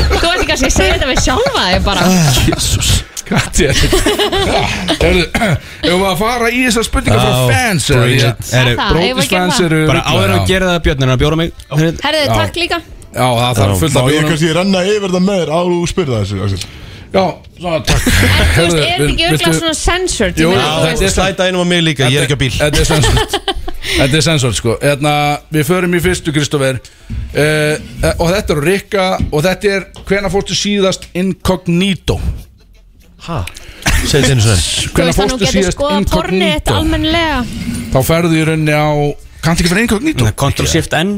[SPEAKER 9] Þú ert ekki að segja þetta við sjálfa þig bara
[SPEAKER 2] Hvað er þetta? Hefur maður að fara í þessar spurningar frá
[SPEAKER 4] Já,
[SPEAKER 2] fans
[SPEAKER 4] bring it.
[SPEAKER 9] Það, eigum við að
[SPEAKER 2] Bróðis
[SPEAKER 9] gera
[SPEAKER 2] fans
[SPEAKER 9] það?
[SPEAKER 2] eru
[SPEAKER 4] bara áður en að
[SPEAKER 2] ruglaðir, já.
[SPEAKER 4] gera það Björn er að bjóra mig
[SPEAKER 9] Herðið,
[SPEAKER 2] Já.
[SPEAKER 9] takk líka
[SPEAKER 2] Já, það þarf fullt
[SPEAKER 1] Má
[SPEAKER 2] af
[SPEAKER 1] ég
[SPEAKER 2] bjórum.
[SPEAKER 1] kannski renna yfir það með þér áður og spyrða þessu Axel?
[SPEAKER 2] Já, svona takk
[SPEAKER 9] Þú veist, er þetta ekki örgulega svona censored? Ég
[SPEAKER 2] Jú,
[SPEAKER 9] meina, þú
[SPEAKER 2] þetta er
[SPEAKER 9] veist-
[SPEAKER 8] slæta einum á mig líka, ég er ekki á bíl
[SPEAKER 2] Þetta er sensort Þetta er sensort sko Eðna, Við förum í fyrstu Kristoffer uh, Og þetta eru Rikka Og þetta er hvenær fórstu síðast incognito
[SPEAKER 8] Hæ? Segðu þetta einu
[SPEAKER 2] Hvenær
[SPEAKER 9] Þú
[SPEAKER 8] sinni
[SPEAKER 9] veist, þannig
[SPEAKER 2] fórstu
[SPEAKER 9] getur
[SPEAKER 2] síðast
[SPEAKER 9] skoða pornið þetta
[SPEAKER 2] incognito
[SPEAKER 9] almennilega
[SPEAKER 2] Þá ferðu í rauninni á Kanntu ekki fyrir incognito
[SPEAKER 4] Ctrl Shift N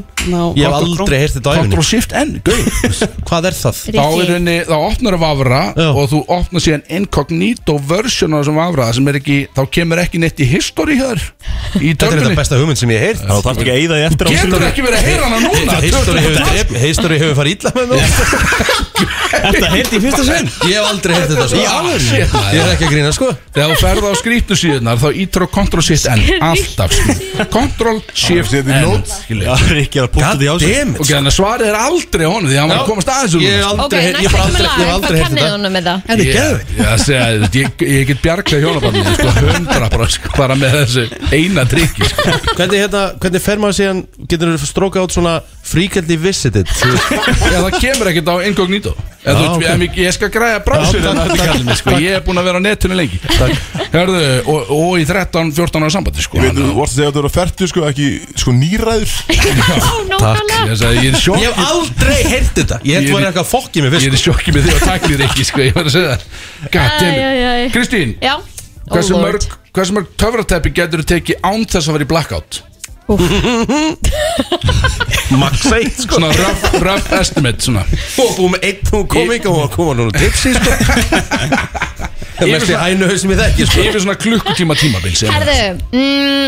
[SPEAKER 8] Ég hef aldrei heyrt þetta á æfinni
[SPEAKER 2] Ctrl Shift N, gauð
[SPEAKER 8] Hvað er það?
[SPEAKER 2] Þá er henni, þá opnar að vafra og þú opnar síðan incognito version á þessum vafra sem er ekki, þá kemur ekki neitt í history hér í
[SPEAKER 8] Þetta er þetta
[SPEAKER 2] tölvunni
[SPEAKER 8] besta hugmynd sem ég hef heyrt
[SPEAKER 3] Þá þarfst ekki að eyða því eftir á
[SPEAKER 2] Getur
[SPEAKER 3] History.
[SPEAKER 2] ekki verið að heyra hana núna
[SPEAKER 8] History hefur drep- History hefur farið illa með mér
[SPEAKER 4] Þetta heyrði í fyrsta sinn
[SPEAKER 8] Ég hef aldrei heyrt þetta
[SPEAKER 2] Í alvöru?
[SPEAKER 8] Shit, maður. Ég er ekki að grína sko
[SPEAKER 2] Þegar þú ferð á skrýptu síðunar þá ítur á Ctrl Shift N alltaf sko. Ctrl Shift
[SPEAKER 1] Setið
[SPEAKER 2] N
[SPEAKER 1] nót
[SPEAKER 3] Já, Rikki er að púta því á sig
[SPEAKER 8] Goddammit
[SPEAKER 2] Ok, þannig að svarið er aldrei honum því að hann var að komast aðeins úr
[SPEAKER 8] Ég hef
[SPEAKER 9] Ok,
[SPEAKER 8] aldrei heyrt- ég
[SPEAKER 9] næst
[SPEAKER 8] hef
[SPEAKER 9] ekki með lag, hvað
[SPEAKER 8] aldrei- ég hef aldrei heyrt
[SPEAKER 9] kannið
[SPEAKER 8] þetta
[SPEAKER 9] honum með það?
[SPEAKER 8] En
[SPEAKER 2] Ég, ég, að segja, þér, ég, ég get bjargað hjónabandinu sko, 100 sko, bara með þessu eina tryggi sko.
[SPEAKER 8] Hvernig, hérna, hvernig fer maður síðan, getur þú strókað át svona frequently visited Þú veist,
[SPEAKER 2] Já, það kemur ekkert á incognito Já, þú,
[SPEAKER 8] ok.
[SPEAKER 2] okay. en, ég, ég skal græða brásur
[SPEAKER 8] Já, takk, takk.
[SPEAKER 2] hérna, sko. Ég er búin að vera á netinu lengi Hörðu, og, og í 13-14 ára sambandi sko,
[SPEAKER 1] Ég veit, þú vorst að segja að þú eru að ferdu sko, ekki sko nýræður
[SPEAKER 9] Já, nákvæmlega
[SPEAKER 2] Ég sagði, ég er í
[SPEAKER 8] Ég
[SPEAKER 2] sjokki
[SPEAKER 8] hef aldrei heyrt þetta Ég
[SPEAKER 2] Ég-
[SPEAKER 8] held þú er eitthvað að fokki mig
[SPEAKER 2] Ég
[SPEAKER 8] fyrst
[SPEAKER 2] er í sjokki með því að takni þér ekki sko, Ég var að segja það God damn
[SPEAKER 9] Æ, æ, æ.
[SPEAKER 2] it. Kristín,
[SPEAKER 9] Já
[SPEAKER 2] hversu
[SPEAKER 9] Oh lord.
[SPEAKER 2] mörg Hversu mörg töfrateppi getur þú tekið án þess að vera í blackout?
[SPEAKER 8] Max 1 sko
[SPEAKER 2] Svona rough, rough estimate svona.
[SPEAKER 8] Og búið með einn, hún kom ekki og hún kom að núna tipsi sko Það er mest í hænu hausum ég þekki sko
[SPEAKER 2] Yfir svona klukkutíma tímabil segir maður.
[SPEAKER 9] Herðu mm,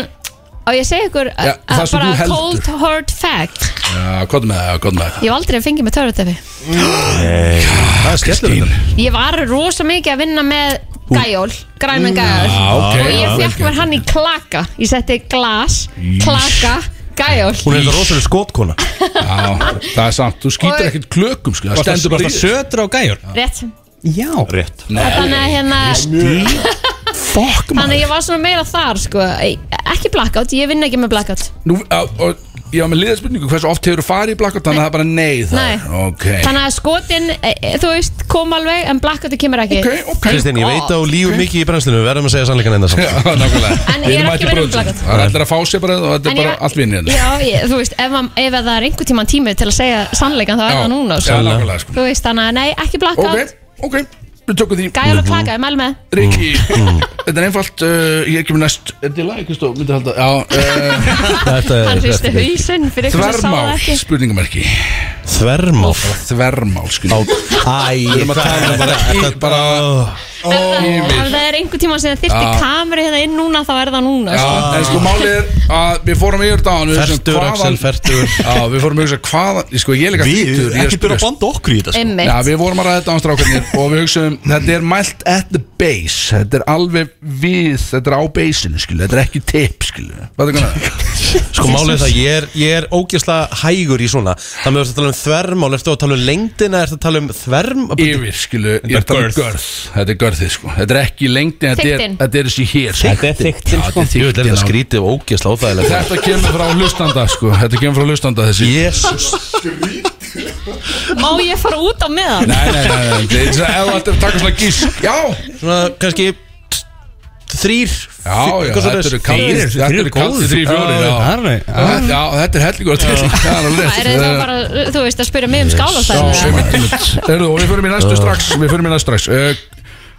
[SPEAKER 9] Á ég að segja ykkur
[SPEAKER 2] Já,
[SPEAKER 9] að-
[SPEAKER 2] það
[SPEAKER 9] að
[SPEAKER 2] sem þú
[SPEAKER 9] bara
[SPEAKER 2] heldur.
[SPEAKER 9] cold hard fact
[SPEAKER 2] Já, gott með það, gott með það
[SPEAKER 9] Ég hef aldrei fengið með törrutefi
[SPEAKER 8] Það er skellur
[SPEAKER 2] Kristín
[SPEAKER 9] Ég var rosa mikið að vinna með gæjól Grænan gæjól
[SPEAKER 2] Já, ok
[SPEAKER 9] Og ég fekk mér hann í klaka Ég setti glas, klaka, gæjól
[SPEAKER 8] Hún er þetta rosalega skotkona
[SPEAKER 2] Já, það er samt, þú skýtur
[SPEAKER 9] Og-
[SPEAKER 2] ekkert klökum sko, það stendur bara í þessu
[SPEAKER 4] sötur á gæjur
[SPEAKER 9] Rétt
[SPEAKER 4] Já
[SPEAKER 3] Rétt
[SPEAKER 9] Þannig að hérna
[SPEAKER 2] Fuck
[SPEAKER 9] Þannig að
[SPEAKER 2] maður
[SPEAKER 9] ég var svona meira þar sko Ekki blackout, ég vinn ekki með blackout
[SPEAKER 2] Nú, á, og, Ég var með liðarspurningu, hversu oft hefur þú farið í blackout Þannig að það er bara nei það
[SPEAKER 9] Nei.
[SPEAKER 2] er, Ok,
[SPEAKER 9] Þannig að skotin, e, e, þú veist, kom alveg En blackouti kemur ekki
[SPEAKER 2] ok, ok
[SPEAKER 8] Kristín, ég veit að hún lífur mikið í brennslinu Við verðum að segja sannleikan enda
[SPEAKER 2] Já,
[SPEAKER 8] samt
[SPEAKER 2] nákvæmlega
[SPEAKER 9] En
[SPEAKER 2] Við
[SPEAKER 9] ég er
[SPEAKER 2] erum
[SPEAKER 9] ekki
[SPEAKER 2] ekki
[SPEAKER 9] verið
[SPEAKER 2] bróðsum.
[SPEAKER 9] blakað.
[SPEAKER 2] Það er allir að fá sér bara og þetta er
[SPEAKER 9] En
[SPEAKER 2] bara
[SPEAKER 9] ég-
[SPEAKER 2] allt vinn hérna
[SPEAKER 9] Já, ég, þú veist, ef, man- ef að það er einhver tíma tími til að segja sannleikan þá er það núna
[SPEAKER 2] Já,
[SPEAKER 9] sko.
[SPEAKER 2] nákvæmlega sko
[SPEAKER 9] Þú veist, þannig að nei, ekki
[SPEAKER 2] Ok,
[SPEAKER 9] blackout
[SPEAKER 2] ok, við tökum því
[SPEAKER 8] Mhm.
[SPEAKER 9] Gæjál og klaka, ég mæl með
[SPEAKER 2] Riki,
[SPEAKER 9] Mm.
[SPEAKER 2] þetta er einfalt uh, Ég er ekki með næst, er þetta í lagi Kristó? Myndi halda, já uh,
[SPEAKER 8] Þetta
[SPEAKER 9] Hann hristi
[SPEAKER 8] er
[SPEAKER 9] hausinn fyrir ykkur sem sá það
[SPEAKER 2] Þvermál,
[SPEAKER 9] ekki
[SPEAKER 2] spurningamarki
[SPEAKER 8] þvermál
[SPEAKER 2] Þvermál, skilja
[SPEAKER 8] Æ, við erum að tala um bara
[SPEAKER 2] Í- bara
[SPEAKER 9] Ef það-
[SPEAKER 2] yfir.
[SPEAKER 9] Ef það er einhver tíma sem þyrfti kameru hérna inn núna þá er það núna
[SPEAKER 2] Já,
[SPEAKER 9] sko.
[SPEAKER 2] en sko málið er að við fórum yfir þetta áðan, við hugsum
[SPEAKER 8] Fertur,
[SPEAKER 2] hvaðan-
[SPEAKER 8] Axel, fertur
[SPEAKER 2] Já, við fórum að hugsa hvaðan sko, Ég er líka
[SPEAKER 3] Við,
[SPEAKER 2] fýtur,
[SPEAKER 3] ekki
[SPEAKER 2] ég er
[SPEAKER 3] byrja að
[SPEAKER 2] spyrjast
[SPEAKER 3] banda okkur í þetta sko.
[SPEAKER 9] Einmitt
[SPEAKER 2] Já, við vorum að ræða þetta á strákarnir og við hugsaum, þetta er mælt at the base Þetta er alveg við, þetta er á beisinu, skilu Þetta er ekki tip, skilu Hvað er það?
[SPEAKER 8] Sko málið er það, ég er, ég er ógeðslega hægur í svona Það með verður að tala um þvermál Ertu að tala um lengdina, ertu að tala um þverm
[SPEAKER 2] Yfir, skilu, ég er það görð Þetta er görðið, sko Þetta er ekki lengdi, þetta er,
[SPEAKER 9] Þykktin.
[SPEAKER 2] þetta er þessi hér
[SPEAKER 4] Þetta er
[SPEAKER 2] sko.
[SPEAKER 4] þyktin
[SPEAKER 8] Ég veit að
[SPEAKER 2] Þykktin
[SPEAKER 8] þetta
[SPEAKER 2] á-
[SPEAKER 8] skrítið og ógeðslega óþægilega
[SPEAKER 2] Þetta kemur frá hlustanda, sko Þetta kemur frá hlustanda, þessi
[SPEAKER 8] Jésús
[SPEAKER 9] Má ég fara út á meðan?
[SPEAKER 2] Nei, nei, nei, nei, nei. Ef þú ættir að taka svona gísk Já,
[SPEAKER 8] Svona kannski Þrýr
[SPEAKER 2] já, já, þetta eru kallir Þetta eru kallir þrý fjóri Já,
[SPEAKER 4] já
[SPEAKER 2] Já, þetta er hellingur til Það er alveg
[SPEAKER 9] Það er það bara, þú veist, að spyrja mig um skálastæðina
[SPEAKER 2] Erðu, og við förum í næstu strax Við förum í næstu strax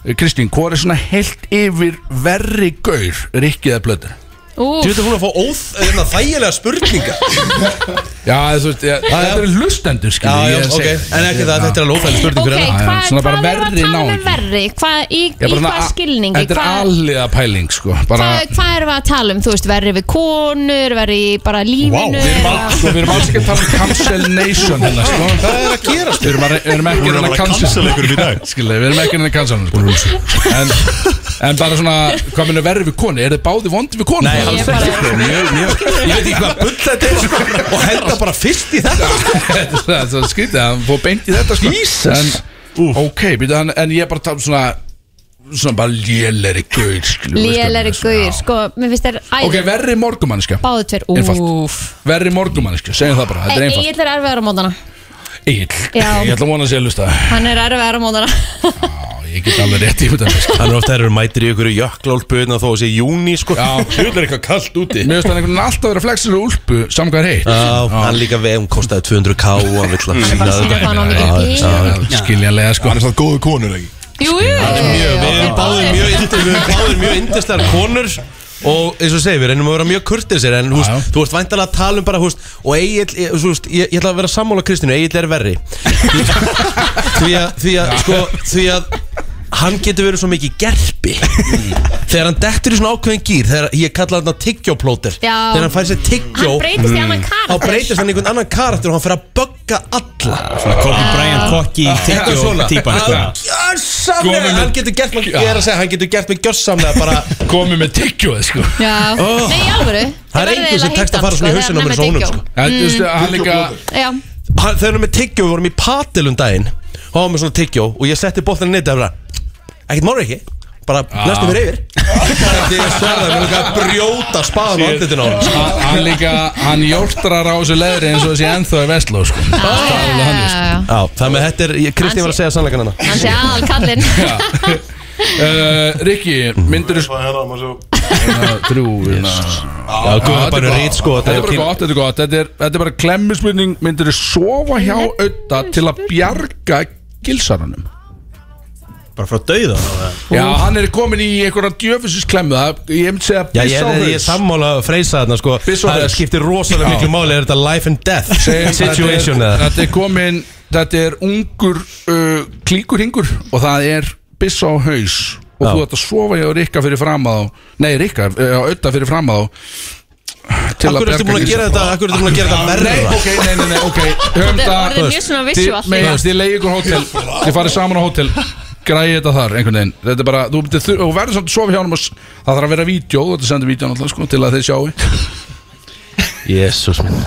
[SPEAKER 2] Eh, Kristín, hvað er svona heilt yfir verri gaur Rikkið eða blöður?
[SPEAKER 9] Ú,
[SPEAKER 8] Þú veit að hún er að fá óþ, hérna, þægilega spurninga
[SPEAKER 2] Ah, Já, þú veist, ég, þetta eru lustendur
[SPEAKER 8] Já,
[SPEAKER 2] skilur
[SPEAKER 8] já, ok, en ekki það, þetta er alveg óþægilega
[SPEAKER 9] Ok,
[SPEAKER 8] spurningur hérna.
[SPEAKER 2] já,
[SPEAKER 9] hvað
[SPEAKER 2] svona bara
[SPEAKER 9] hvað erum við
[SPEAKER 2] verri
[SPEAKER 9] að tala um
[SPEAKER 2] náungi.
[SPEAKER 9] verri? Hvað, í, í hvað skilningi?
[SPEAKER 2] Þetta er
[SPEAKER 9] Hvað-
[SPEAKER 2] alliða pæling, sko bara,
[SPEAKER 9] Hvað, hvað erum við að tala um? Þú veist, verri við konur, verri í bara lífinu eða-
[SPEAKER 2] Sko, við erum alls ekki að tala um cancel nation hérna, sko Hvað er að gera, sko? Við erum, að, við erum ekki
[SPEAKER 3] Hún er
[SPEAKER 2] að
[SPEAKER 3] bara að
[SPEAKER 2] cancel
[SPEAKER 3] cancela ykkur í dag
[SPEAKER 2] Skilja, við erum ekki að cancel hann, sko En, en bara svona, hvað minnur verri við konu? Er þið báði vondi við konu?
[SPEAKER 8] Nei,
[SPEAKER 9] Ég
[SPEAKER 8] alls
[SPEAKER 9] bara-
[SPEAKER 8] ekki sko, mjög, mjög Ég veit ekki hvað bull þetta er sko Og henda bara fyrst í þetta sko.
[SPEAKER 2] það er svo skrítið að hann fór beint í þetta sko. Jesus en, Ok, býtu, en, en ég er bara að tala um svona Svona bara léleri gaur skilur við,
[SPEAKER 9] Lélegri
[SPEAKER 2] sko,
[SPEAKER 9] guður,
[SPEAKER 2] já.
[SPEAKER 9] sko, mér finnst þér æði
[SPEAKER 2] Ok, verri morgumanniska
[SPEAKER 9] Báðu tveir,
[SPEAKER 2] Einfalt.
[SPEAKER 9] úf
[SPEAKER 2] Verri morgumanniska, segjum það bara, þetta er
[SPEAKER 9] Egil
[SPEAKER 2] einfalt
[SPEAKER 9] er erfiðar á mótana
[SPEAKER 2] Egil,
[SPEAKER 9] Já.
[SPEAKER 2] ég ætla að vona að sé að lusta
[SPEAKER 9] Hann er erfið á mótana
[SPEAKER 2] Ég get alveg rétt í þetta sko.
[SPEAKER 8] Hann er ofta erur mætir í ykkur jökklálpuðna þó að sé júni sko Já, sjöldar eitthvað kallt úti
[SPEAKER 2] Mér finnst hann einhvern veginn alltaf vera flexin og úlpu samkvæðar heitt
[SPEAKER 8] Já, hann líka veð, hún kostaði 200k og hann vill að
[SPEAKER 9] sýna
[SPEAKER 8] sína
[SPEAKER 9] hvað hann á mikið pening.
[SPEAKER 8] þetta
[SPEAKER 2] Skiljanlega sko
[SPEAKER 1] Hann er svona góðu konur ekki
[SPEAKER 9] Jú, jú
[SPEAKER 8] Við erum báðir mjög yndi- við erum báðir mjög yndistar konur Og eins og segir, við reynum að vera mjög kurtisir En húst, þú ert væntalega að tala um bara húst, Og Egil, ég, þú veist, ég, ég ætla að vera sammála Kristínu Egil er verri Því að, því að, sko, því að Hann getur verið svo mikið gerpi Þegar hann dettur í svona ákveðin gýr Þegar ég kalla hann að tyggjóplóter
[SPEAKER 9] Já.
[SPEAKER 8] Þegar hann fær sér tyggjó
[SPEAKER 9] Hann breytist í
[SPEAKER 2] Mm.
[SPEAKER 9] annan karakter.
[SPEAKER 8] Þá breytist hann í einhvern annan karakter Og hann fer að bögga alla
[SPEAKER 4] Svona Kobe Bryant kokki
[SPEAKER 8] Þetta er svona
[SPEAKER 4] típan sko
[SPEAKER 8] Hann-
[SPEAKER 2] Komið
[SPEAKER 8] Gjörsamlega,
[SPEAKER 2] með-
[SPEAKER 8] hann getur gert mig Ég er að segja, hann getur gert mig gjörsamlega bara
[SPEAKER 2] Komið með tyggjóð sko
[SPEAKER 9] Já, nei, í alvöru
[SPEAKER 8] Það er enginn sem tekst að fara svona í hausinn á mér svo honum sko.
[SPEAKER 2] En, þú
[SPEAKER 9] Mm.
[SPEAKER 2] veist, hann líka
[SPEAKER 9] Já,
[SPEAKER 8] Hann- Þegar við erum með tyggjó, við vorum í patilum daginn og hann var með svona tyggjó og ég setti bóttan nýtt og bara, ekkert máli ekki bara næstum við yfir Bara því ég sverða, við erum að brjóta spaðan á andlitin á hann
[SPEAKER 2] Hann- Hann líka, hann jórtrar á þessu leðri eins og þessi ennþá í Vestló sko
[SPEAKER 9] já,
[SPEAKER 8] Já, þannig að þetta er, ég- Kristín var að segja hérna. sannleikan hann
[SPEAKER 9] hann sé aðal kallinn
[SPEAKER 2] Uh, Rikki, myndur þú
[SPEAKER 1] Það er að maður svo
[SPEAKER 2] Þrjú hérna.
[SPEAKER 8] Já, guð, það Ah, er bara rít sko
[SPEAKER 2] Þetta er bara
[SPEAKER 8] pín-
[SPEAKER 2] gott, þetta er gott Þetta er, þetta er bara klemmismynning Myndur þú sofa hjá auða til að bjarga gilsaranum
[SPEAKER 4] Bara frá dauða
[SPEAKER 2] Já, hann er komin í einhverja djöfisins klemmu það- Ég myndi segja
[SPEAKER 8] Já, ég,
[SPEAKER 2] á
[SPEAKER 8] ég, ég er
[SPEAKER 2] haus.
[SPEAKER 8] sammála að freysa þarna sko
[SPEAKER 2] Byssu á
[SPEAKER 8] Það
[SPEAKER 2] haus.
[SPEAKER 8] skiptir rosalega
[SPEAKER 2] Já.
[SPEAKER 8] miklu máli, er þetta life and death
[SPEAKER 2] Segjum að
[SPEAKER 8] situation
[SPEAKER 2] þetta er,
[SPEAKER 8] eða
[SPEAKER 2] þetta er komin Þetta er ungur uh, klíkurhingur Og það er byssa á haus Og
[SPEAKER 8] Já.
[SPEAKER 2] þú ætti að sofa hjá Rikka fyrir fram að þá Nei, Rikka, uh, auða fyrir fram að þá Til
[SPEAKER 8] Akkur ertu búin að gera þetta, akkur ertu búin að gera þetta
[SPEAKER 2] Nei,
[SPEAKER 8] verra
[SPEAKER 2] ok, nei, nei, nei, ok Höfum
[SPEAKER 9] Þetta er
[SPEAKER 2] það
[SPEAKER 9] orðið mjög svona visual.
[SPEAKER 2] Þið- nei, Þið leiði ykkur hótel Þið farið saman á hótel Græði þetta þar einhvern veginn Þetta er bara Þú myndir þur- og verður samt að sofa hjá honum og s- Það þarf að vera vídjó Þú ætti að senda vídjó alltaf sko Til að þið sjáu
[SPEAKER 8] Jésús minn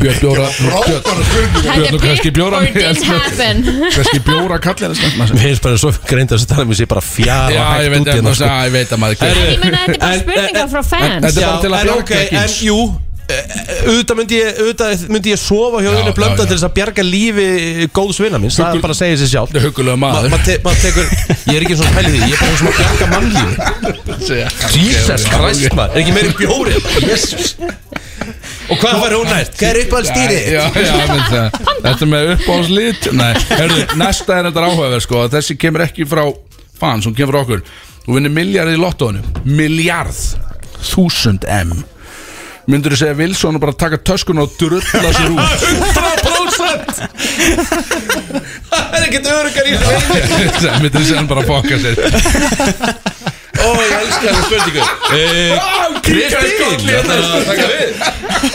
[SPEAKER 2] Björn bjóra Björn- Björn og kannski bjóra sko.
[SPEAKER 9] or it didn't happen
[SPEAKER 2] Kannski bjóra kallið þess
[SPEAKER 8] Mér finnst bara svo greind að þessi tala um ég sé bara fjara
[SPEAKER 2] Já, ég veit að
[SPEAKER 8] sko.
[SPEAKER 2] Já, ég veit að maður
[SPEAKER 8] Herru,
[SPEAKER 2] gerir.
[SPEAKER 9] Ég meina, þetta er bara
[SPEAKER 8] En-
[SPEAKER 9] spurningar frá fans
[SPEAKER 2] Þetta er
[SPEAKER 8] Já,
[SPEAKER 2] bara til að
[SPEAKER 8] en
[SPEAKER 2] bjarga
[SPEAKER 8] ok, en
[SPEAKER 2] gils.
[SPEAKER 8] jú eh, eh, auðvitað myndi ég auðvitað myndi ég sofa hjá
[SPEAKER 2] Já,
[SPEAKER 8] unni
[SPEAKER 2] já,
[SPEAKER 8] blönda
[SPEAKER 2] já.
[SPEAKER 8] til þess að bjarga lífi góðs vina mín, það
[SPEAKER 2] Huggul-
[SPEAKER 8] er bara að segja sér sjálf
[SPEAKER 2] Þetta er hugulega maður
[SPEAKER 8] maður te, ma tekur ég er ekki svona pæli því, ég er bara svona að bjarga mannlífi Jesus Christ maður er ekki meiri bjóri Jesus og hvað var hún næst? hvað er upp alls dýri?
[SPEAKER 2] Já, já, ég myndi það. Þetta með uppáhaldslít Nei, herru, næsta er þetta áhugaverð sko að Þessi kemur ekki frá fans, hún kemur frá okkur Þú vinnir miljard í lottóinu Miljard, þúsund M Myndur þú segja Wilson og bara taka töskun og drulla sér út
[SPEAKER 8] 100% það er ekkert örugar í þessu
[SPEAKER 2] Myndur þú segja hann bara fokka sér
[SPEAKER 8] Ó, ég elskar það spurningu
[SPEAKER 2] Eh,
[SPEAKER 8] Kristín, þetta er að taka við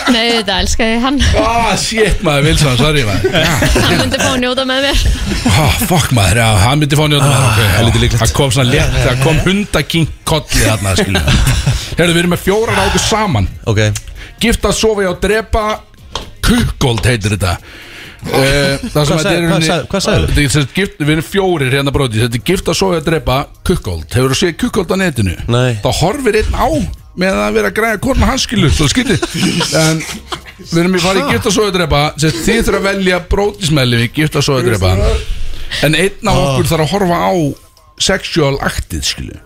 [SPEAKER 9] Nei, þetta elskaði hann
[SPEAKER 2] Ah, shit maður, Wilson, sorry maður
[SPEAKER 9] Hann myndi fá að njóta með mér
[SPEAKER 2] ah, Fuck maður, já, hann myndi fá njóta
[SPEAKER 8] Ah,
[SPEAKER 2] maður okay, já. Það kom svona létt, það kom hundakink kollið þarna, skilja Herðu, við erum með fjórar áku saman
[SPEAKER 8] Ok,
[SPEAKER 2] Gift að sofa hjá að drepa Kukkold heitir þetta Eh, Það sem
[SPEAKER 8] Hvað
[SPEAKER 2] þetta er
[SPEAKER 8] sagði-
[SPEAKER 2] í
[SPEAKER 8] hvað
[SPEAKER 2] rauninni-
[SPEAKER 8] sagði- hvað sagðirðu?
[SPEAKER 2] Þetta er sem sagt gift- Við erum fjórir hérna brótið Þetta er gift að sofa hjá að drepa Kukkold Hefur þú séð kukkold á netinu?
[SPEAKER 8] Nei.
[SPEAKER 2] Þá horfir einn á með að vera að græja korna hanskilu Svo skytið En við erum í farið gift að sofa hjá að drepa sem sagt, Þið þurfa að velja brótismæli við gift að sofa hjá að drepa En einn á
[SPEAKER 8] Ah.
[SPEAKER 2] okkur þarf að horfa á Sexual actið skilu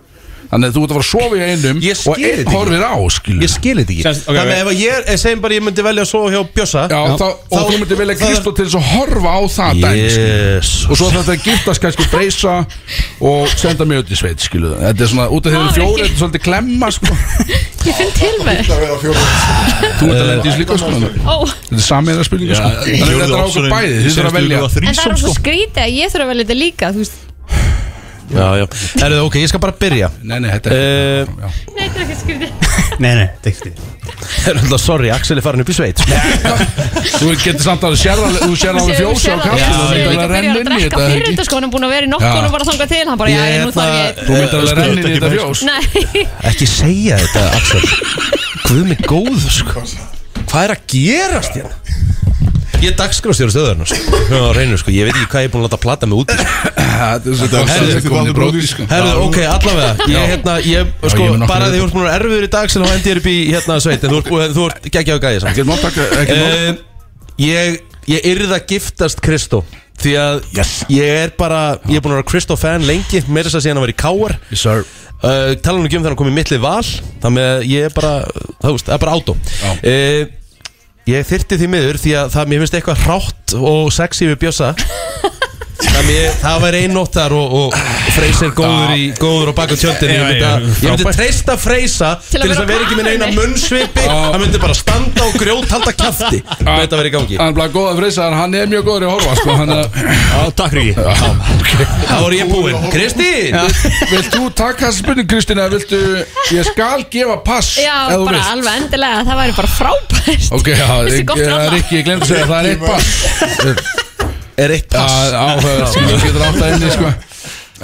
[SPEAKER 2] Þannig að þú ert að fara að sofa í einum
[SPEAKER 8] Ég skil
[SPEAKER 2] Og
[SPEAKER 8] þetta
[SPEAKER 2] einn
[SPEAKER 8] ekki.
[SPEAKER 2] horfir á skilu
[SPEAKER 8] ég skil þetta ekki
[SPEAKER 4] Sens- ok, ok.
[SPEAKER 8] Þannig ef að ég, er- segjum bara ég myndi velja að sofa hjá Bjössa
[SPEAKER 2] Já, þá, og þú myndir velja Kristó til þess að horfa á það dæmi skilur.
[SPEAKER 8] Jésus
[SPEAKER 2] og svo þetta að giftast kannski breysa og senda mig út í sveit skilu þetta er svona út af því að þeir
[SPEAKER 9] Það var
[SPEAKER 2] fjóri
[SPEAKER 9] ekki-
[SPEAKER 2] þetta er svolítið klemma sko
[SPEAKER 9] Ég finn til með
[SPEAKER 1] Það er að fjóra
[SPEAKER 2] þú ert að lendi í slíka sko þetta
[SPEAKER 9] Ó,
[SPEAKER 2] er sammeina spurningu sko þannig að þetta er ákveð bæði þið þurfa að velja
[SPEAKER 9] en það er
[SPEAKER 2] sko.
[SPEAKER 9] svo skrítið að ég þurfa að velja þetta líka Þú veist,
[SPEAKER 8] Já, já Erðu, ok, ég skal bara byrja
[SPEAKER 2] nei nei þetta er
[SPEAKER 8] Eh,
[SPEAKER 9] nei, þetta er ekki skrítið
[SPEAKER 4] Nei, nei, tekstu
[SPEAKER 8] Það er alltaf, sorry, Axel er farin upp í sveit sko.
[SPEAKER 2] þú getur samt að sérra þú sérra alveg fjósi á kaffi þú
[SPEAKER 9] Ég
[SPEAKER 2] myndir alveg renna
[SPEAKER 9] byrjar að
[SPEAKER 2] inn í
[SPEAKER 9] drekka
[SPEAKER 2] þetta
[SPEAKER 9] fyrir
[SPEAKER 2] ekki?
[SPEAKER 9] þetta sko Hann er búin að vera í
[SPEAKER 2] Já.
[SPEAKER 9] nokkunum bara þangað til Hann bara, já, ég nú þarf ég
[SPEAKER 2] þú myndir alveg renna inn í þetta sko. fjós
[SPEAKER 9] Nei,
[SPEAKER 8] Ekki segja þetta, Axel Guð mig góð, sko Hvað er að gerast hérna? Ég er dagskrástjóri stöðurinn, sko Já, reynu, sko, ég veit ekki hvað ég er búin að láta plata mig út í, sko.
[SPEAKER 2] þetta er svo gott að þetta er komin í bróti sko
[SPEAKER 8] Herðu, ok, allavega Ég, hérna, ég, sko,
[SPEAKER 2] ég mun nokkuð
[SPEAKER 8] bara
[SPEAKER 2] þetta.
[SPEAKER 8] því þú ert múin erfiður í dag sem þá endi ég upp í, hérna, sveit En þú ert, þú ert geggjaðu gæði samt
[SPEAKER 2] Ekkert mál, takk- ekkert mál.
[SPEAKER 8] Eh, Ég, Ég yrði að giftast Kristó Því að ég er bara Ég er búin að vera Kristó fan lengi Meira þess að segja hann að vera í káar
[SPEAKER 2] yes, uh,
[SPEAKER 8] Tala nú ekki um þegar hann kom í mittlið val Þannig að ég er bara Það veist, það er bara átó uh, Ég þyrti því miður Því að það mér finnst eitthvað hrátt og sexy við bjösa Þannig ég, Eh, það væri einn nótt þar og, og Freysir góður, í, góður og baka tjöldin Ég myndi, að, ég myndi treysta Freysa Til, þess að vera ekki með eina munnsvipi Hann myndi bara standa og grjót halda kjafti Með þetta verið í gangi
[SPEAKER 2] Hann er bara góð að freysa, en hann er mjög góður í að horfa sko, hann er...
[SPEAKER 8] Já, takk Ríki Þá er ég búinn Kristín
[SPEAKER 2] Vilt þú taka þessi spurning Kristín eða viltu, ég skal gefa pass
[SPEAKER 9] Já,
[SPEAKER 2] ef þú
[SPEAKER 9] bara
[SPEAKER 2] vilt.
[SPEAKER 9] alveg endilega, það væri bara frábært
[SPEAKER 2] Ok, já,
[SPEAKER 9] Vissi
[SPEAKER 2] ég-
[SPEAKER 9] gott
[SPEAKER 2] ég-
[SPEAKER 9] ráð.
[SPEAKER 2] Rikki, ég glemdi að segja, það er eitt pass
[SPEAKER 8] Er eitt pass?
[SPEAKER 2] Áhugað, sko, þú getur átt að inni, sko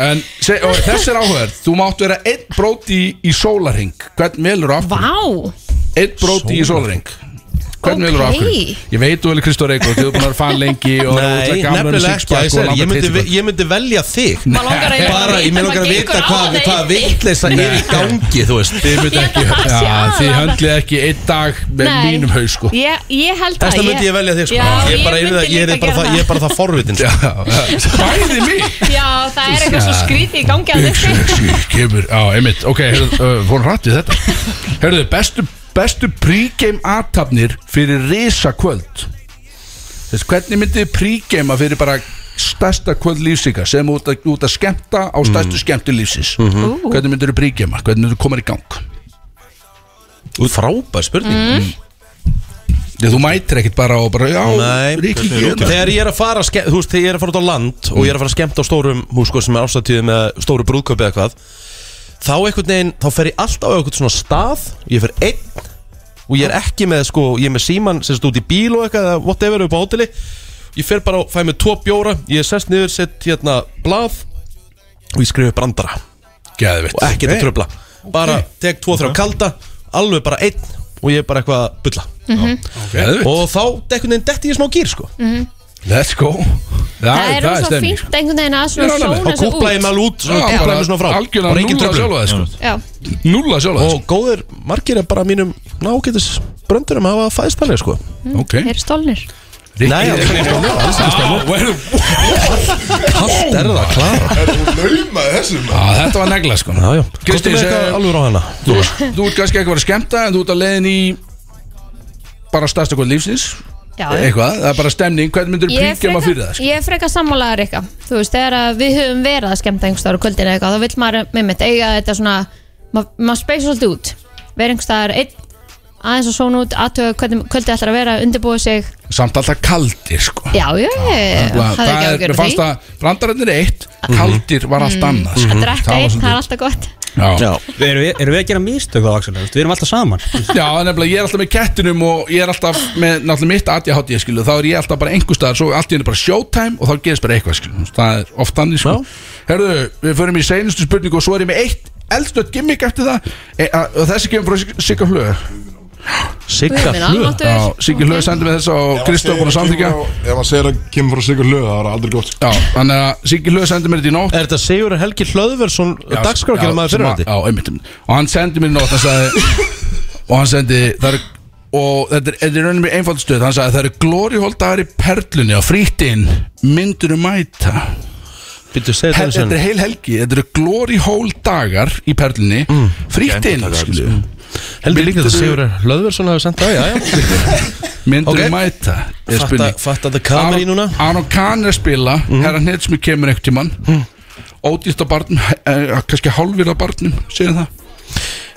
[SPEAKER 2] En se, og þessi er áhugað, þú mátt vera einn bróti í sólarhing Hvern velur þú
[SPEAKER 9] Vá
[SPEAKER 2] Einn bróti í sólarhing Hvern velur þú
[SPEAKER 9] Ok.
[SPEAKER 2] afhverju? Ég veit þú velur Kristóð Reykjavík, þú er búin að vera fan lengi og
[SPEAKER 8] Nei, nefnilega ekki ég, segi, ég, myndi, ég myndi velja þig
[SPEAKER 2] Maður langar að-
[SPEAKER 8] Bara, ég myndi langar að
[SPEAKER 2] Hvað gengur
[SPEAKER 8] vita
[SPEAKER 2] á
[SPEAKER 8] hvað
[SPEAKER 2] þeim?
[SPEAKER 8] Hvað vitleisa er í gangi, þú veist Þið myndi
[SPEAKER 2] ekki Já, þið höndlið ekki einn dag með
[SPEAKER 9] Nei.
[SPEAKER 2] mínum haus, sko
[SPEAKER 9] Ég, ég held
[SPEAKER 8] Þess
[SPEAKER 9] að
[SPEAKER 8] vegna myndi ég velja þig sko.
[SPEAKER 9] Já,
[SPEAKER 8] ég, bara,
[SPEAKER 9] ég
[SPEAKER 8] yrði það-
[SPEAKER 9] myndi
[SPEAKER 8] ég, yrði
[SPEAKER 9] líka gera
[SPEAKER 8] bara það-
[SPEAKER 9] það
[SPEAKER 8] ég er bara það forvitin
[SPEAKER 2] Bæði mig
[SPEAKER 9] Já, það er eitthvað svo
[SPEAKER 2] Já.
[SPEAKER 9] skrítið í gangi að þessi
[SPEAKER 2] Kemur, á, einmitt, ok, heyrðu, uh, fór hratt við þetta Herðu, bestu, bestu pregame aðtapnir fyrir risa kvöld Þess, Hvernig myndið þið pregama fyrir bara stærsta kvöld lífsíka sem út að, út að skemmta á
[SPEAKER 8] Mm.
[SPEAKER 2] stærstu skemmtu lífsins
[SPEAKER 8] Ú.
[SPEAKER 2] Hvernig myndir þið pregama, hvernig myndir þið koma í gang
[SPEAKER 8] Frábær spurning
[SPEAKER 2] mm. Ég, þú mætir ekkert bara og bara, já,
[SPEAKER 8] Nei,
[SPEAKER 2] Ríkki, ég-
[SPEAKER 8] þegar ég er að fara að ske- Þú veist, þegar ég er að fara út á land Og ég er að fara að skemmta á stórum hús sko, Sem er ástatíð með stóru brúðköpi eða hvað Þá einhvern veginn, þá fer ég alltaf á einhvern svona stað Ég fer einn Og ég er ekki með, sko, ég er með síman Sem stúti í bíl og eitthvað, eða whatever upp á hóteli Ég fer bara og fæ mig tvo bjóra Ég er sest niður, sett hérna blað Og ég skrifa brandara
[SPEAKER 2] Geðvitt
[SPEAKER 8] Og
[SPEAKER 2] Ok.
[SPEAKER 8] ekkert að tröfla Bara tek tvo, þrjá kalda Alveg bara einn Og ég er bara eitthvað að bulla
[SPEAKER 9] Mhm.
[SPEAKER 2] Geðveikt.
[SPEAKER 8] Og þá einhvern veginn detti ég í smá gýr sko
[SPEAKER 9] Mhm.
[SPEAKER 2] Let's go
[SPEAKER 9] Það er rosa
[SPEAKER 2] stemning.
[SPEAKER 9] fínt einhvern veginn að
[SPEAKER 2] Já,
[SPEAKER 9] svona
[SPEAKER 2] nefnilega.
[SPEAKER 9] sóna
[SPEAKER 8] Þá kúpla ég mig alveg út, svona
[SPEAKER 2] Já,
[SPEAKER 8] kúpla ég
[SPEAKER 2] bara
[SPEAKER 8] mig svona frá.
[SPEAKER 2] algjörlega
[SPEAKER 8] Bara engin
[SPEAKER 2] núlla
[SPEAKER 8] truflun.
[SPEAKER 2] sjálfa þig, sko.
[SPEAKER 9] Já,
[SPEAKER 2] Núla sjálf
[SPEAKER 8] Og góðir, margir er bara mínum nágætis bröndurum hafa fæðst þannig sko
[SPEAKER 2] Ok
[SPEAKER 9] þeir eru stólnir
[SPEAKER 8] Nei, það er ekki stofnir Alls ekki stofnir Kallt er það, klara
[SPEAKER 1] Lauma þessum
[SPEAKER 2] Já, þetta var negla sko
[SPEAKER 8] Já, já Kostu
[SPEAKER 2] Kristín,
[SPEAKER 8] með
[SPEAKER 2] segðu-
[SPEAKER 8] eitthvað alveg á hana
[SPEAKER 2] Þú, þú ert kannski ekki að vera að skemmta en þú ert að leiðin í bara stærsta kvöld lífsins
[SPEAKER 9] Já.
[SPEAKER 2] eitthvað, það er bara stemning, hvernig myndir þú
[SPEAKER 9] Ég er
[SPEAKER 2] príkjama
[SPEAKER 9] frekar-
[SPEAKER 2] fyrir það? Sko?
[SPEAKER 9] Ég er frekar sammálaður eitthvað Þú veist, þegar að við höfum verið að skemmta einhverstaðar á kvöldinu eitthvað, þá vill maður með mitt eiga þetta svona, ma- maður speysa svolítið út vera einhverstaðar einn aðeins og svona út, aðtöga hvernig kvöldið ætlar að vera undirbúið sig,
[SPEAKER 2] Samt alltaf kaldir sko
[SPEAKER 9] já, já, já, já
[SPEAKER 2] Það,
[SPEAKER 9] hafði ekki
[SPEAKER 2] er,
[SPEAKER 9] ágjörð
[SPEAKER 2] mér fannst að brandararnir er eitt, kaldir var allt annað sko.
[SPEAKER 9] að drekka
[SPEAKER 2] Það var
[SPEAKER 9] einn, það
[SPEAKER 2] svolítið-
[SPEAKER 9] er alltaf gott
[SPEAKER 2] Já.
[SPEAKER 4] Við erum, við, erum við að gera mistök á Axel? þú veist, Við erum alltaf saman
[SPEAKER 2] Já, nefnilega, ég er alltaf með kettinum og ég er alltaf með náttúrulega mitt ADHD, skilu, þá er ég alltaf bara einhver staðar, svo allt í henni bara showtime og þá gerist bara eitthvað, skilu, það er oft þannig, sko. Herðu, við förum í seinustu spurningu og svo er ég með eitt eldstöðt gimmick eftir það e, a, og þessi kemur frá
[SPEAKER 1] Sigga
[SPEAKER 2] Sigga Hlöð.
[SPEAKER 1] Guð minn Hlöð? almáttugur.
[SPEAKER 2] Já, Sigga Hlöð sendi með þess og Kristof búin að samþykja.
[SPEAKER 1] Ef hann segir að kemur frá Sigur Hlöð, það er aldrei gott sko.
[SPEAKER 2] Já, þannig að Siggi Hlöð sendi mér þetta í nótt
[SPEAKER 8] Er þetta Sigur Helgi Hlöðversson dagskrárgerðar maður
[SPEAKER 2] sem
[SPEAKER 8] fyrrverandi?
[SPEAKER 2] að- Já, einmitt Og hann sendi mér í nótt, hann sagði Og hann sendi, það er Og þetta er, þetta er rauninni mér einfald stöð Hann sagði, það eru glóriholt dagar í perlunni Á frítinn, myndur mæta
[SPEAKER 8] Býttu, segðu
[SPEAKER 2] Hel,
[SPEAKER 8] þetta
[SPEAKER 2] Þetta er heil helgi, þetta eru glóriholt dagar Í perlunni, mm. frítinn skilu.
[SPEAKER 8] sko. Heldur líka þetta
[SPEAKER 2] Myndirðu-
[SPEAKER 8] Sigur Hlöðversson hafa sendt það, já, já
[SPEAKER 2] Myndur
[SPEAKER 8] Ok.
[SPEAKER 2] mæta er
[SPEAKER 8] Fatta-
[SPEAKER 2] spurning.
[SPEAKER 8] fatta the camera í
[SPEAKER 2] Aron- Aron Kahn er að spila mm. Herra Netsmi kemur einhvern tímann
[SPEAKER 8] Mm.
[SPEAKER 2] Ódýrt á barnum, eh, kannski hálfur á barnum Segir það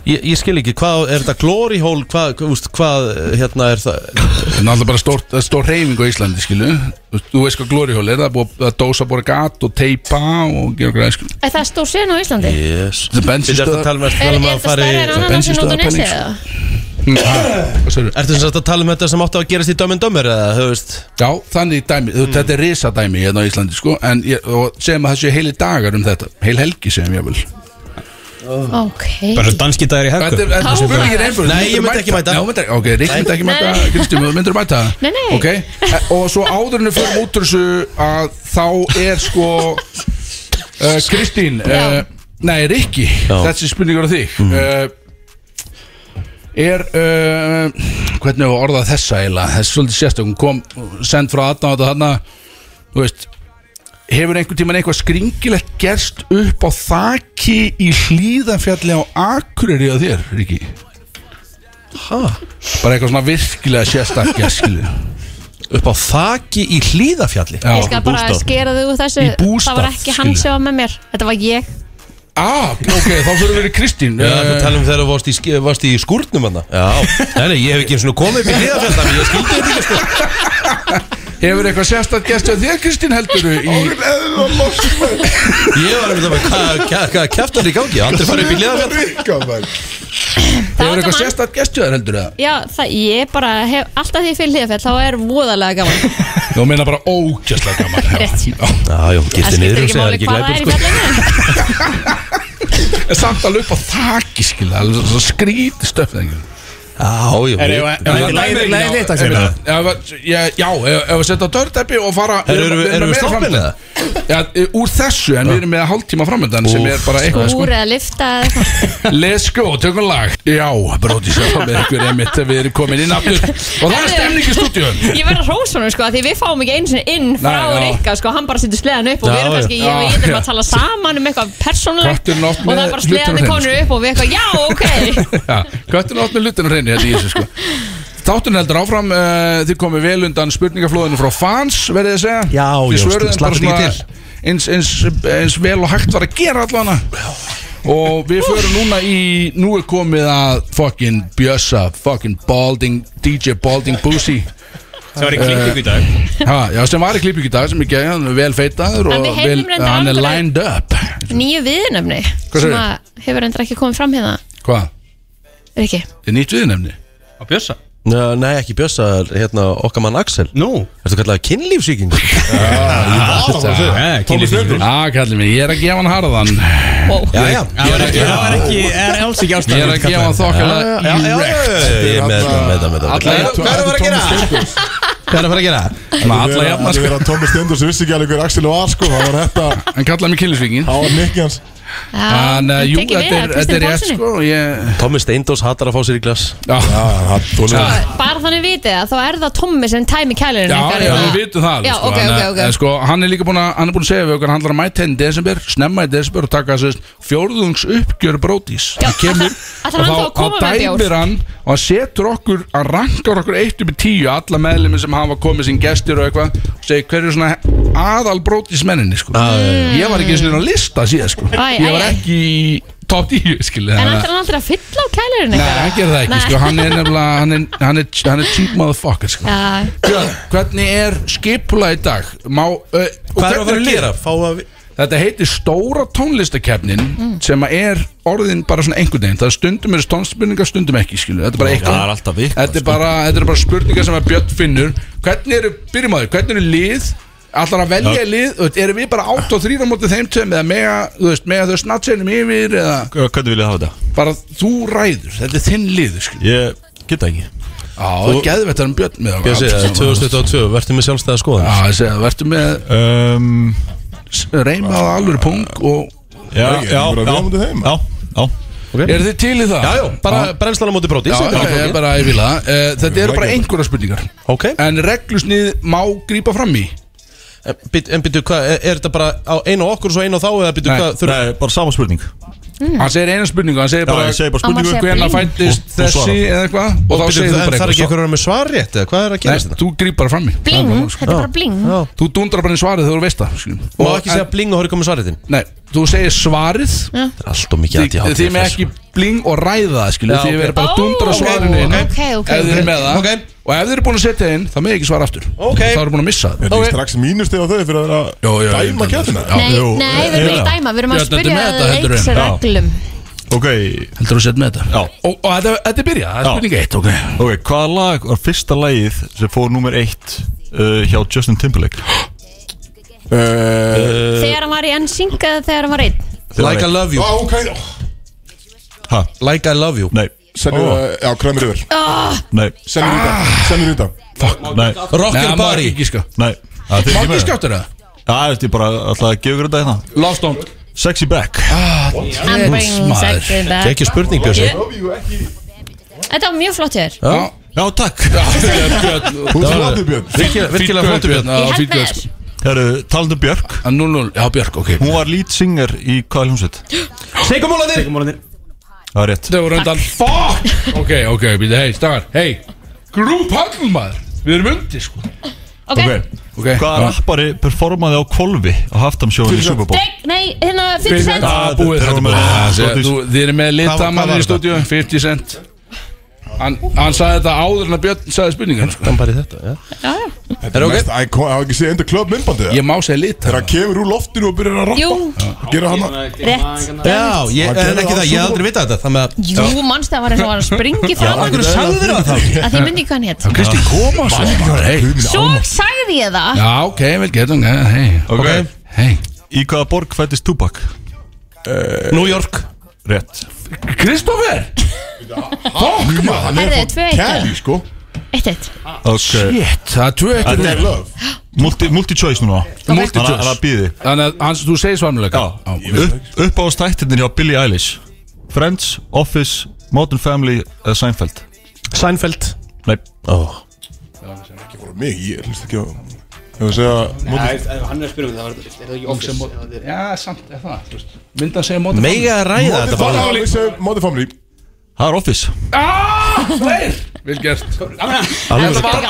[SPEAKER 8] Ég, ég skil ekki, hvað er þetta glory hole, hvað, hvað, úst, hvað hérna er það
[SPEAKER 2] Það er náttúrulega bara stór, það er stór reyfing á Íslandi, skilu Þú- Þú veist hvað glórióli er, það er búið að dósa búið gat og teipa og gera græð, skilu
[SPEAKER 9] Er það stór sen á Íslandi?
[SPEAKER 8] Yes
[SPEAKER 2] Það er bensinstöðar
[SPEAKER 8] tala um að,
[SPEAKER 9] Er,
[SPEAKER 8] tala
[SPEAKER 9] er
[SPEAKER 8] um að
[SPEAKER 9] þetta
[SPEAKER 8] fara
[SPEAKER 9] stærri en
[SPEAKER 8] í
[SPEAKER 9] annan sem út á
[SPEAKER 2] bensínstöðarpæling,
[SPEAKER 9] nesi?
[SPEAKER 2] sko.
[SPEAKER 9] eða?
[SPEAKER 8] Ertu sem sagt að tala um þetta sem átti að gerast í Dömmin Dömmir eða, þú veist
[SPEAKER 2] Já, þannig dæmi, mm. þetta er risadæmi hérna á Íslandi, sko En ég, og segjum að þessi heili dagar um þetta, heil helgi segjum ég vel
[SPEAKER 9] Ok
[SPEAKER 4] danski dagar í
[SPEAKER 2] Þetta er- þetta er spurningin einföld
[SPEAKER 8] Nei, ég myndi ekki mæta
[SPEAKER 2] Já, myndir, ok, Rík myndi ekki mæta,
[SPEAKER 8] Nei.
[SPEAKER 2] Kristjum, þú myndir mæta
[SPEAKER 9] Nei, nei.
[SPEAKER 2] Ok, e- og svo áður en við förum út úr þessu að þá er sko uh, Kristín uh, Nei, Ríkki, Eh, þessi spurningur á þig uh, Er uh, hvernig hefur orðað þessa eiginlega Þessi svolítið sérstök, hún kom send frá aðnátt og þarna Þú veist Hefur einhvern tímann eitthvað skringilegt gerst upp á þaki í hlýðanfjalli á Akureyri á þér, Ríki?
[SPEAKER 8] Hæ?
[SPEAKER 2] Bara eitthvað svona virkilega sérstakt gerst, skilur
[SPEAKER 8] Upp á þaki í hlýðafjalli?
[SPEAKER 9] Ég skal bara skera þig úr þessu
[SPEAKER 2] Í bústað,
[SPEAKER 9] Það var ekki hann
[SPEAKER 2] skilur.
[SPEAKER 9] sem var með mér Þetta var ég
[SPEAKER 2] Ah, ok, þá fyrir við í Kristín Eh,
[SPEAKER 8] Já, þú talum um þegar þú varst í, sk- varst í skúrnum hann Já, nei, nei, ég hef ekki eins og komið upp í hlýðafjall Þannig ég skildi þetta ekki sko
[SPEAKER 2] Hefur eitthvað sérstakt gerst á þér, Kristín, heldur þú? Í...
[SPEAKER 8] Ég var einmitt að með hvað hva, hva, kæftar í gangi Andri farið upp í hlýðafjall
[SPEAKER 2] Hefur eitthvað sérstakt gerst á þér, heldur þú?
[SPEAKER 9] Já, það, ég bara hef Alltaf því ég fyrir hlýðafell Þá er voðalega gaman
[SPEAKER 2] Þú meina bara ógjörslega gaman
[SPEAKER 9] Rétt.
[SPEAKER 8] Já, já,
[SPEAKER 9] Það
[SPEAKER 8] gifti
[SPEAKER 9] skiptir
[SPEAKER 8] niður og
[SPEAKER 9] ekki
[SPEAKER 8] segja
[SPEAKER 9] máli
[SPEAKER 8] ekki
[SPEAKER 9] hvað það er í
[SPEAKER 8] glæpur sko
[SPEAKER 9] fjallinu
[SPEAKER 2] En Samt alveg upp á þaki, skilur Alveg svo skrítið stöfnið, ekki?
[SPEAKER 8] Já, já
[SPEAKER 2] En ef- ef- ef- ef- ef-
[SPEAKER 8] Herru,
[SPEAKER 2] ef- ef- Já, ef ef við setja dörrteppi og fara
[SPEAKER 8] erum við- erum við stoppin eða?
[SPEAKER 2] Já, e, úr þessu, en við erum með hálftíma framöndan sem er bara eitthvað sko
[SPEAKER 9] Skúr eða lifta eða eitthvað.
[SPEAKER 2] Let's go, tökum lag Já, bróti sér með ykkur emitt við erum komin inn aftur og það er stemning í stúdíu
[SPEAKER 9] Ég verður að rósa honum sko Því við fáum ekki einu sinni inn frá
[SPEAKER 2] Nei, já.
[SPEAKER 9] Rikka sko Hann bara setur sleðan upp Og
[SPEAKER 2] Já,
[SPEAKER 9] við erum kannski
[SPEAKER 2] já.
[SPEAKER 9] Ég og ég erum
[SPEAKER 2] Já.
[SPEAKER 9] að tala saman um eitthvað persónulegt
[SPEAKER 2] Kötturinn oft
[SPEAKER 9] Og það
[SPEAKER 2] með
[SPEAKER 9] er bara
[SPEAKER 2] hlutina á
[SPEAKER 9] sleðan
[SPEAKER 2] hreinu,
[SPEAKER 9] konur upp Og við eitthvað Já, ok
[SPEAKER 2] Köttun átt með lutin og reyni þetta í þessu sko Þáttun heldur áfram, uh, þið komið vel undan spurningaflóðinu frá fans, verðið að segja
[SPEAKER 8] Já,
[SPEAKER 2] Þið
[SPEAKER 8] já,
[SPEAKER 2] svöruðu
[SPEAKER 8] slapp
[SPEAKER 2] bara
[SPEAKER 8] ekki
[SPEAKER 2] svona eins, eins, eins vel og hægt var að gera allana Og við förum núna í, nú er komið að fucking Bjössa, fucking Balding, DJ Balding Boosie
[SPEAKER 4] Sem var í klippingu í dag.
[SPEAKER 2] Eh, ha, Já, sem var í klippingu í dag, sem ekki, hann er vel feitaður
[SPEAKER 9] En við
[SPEAKER 2] og
[SPEAKER 9] heyrðum
[SPEAKER 2] vel,
[SPEAKER 9] reyndar
[SPEAKER 2] hann er
[SPEAKER 9] aldrei-
[SPEAKER 2] lined up
[SPEAKER 9] Nýju viðnefni
[SPEAKER 2] Hvað
[SPEAKER 9] Sem
[SPEAKER 2] segirðu?
[SPEAKER 9] að hefur endur ekki komið fram hérna
[SPEAKER 2] Hvað?
[SPEAKER 9] Rikki
[SPEAKER 2] Er nýtt viðnefni?
[SPEAKER 4] Á Bjössa?
[SPEAKER 8] Nei, ekki Bjössa, hérna okkar mann Axel
[SPEAKER 4] Nú
[SPEAKER 8] Ertu kallaði kynlífsíking?
[SPEAKER 2] Já, Já, kallið mig, ég er að gefa hann harðan
[SPEAKER 8] Já, já,
[SPEAKER 4] Það var ekki, það var ekki, það er alls ekki ástæðan
[SPEAKER 2] Ég er að gefa hann þokkala
[SPEAKER 8] Ég er með þetta, með þetta, með þetta
[SPEAKER 2] Alla jafna
[SPEAKER 8] Hvað er að fara að gera? Hvað er að fara að gera?
[SPEAKER 2] Alla jafna
[SPEAKER 1] Það
[SPEAKER 2] sko
[SPEAKER 1] er að Tómi Stendur sem vissi ekki alveg hver Axel var sko Það var þetta,
[SPEAKER 2] Hann kallaði mig killisvíkin
[SPEAKER 1] það var nikki hans
[SPEAKER 2] Hann, eh,
[SPEAKER 9] hann
[SPEAKER 2] jú,
[SPEAKER 9] tekið við
[SPEAKER 2] þetta
[SPEAKER 9] af
[SPEAKER 2] er- þetta er
[SPEAKER 9] Kristjáni
[SPEAKER 2] rétt
[SPEAKER 9] Pálssyni.
[SPEAKER 2] sko og Ég
[SPEAKER 8] Tommi Steindós hatar að fá sér í glas
[SPEAKER 2] Já,
[SPEAKER 1] Það þolir það.
[SPEAKER 9] Bara þannig vitið að þá er það Tommi sem tæmi kælurinn
[SPEAKER 2] já,
[SPEAKER 9] ykkar,
[SPEAKER 2] já,
[SPEAKER 9] hérna.
[SPEAKER 2] við vitum það alveg,
[SPEAKER 9] Já,
[SPEAKER 2] sko,
[SPEAKER 9] ok,
[SPEAKER 2] en,
[SPEAKER 9] ok,
[SPEAKER 2] eh,
[SPEAKER 9] ok
[SPEAKER 2] en, sko, Hann er líka búin að, hann er búin að segja við okkur Hann ætlar að mæta henni í desember, snemma í desember Og taka þessu fjórðungs uppgjör brótis
[SPEAKER 9] Já,
[SPEAKER 2] Hann kemur
[SPEAKER 9] ætlar hann þá að koma
[SPEAKER 2] og
[SPEAKER 9] með bjór?
[SPEAKER 2] dæmir hann Og hann setur okkur, hann rankar okkur Eitt upp í tíu, alla meðlumir sem hafa komið Sinn gestir og eitthvað Og segir hverju svona aðal brótis menninni sko. Ég var ekki eins og hérna að lista síðan sko.
[SPEAKER 9] Æ,
[SPEAKER 2] Ég var
[SPEAKER 9] æ, æ.
[SPEAKER 2] ekki í top 10 skilur,
[SPEAKER 9] En
[SPEAKER 2] þannig að-
[SPEAKER 9] ætlar hann aldrei að fylla á kælurinn
[SPEAKER 2] Nei,
[SPEAKER 9] ykkar?
[SPEAKER 2] hann gerði það ekki,
[SPEAKER 9] Nei.
[SPEAKER 2] sko, hann er nefnilega hann er, hann er, hann er cheap motherfucker, sko
[SPEAKER 9] Já,
[SPEAKER 2] Björn, hvernig er skipula í dag? Má, uh,
[SPEAKER 8] Hvað er að fara að gera? Fá að
[SPEAKER 2] Þetta heitir stóra tónlistakefnin sem að er orðin bara svona einhvern veginn það er stundum er tónstspurningar, stundum ekki skilu. þetta er bara eitthvað
[SPEAKER 8] það er alltaf eitthvað, sko.
[SPEAKER 2] þetta, er bara, þetta er bara spurningar sem að Björn finnur hvernig eru, byrjum á því, hvernig eru lið allar að velja lið, þú veist, erum við bara 8 og 3 á móti þeim tveim eða mega, þú veist, mega þau snattseinum yfir eða
[SPEAKER 7] Hvernig vil ég hafa þetta?
[SPEAKER 2] bara þú ræður, þetta er þinn lið skilu.
[SPEAKER 7] Ég geta ekki
[SPEAKER 2] Já, það er geðvættar um Björn með okkur.
[SPEAKER 8] Ég sé það, 2022, verður með sjálfstæða skoðan
[SPEAKER 2] Já, ég segi það, verður með
[SPEAKER 7] um,
[SPEAKER 2] reymaða alvöru pung og
[SPEAKER 7] Já,
[SPEAKER 1] Ég er
[SPEAKER 7] já,
[SPEAKER 1] bara að vera á móti
[SPEAKER 7] já,
[SPEAKER 1] þeim.
[SPEAKER 7] já, já
[SPEAKER 2] er þið til í það?
[SPEAKER 8] Já, já, bara brennslan á móti bróti
[SPEAKER 2] Já, ég er bara, ég vil það Eh, Þetta eru bara einhverja spurningar
[SPEAKER 8] hérna. Ok,
[SPEAKER 2] En reglusnið má grípa fram í
[SPEAKER 8] en být- en býttu, hvað, er- er þetta bara á einu á okkur og svo einu á þá eða býttu
[SPEAKER 2] Nei.
[SPEAKER 8] hvað þurfa
[SPEAKER 7] Nei, bara sama spurning
[SPEAKER 2] Hann segir eina spurningu, hann segir
[SPEAKER 7] Já,
[SPEAKER 2] bara
[SPEAKER 7] ég segi bara
[SPEAKER 9] Amma
[SPEAKER 7] spurningu
[SPEAKER 9] sé-
[SPEAKER 2] Hvenær fættist
[SPEAKER 7] Og- og
[SPEAKER 2] þessi
[SPEAKER 7] svara.
[SPEAKER 2] eða eitthvað Og þá
[SPEAKER 8] Býttu,
[SPEAKER 2] segir þú
[SPEAKER 8] en
[SPEAKER 2] bara
[SPEAKER 8] Það er
[SPEAKER 2] eitthvað
[SPEAKER 8] ekki einhver að vera með svar rétt eða hvað er að gerast hérna?
[SPEAKER 2] Nei,
[SPEAKER 8] þetta?
[SPEAKER 2] þú grípar bara fram í
[SPEAKER 9] bling, þetta er bara bling
[SPEAKER 8] Já.
[SPEAKER 2] Þú dundrar bara inn svarið þegar þú veist það skilur.
[SPEAKER 8] Má
[SPEAKER 2] Og-
[SPEAKER 8] ekki segja bling og horið komið svarið þinn
[SPEAKER 2] en- Nei, þú segir svarið
[SPEAKER 8] Það er alltof mikið
[SPEAKER 2] Þið
[SPEAKER 8] ADHD
[SPEAKER 2] þið með
[SPEAKER 8] þessu.
[SPEAKER 2] ekki bling og ræða það skilju
[SPEAKER 8] Já,
[SPEAKER 2] Þið
[SPEAKER 8] ok.
[SPEAKER 2] verður bara að dundra
[SPEAKER 9] Ó,
[SPEAKER 2] svarinu inn
[SPEAKER 9] ok, ok,
[SPEAKER 2] Ef þið
[SPEAKER 9] ok.
[SPEAKER 2] eru með það
[SPEAKER 8] Ok.
[SPEAKER 2] Og ef þið eru búin að setja það inn, það með ekki svara aftur
[SPEAKER 8] Ok.
[SPEAKER 2] Það eru búin að missa það
[SPEAKER 1] Er
[SPEAKER 8] Ok.
[SPEAKER 1] ekki strax mínustið á þau fyrir að vera
[SPEAKER 2] Já, já,
[SPEAKER 1] að
[SPEAKER 2] ég
[SPEAKER 1] dæma
[SPEAKER 2] veit
[SPEAKER 1] kjæðina?
[SPEAKER 2] það.
[SPEAKER 9] Nei,
[SPEAKER 7] jú,
[SPEAKER 9] nei, við erum ekki
[SPEAKER 7] eiginlega.
[SPEAKER 9] að dæma, við erum að
[SPEAKER 2] Björn, ertu
[SPEAKER 9] spurja
[SPEAKER 2] með þetta, heldur
[SPEAKER 9] leiks
[SPEAKER 2] en? Já.
[SPEAKER 9] reglum
[SPEAKER 7] Ok,
[SPEAKER 2] Heldur þú að setja með þetta?
[SPEAKER 7] Já.
[SPEAKER 2] Og, og þetta, þetta er byrjað, það er
[SPEAKER 7] Já.
[SPEAKER 2] spurning eitt, ok
[SPEAKER 7] ok, hvaða lag var fyrsta lagið sem fór nummer eitt uh, hjá Justin Timberlake?
[SPEAKER 1] Eh,
[SPEAKER 9] Þegar hann var í NSYNC eða þegar hann var einn
[SPEAKER 8] Like I love you
[SPEAKER 1] Á, ok
[SPEAKER 7] Hæ?
[SPEAKER 8] Like I love you
[SPEAKER 7] Nei,
[SPEAKER 1] Sennu, já, kræmur yfir
[SPEAKER 7] nei,
[SPEAKER 1] Sennu rýta, sennu rýta
[SPEAKER 7] nei,
[SPEAKER 8] Rock
[SPEAKER 2] Nei,
[SPEAKER 8] and
[SPEAKER 2] má ekki
[SPEAKER 8] body
[SPEAKER 2] gíska
[SPEAKER 7] nei
[SPEAKER 2] Má
[SPEAKER 7] Það þið
[SPEAKER 2] ekki
[SPEAKER 7] með það?
[SPEAKER 2] skjáttur það?
[SPEAKER 7] Það er bara alltaf að gefa ykkur þetta hérna
[SPEAKER 2] Love Stone
[SPEAKER 7] Sexy Back
[SPEAKER 9] Hann brings
[SPEAKER 2] maður.
[SPEAKER 9] ekki það
[SPEAKER 8] Ekki spurning Björsi
[SPEAKER 9] Þetta var mjög flott hér
[SPEAKER 2] Já,
[SPEAKER 5] Já, takk
[SPEAKER 7] Hún er flottur, Björn. Virkilega- virkilega flottur, Björn. Ég held
[SPEAKER 2] sko.
[SPEAKER 7] með þér.
[SPEAKER 2] Herru, talandu Björk
[SPEAKER 7] Já,
[SPEAKER 2] 0-0, já Björk, ok
[SPEAKER 7] um Hún var lead singer í hvaða hljómsveit?
[SPEAKER 8] Seigumólanir
[SPEAKER 4] Seigumólanir
[SPEAKER 7] Það var rétt
[SPEAKER 2] Það voru undan Fuck Ok, ok, býta, hei, stafar Hei, grúp maður Við erum undir sko
[SPEAKER 9] Ok,
[SPEAKER 2] okay.
[SPEAKER 7] Hvaða rappari performaði á kvolfi á Haftamsjóðin í Super Bowl?
[SPEAKER 9] Dreg, nei, hérna 50 cent
[SPEAKER 2] Það er búið, þetta er
[SPEAKER 7] Þetta er bara-
[SPEAKER 2] búið Þú- Þið eru með
[SPEAKER 7] Hvað- hvað
[SPEAKER 2] litamann
[SPEAKER 7] var
[SPEAKER 2] í
[SPEAKER 7] þetta?
[SPEAKER 2] stúdíu 50 cent Hann, hann sagði þetta áður en að Björn sagði spurningan sko.
[SPEAKER 8] Hann bara í þetta, já
[SPEAKER 9] Já, já
[SPEAKER 1] Þetta er ok Það hafa ekki séð enda klub myndbandið
[SPEAKER 2] Ég má segja lit
[SPEAKER 1] Þegar hann kemur úr loftinu og byrjar að
[SPEAKER 9] Jú.
[SPEAKER 1] rappa Og gera hann
[SPEAKER 9] Rétt
[SPEAKER 5] Já, ég, en
[SPEAKER 1] Hann gerði
[SPEAKER 5] ekki það,
[SPEAKER 1] það á
[SPEAKER 5] ég hef
[SPEAKER 1] Super
[SPEAKER 5] aldrei vitað þetta Þannig að
[SPEAKER 9] Jú, mannstu að var eins og var að springi fram
[SPEAKER 5] af hverju sagði þér það þá?
[SPEAKER 9] Að því myndi ekki hvað hann hétt
[SPEAKER 2] Kristín koma svo
[SPEAKER 9] Svo sagði ég það
[SPEAKER 2] Já, ok, vel getum Hei,
[SPEAKER 7] Ok
[SPEAKER 2] Hei
[SPEAKER 7] Í hvaða borg fættist Tupac?
[SPEAKER 8] New York
[SPEAKER 7] Rétt
[SPEAKER 2] Kristoffer Fokk
[SPEAKER 9] hann er Herðu, frá 2-1. Cali,
[SPEAKER 1] sko
[SPEAKER 9] Eitt, eitt
[SPEAKER 7] Ok
[SPEAKER 2] Shit, það er tvö
[SPEAKER 7] Þetta er
[SPEAKER 2] eftir
[SPEAKER 7] Multi- Multi-choice núna
[SPEAKER 2] Multichoice.
[SPEAKER 7] Hann er að býði
[SPEAKER 2] Þannig að hans, þú segir svanuleika
[SPEAKER 7] Upp á stættirnir hjá Billie Eilish Friends, Office, Modern Family eða Seinfeld
[SPEAKER 8] Seinfeld
[SPEAKER 7] Nei
[SPEAKER 8] oh.
[SPEAKER 1] Bara mig, ég hlust ekki á Ég var að segja móti-
[SPEAKER 4] Hann er að spyrja um það, er það ekki office?
[SPEAKER 2] Já, samt, er það þú veist. Mynda að segja móti
[SPEAKER 8] Mega að ræða þetta bara
[SPEAKER 1] Móti- Við segjum Móti Family
[SPEAKER 7] Það er Office
[SPEAKER 2] Þeir, vel gert Þetta var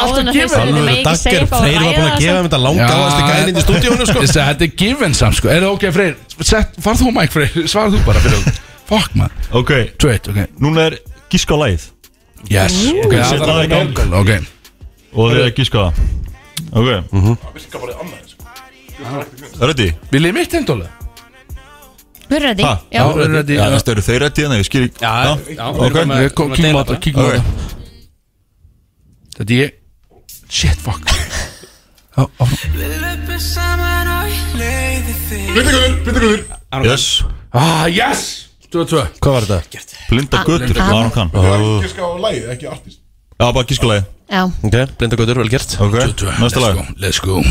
[SPEAKER 2] alltaf gefið
[SPEAKER 9] Alveg
[SPEAKER 8] Alveg dagger, þeir var búin að gefa mér þetta langa ástu gæðin inn í stúdíónu sko
[SPEAKER 2] Þessi, þetta er gifin samt sko Er það ok, Freyr? Sett, farð þú mæk, Freyr Svarð þú bara fyrir Fuck, man
[SPEAKER 7] Ok,
[SPEAKER 2] Tveit, ok
[SPEAKER 7] núna er gíska á lagið
[SPEAKER 2] Yes Ok,
[SPEAKER 7] Ég set
[SPEAKER 2] það
[SPEAKER 7] það í
[SPEAKER 2] er
[SPEAKER 7] gang.
[SPEAKER 2] gang Ok
[SPEAKER 7] Og þið er gíska á það Ok Mhm. Ready?
[SPEAKER 2] Viljið mitt heimdóla?
[SPEAKER 9] Við erum ready
[SPEAKER 7] Ha?
[SPEAKER 9] Já,
[SPEAKER 7] Já,
[SPEAKER 2] við erum ready.
[SPEAKER 7] Já, næstu eru þeir ready en ég skil ekki Já,
[SPEAKER 4] við erum
[SPEAKER 7] ok
[SPEAKER 4] með-
[SPEAKER 2] Við kom- Kíkjum á þetta Kíkjum á
[SPEAKER 7] Ok.
[SPEAKER 2] þetta Þetta er ég Shit, fuck Já, áfram.
[SPEAKER 1] Bindingur, bindingur
[SPEAKER 7] Yes
[SPEAKER 2] Ah, yes 2-2
[SPEAKER 8] Hvað var þetta?
[SPEAKER 7] Blinda götur,
[SPEAKER 9] Ah.
[SPEAKER 7] hvað hann kann
[SPEAKER 1] Það er ekki ská á lagið, ekki artist
[SPEAKER 7] Já, bara gíska á lagið
[SPEAKER 9] já
[SPEAKER 8] Ok, blinda gautur, vel gert
[SPEAKER 7] Ok,
[SPEAKER 2] 2-2
[SPEAKER 7] næsta lag
[SPEAKER 2] Let's go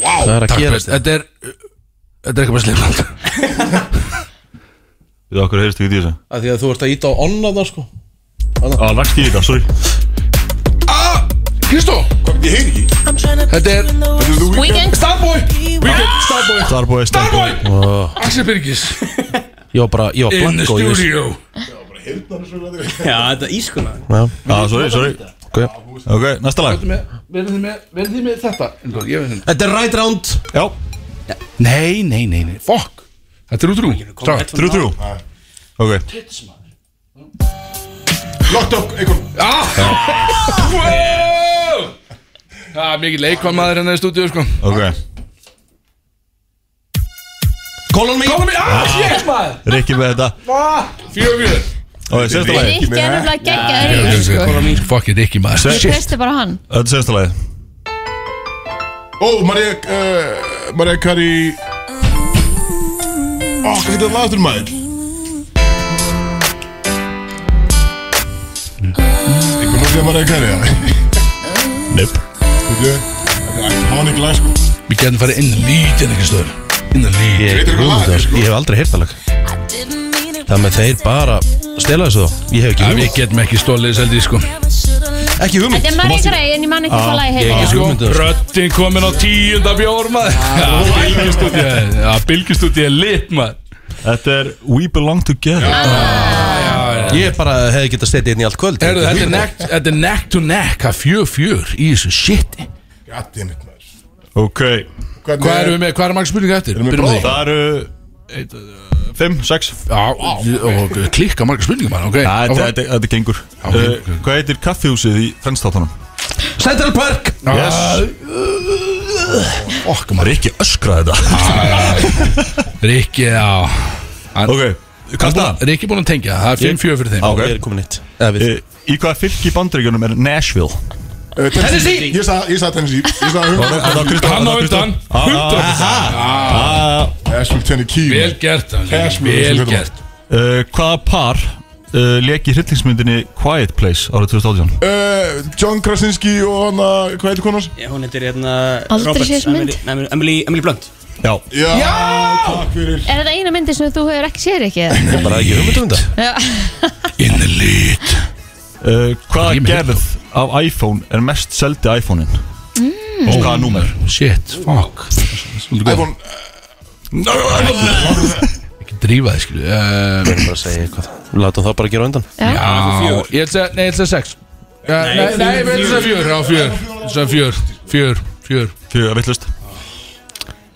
[SPEAKER 2] Wow
[SPEAKER 8] Það er að
[SPEAKER 2] Takk,
[SPEAKER 8] gera
[SPEAKER 2] Björn. Þetta er Þetta er ekki bara slefland
[SPEAKER 7] Við okkur heyrist ekki í þessu
[SPEAKER 5] Af Því að þú ert að íta á onna það sko
[SPEAKER 7] Á, lagst í þetta, sorry
[SPEAKER 2] Kristó
[SPEAKER 1] Hvað ég heyri ekki?
[SPEAKER 2] Þetta er
[SPEAKER 1] Þetta er þú
[SPEAKER 9] Weekend
[SPEAKER 2] Starboy Weekend Starboy
[SPEAKER 8] Starboy
[SPEAKER 2] Starboy
[SPEAKER 8] Ó,
[SPEAKER 2] Axel Birgis
[SPEAKER 8] Ég var bara, ég var
[SPEAKER 2] In the
[SPEAKER 8] blanko ég vissi-
[SPEAKER 2] studio
[SPEAKER 4] Já, þetta er ískuna
[SPEAKER 8] Já,
[SPEAKER 7] Já, Ah, sorry, sorry
[SPEAKER 8] ok
[SPEAKER 7] Ok, næsta lag
[SPEAKER 2] Verðið þið með Verðið þið með þetta Ingvar, ég veit
[SPEAKER 5] Þetta er right round
[SPEAKER 7] Já,
[SPEAKER 2] þetta. Nei, nei, nei, nei Fuck Þetta er útrú Start
[SPEAKER 7] 3-3 Ok
[SPEAKER 1] Locked up, einhvern
[SPEAKER 2] Ah! Wow Það er mikið leikvamaður hérna í stúdíu sko
[SPEAKER 7] Ok
[SPEAKER 5] Colon me
[SPEAKER 2] Kóla mig Ah, shit maður
[SPEAKER 7] Rikki með þetta
[SPEAKER 2] Fjögur fjögur
[SPEAKER 7] Ok, sensta lagi
[SPEAKER 9] Rikki er nefnilega geggjaður í þessu, sko.
[SPEAKER 2] Fuck it, ekki maður
[SPEAKER 9] Ég treysti bara á hann
[SPEAKER 7] Þetta er sensta lagi
[SPEAKER 1] Ó, Maria, uh, Maria Kari Ó, hvað getur það lagastur maður? Einhvern veginn að Maria Kari, það?
[SPEAKER 7] Nip
[SPEAKER 1] Þetta er- þetta er iconic lag, sko
[SPEAKER 2] Við getum farið inn í lítið einhvers stöður Inn í lítið
[SPEAKER 1] Veitir hvað lag þetta er, sko?
[SPEAKER 8] Ég hef aldrei heyrt það lag Það með þeir bara stela þessu þá Ég hef ekki
[SPEAKER 2] Við getum ekki stólið seldi sko
[SPEAKER 5] Ekki hugmynd
[SPEAKER 9] Þetta er Marie Gray en ég man ekki hvað lagi
[SPEAKER 8] ég
[SPEAKER 9] heitir
[SPEAKER 8] ekki
[SPEAKER 2] Sko,
[SPEAKER 8] hugmynd um það.
[SPEAKER 2] Röttin komin á tíunda bjór maður Bilgjastúti Já, bilgjastúti er lit maður
[SPEAKER 7] Þetta er We Belong Together
[SPEAKER 8] Ég bara hefði getað setið inn í allt kvöld
[SPEAKER 2] Heyrðu, þetta er neck- þetta er neck to neck Það fjör fjör í þessu shiti
[SPEAKER 1] Goddammit, maður
[SPEAKER 7] Ok
[SPEAKER 1] Hvernig
[SPEAKER 2] Hvað erum við með, hvað er margir spurninga eftir?
[SPEAKER 1] Erum við
[SPEAKER 2] Byrjum á því.
[SPEAKER 7] Það eru 5, 6
[SPEAKER 2] Já, og klikka margir spurninga maður, ok
[SPEAKER 7] Þetta
[SPEAKER 2] áfram.
[SPEAKER 7] þetta- þetta gengur
[SPEAKER 2] ok,
[SPEAKER 7] Uh,
[SPEAKER 2] ok.
[SPEAKER 7] Hvað heitir kaffihúsið í frendstáttunum?
[SPEAKER 5] Central Park
[SPEAKER 2] Ah,
[SPEAKER 7] Okk, maður ekki öskra þetta
[SPEAKER 2] Rikki, Ah, já
[SPEAKER 7] Ok, kasta það
[SPEAKER 2] Rikki búin að tengja, það er 5-4 fyrir þeim
[SPEAKER 7] Á, ok.
[SPEAKER 8] Ég er komin hitt Eða við
[SPEAKER 7] Uh, Í hvaða fylki í bandaríkjunum er Nashville?
[SPEAKER 1] Uh, Tennessee Ég sagði ég sagði Tennessee Ég sagði
[SPEAKER 7] Þetta var
[SPEAKER 1] Hungar
[SPEAKER 7] Kristó-
[SPEAKER 2] Hann á
[SPEAKER 7] þetta var Kristó.
[SPEAKER 2] undan,
[SPEAKER 7] Ah, ah,
[SPEAKER 2] 100%
[SPEAKER 1] Asheville, Tennessee
[SPEAKER 2] Vel gert, hann, Rikki,
[SPEAKER 1] Cashmere,
[SPEAKER 2] vel
[SPEAKER 1] sem við
[SPEAKER 2] gert
[SPEAKER 7] Uh, Hvaða par uh, leki hryllingsmyndinni Quiet Place árið 2018?
[SPEAKER 1] Uh, John Krasinski og hann að, hvað heitir konars?
[SPEAKER 4] Hún heitir hérna
[SPEAKER 9] Aldrei
[SPEAKER 4] Roberts,
[SPEAKER 9] séð þessa mynd.
[SPEAKER 4] Emily- Emily- Emily Emily Blunt
[SPEAKER 7] Já,
[SPEAKER 1] Já, takk fyrir
[SPEAKER 9] Er þetta eina myndi sem þú hefur ekki sér ekki?
[SPEAKER 8] Ég bara hef ekki hugmynd um þetta
[SPEAKER 9] Já
[SPEAKER 2] In the lead
[SPEAKER 7] uh, Hvaða gerð af iPhone er mest seldi iPhone-in? Mm. Og hvaða númer?
[SPEAKER 2] Shit, fuck
[SPEAKER 7] iPhone
[SPEAKER 2] No, Ekki drífa þið skilu Við
[SPEAKER 8] erum bara að segja eitthvað Látum það bara gera á undan
[SPEAKER 2] Já, ég ætla að, nei, ég ætla að sex Eh, Nei, nei, við ætlum að fjör, já, fjör Svo fjör, fjör, fjör
[SPEAKER 7] Fjör, vittlust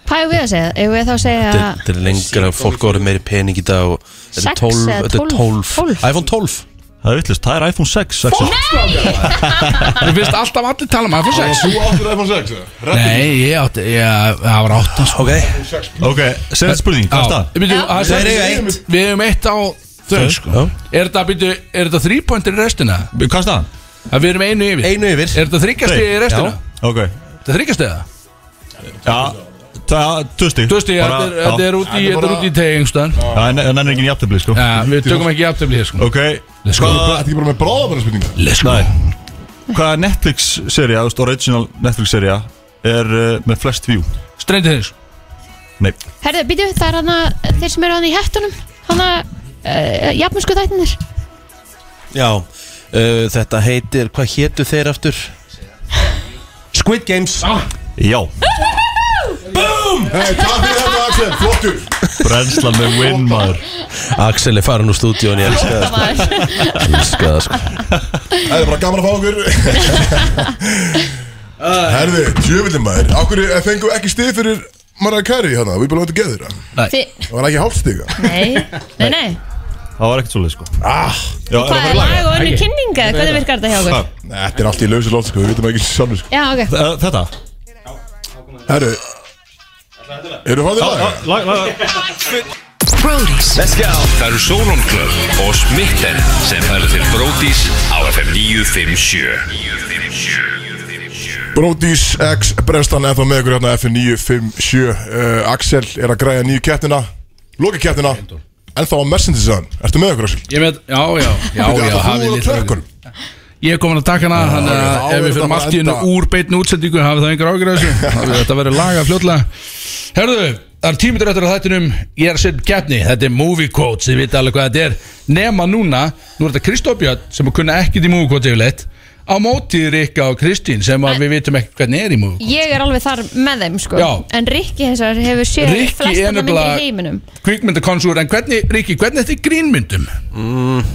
[SPEAKER 9] Hvað er við að segja? Eða við þá að segja
[SPEAKER 8] Þetta er lengra, fólk voru meiri pening í dag og Þetta er
[SPEAKER 9] Sex
[SPEAKER 8] 12,
[SPEAKER 9] eða
[SPEAKER 8] þetta er
[SPEAKER 9] 12.
[SPEAKER 8] 12 iPhone 12
[SPEAKER 7] Það er vittlust, það er iPhone 6
[SPEAKER 2] Þú finnst alltaf allir tala um iPhone 6
[SPEAKER 1] Þú áttir iPhone 6 eða?
[SPEAKER 2] Nei, ég átti, ég, það var átta sko.
[SPEAKER 7] Ok Ok, segðu spurning, hvað er
[SPEAKER 2] Eh, Já, ég
[SPEAKER 7] það?
[SPEAKER 2] myndi- það?
[SPEAKER 7] Já. Þeir eiga
[SPEAKER 2] er eitt Við hefum eitt á þau
[SPEAKER 7] Þau,
[SPEAKER 2] sko Er þetta, byrju, er þetta þrípointir í restina?
[SPEAKER 7] Hvað er það?
[SPEAKER 2] Við erum einu yfir
[SPEAKER 8] Einu yfir
[SPEAKER 2] Er þetta þryggjastið í restina?
[SPEAKER 7] Ok
[SPEAKER 2] Þetta er þryggjastið það?
[SPEAKER 7] Já, það, tvösti
[SPEAKER 2] Tvösti, þetta er- þetta er út í- þetta er út í tegingstæðan
[SPEAKER 7] Það er nefnir ekki jafntöfli, sko
[SPEAKER 2] Já, við tökum ekki jafntefli hér sko
[SPEAKER 7] Ok,
[SPEAKER 2] Let's go.
[SPEAKER 7] hvað-
[SPEAKER 1] Þetta er ekki bara með bráðabæra spurninga
[SPEAKER 2] Let's go
[SPEAKER 7] Hvaða Netflix-serja, þú veist, original Netflix-serja er uh, með flest view?
[SPEAKER 2] Stranger Things
[SPEAKER 7] Nei
[SPEAKER 9] Herðu, býtu, það er hana þeir sem eru hana í hættunum Hana, uh, jafnmjösku þættinir
[SPEAKER 8] Já, uh, þetta heitir, hvað hétu þeir aftur? Squid Games
[SPEAKER 7] Já
[SPEAKER 1] Búm! Hei, takk fyrir þetta Axel, flottur
[SPEAKER 7] Brennslan með win, maður
[SPEAKER 8] Axel er farin úr stúdíón, ég elska það sko. Ég elska það sko
[SPEAKER 1] Það er bara gaman að fá okkur Herði, tjöfillin maður Akkur fengum við ekki stið fyrir Mariah Carey hana, við bara látum geður það
[SPEAKER 9] Þi-
[SPEAKER 1] Það var ekki hálfstiga
[SPEAKER 9] Nei, nei, nei
[SPEAKER 7] Það var ekkert svolítið, sko
[SPEAKER 1] ah,
[SPEAKER 7] Já,
[SPEAKER 9] Hvað er lag og önnu kynninga? Hvernig virkar þetta hjá okkur?
[SPEAKER 1] Nei, Þetta er allt í lausi lót, sko, við veitum ekki sjálfur sko.
[SPEAKER 9] Já, ok
[SPEAKER 7] Þetta?
[SPEAKER 1] Herru Eru það þér lag?
[SPEAKER 7] Lag, lag
[SPEAKER 6] Brody's Let's go Það eru Solon Club og Smitten sem færa til Brody's á FM 957
[SPEAKER 1] Brodís X Brestan eða með ykkur hérna F957 uh, Axel er að græja nýju kettina Loki kettina En þá á Mercedes-an, ertu með okkur Axel?
[SPEAKER 2] Ég veit, já, já,
[SPEAKER 1] Bíddu,
[SPEAKER 2] já, já,
[SPEAKER 1] ætlar þú
[SPEAKER 2] hafið
[SPEAKER 1] að
[SPEAKER 2] litla
[SPEAKER 1] taka
[SPEAKER 2] röggur. Ég er komin að taka hana, þannig
[SPEAKER 1] já, þá
[SPEAKER 2] að ef
[SPEAKER 1] er þetta
[SPEAKER 2] við fyrir
[SPEAKER 1] bara
[SPEAKER 2] allt í hennu
[SPEAKER 1] enda.
[SPEAKER 2] úr beitni útsendingu hafið það engar ágjur af þessu Hafið Þetta verður lagað fljótlega Herðu, það er tímitur eftir að þættinum Ég er að setja upp keppni, þetta er movie quotes Þið vita alveg hvað þetta er Nema núna, nú er þetta Kristóf Björn sem er kunna ekkit í movie quotes yfirleitt Á mótið Rikka og Kristín sem að við vitum ekki hvernig er í movie
[SPEAKER 9] Ég er alveg þar með þeim, sko
[SPEAKER 2] Já.
[SPEAKER 9] En Rikki hins vegar hefur séð
[SPEAKER 2] Rikki er
[SPEAKER 9] flestana myndir
[SPEAKER 2] nefnilega-
[SPEAKER 9] í heiminum
[SPEAKER 2] Kvíkmyndakonsúr, en hvernig, Rikki, hvernig er þetta í grínmyndum? Mm.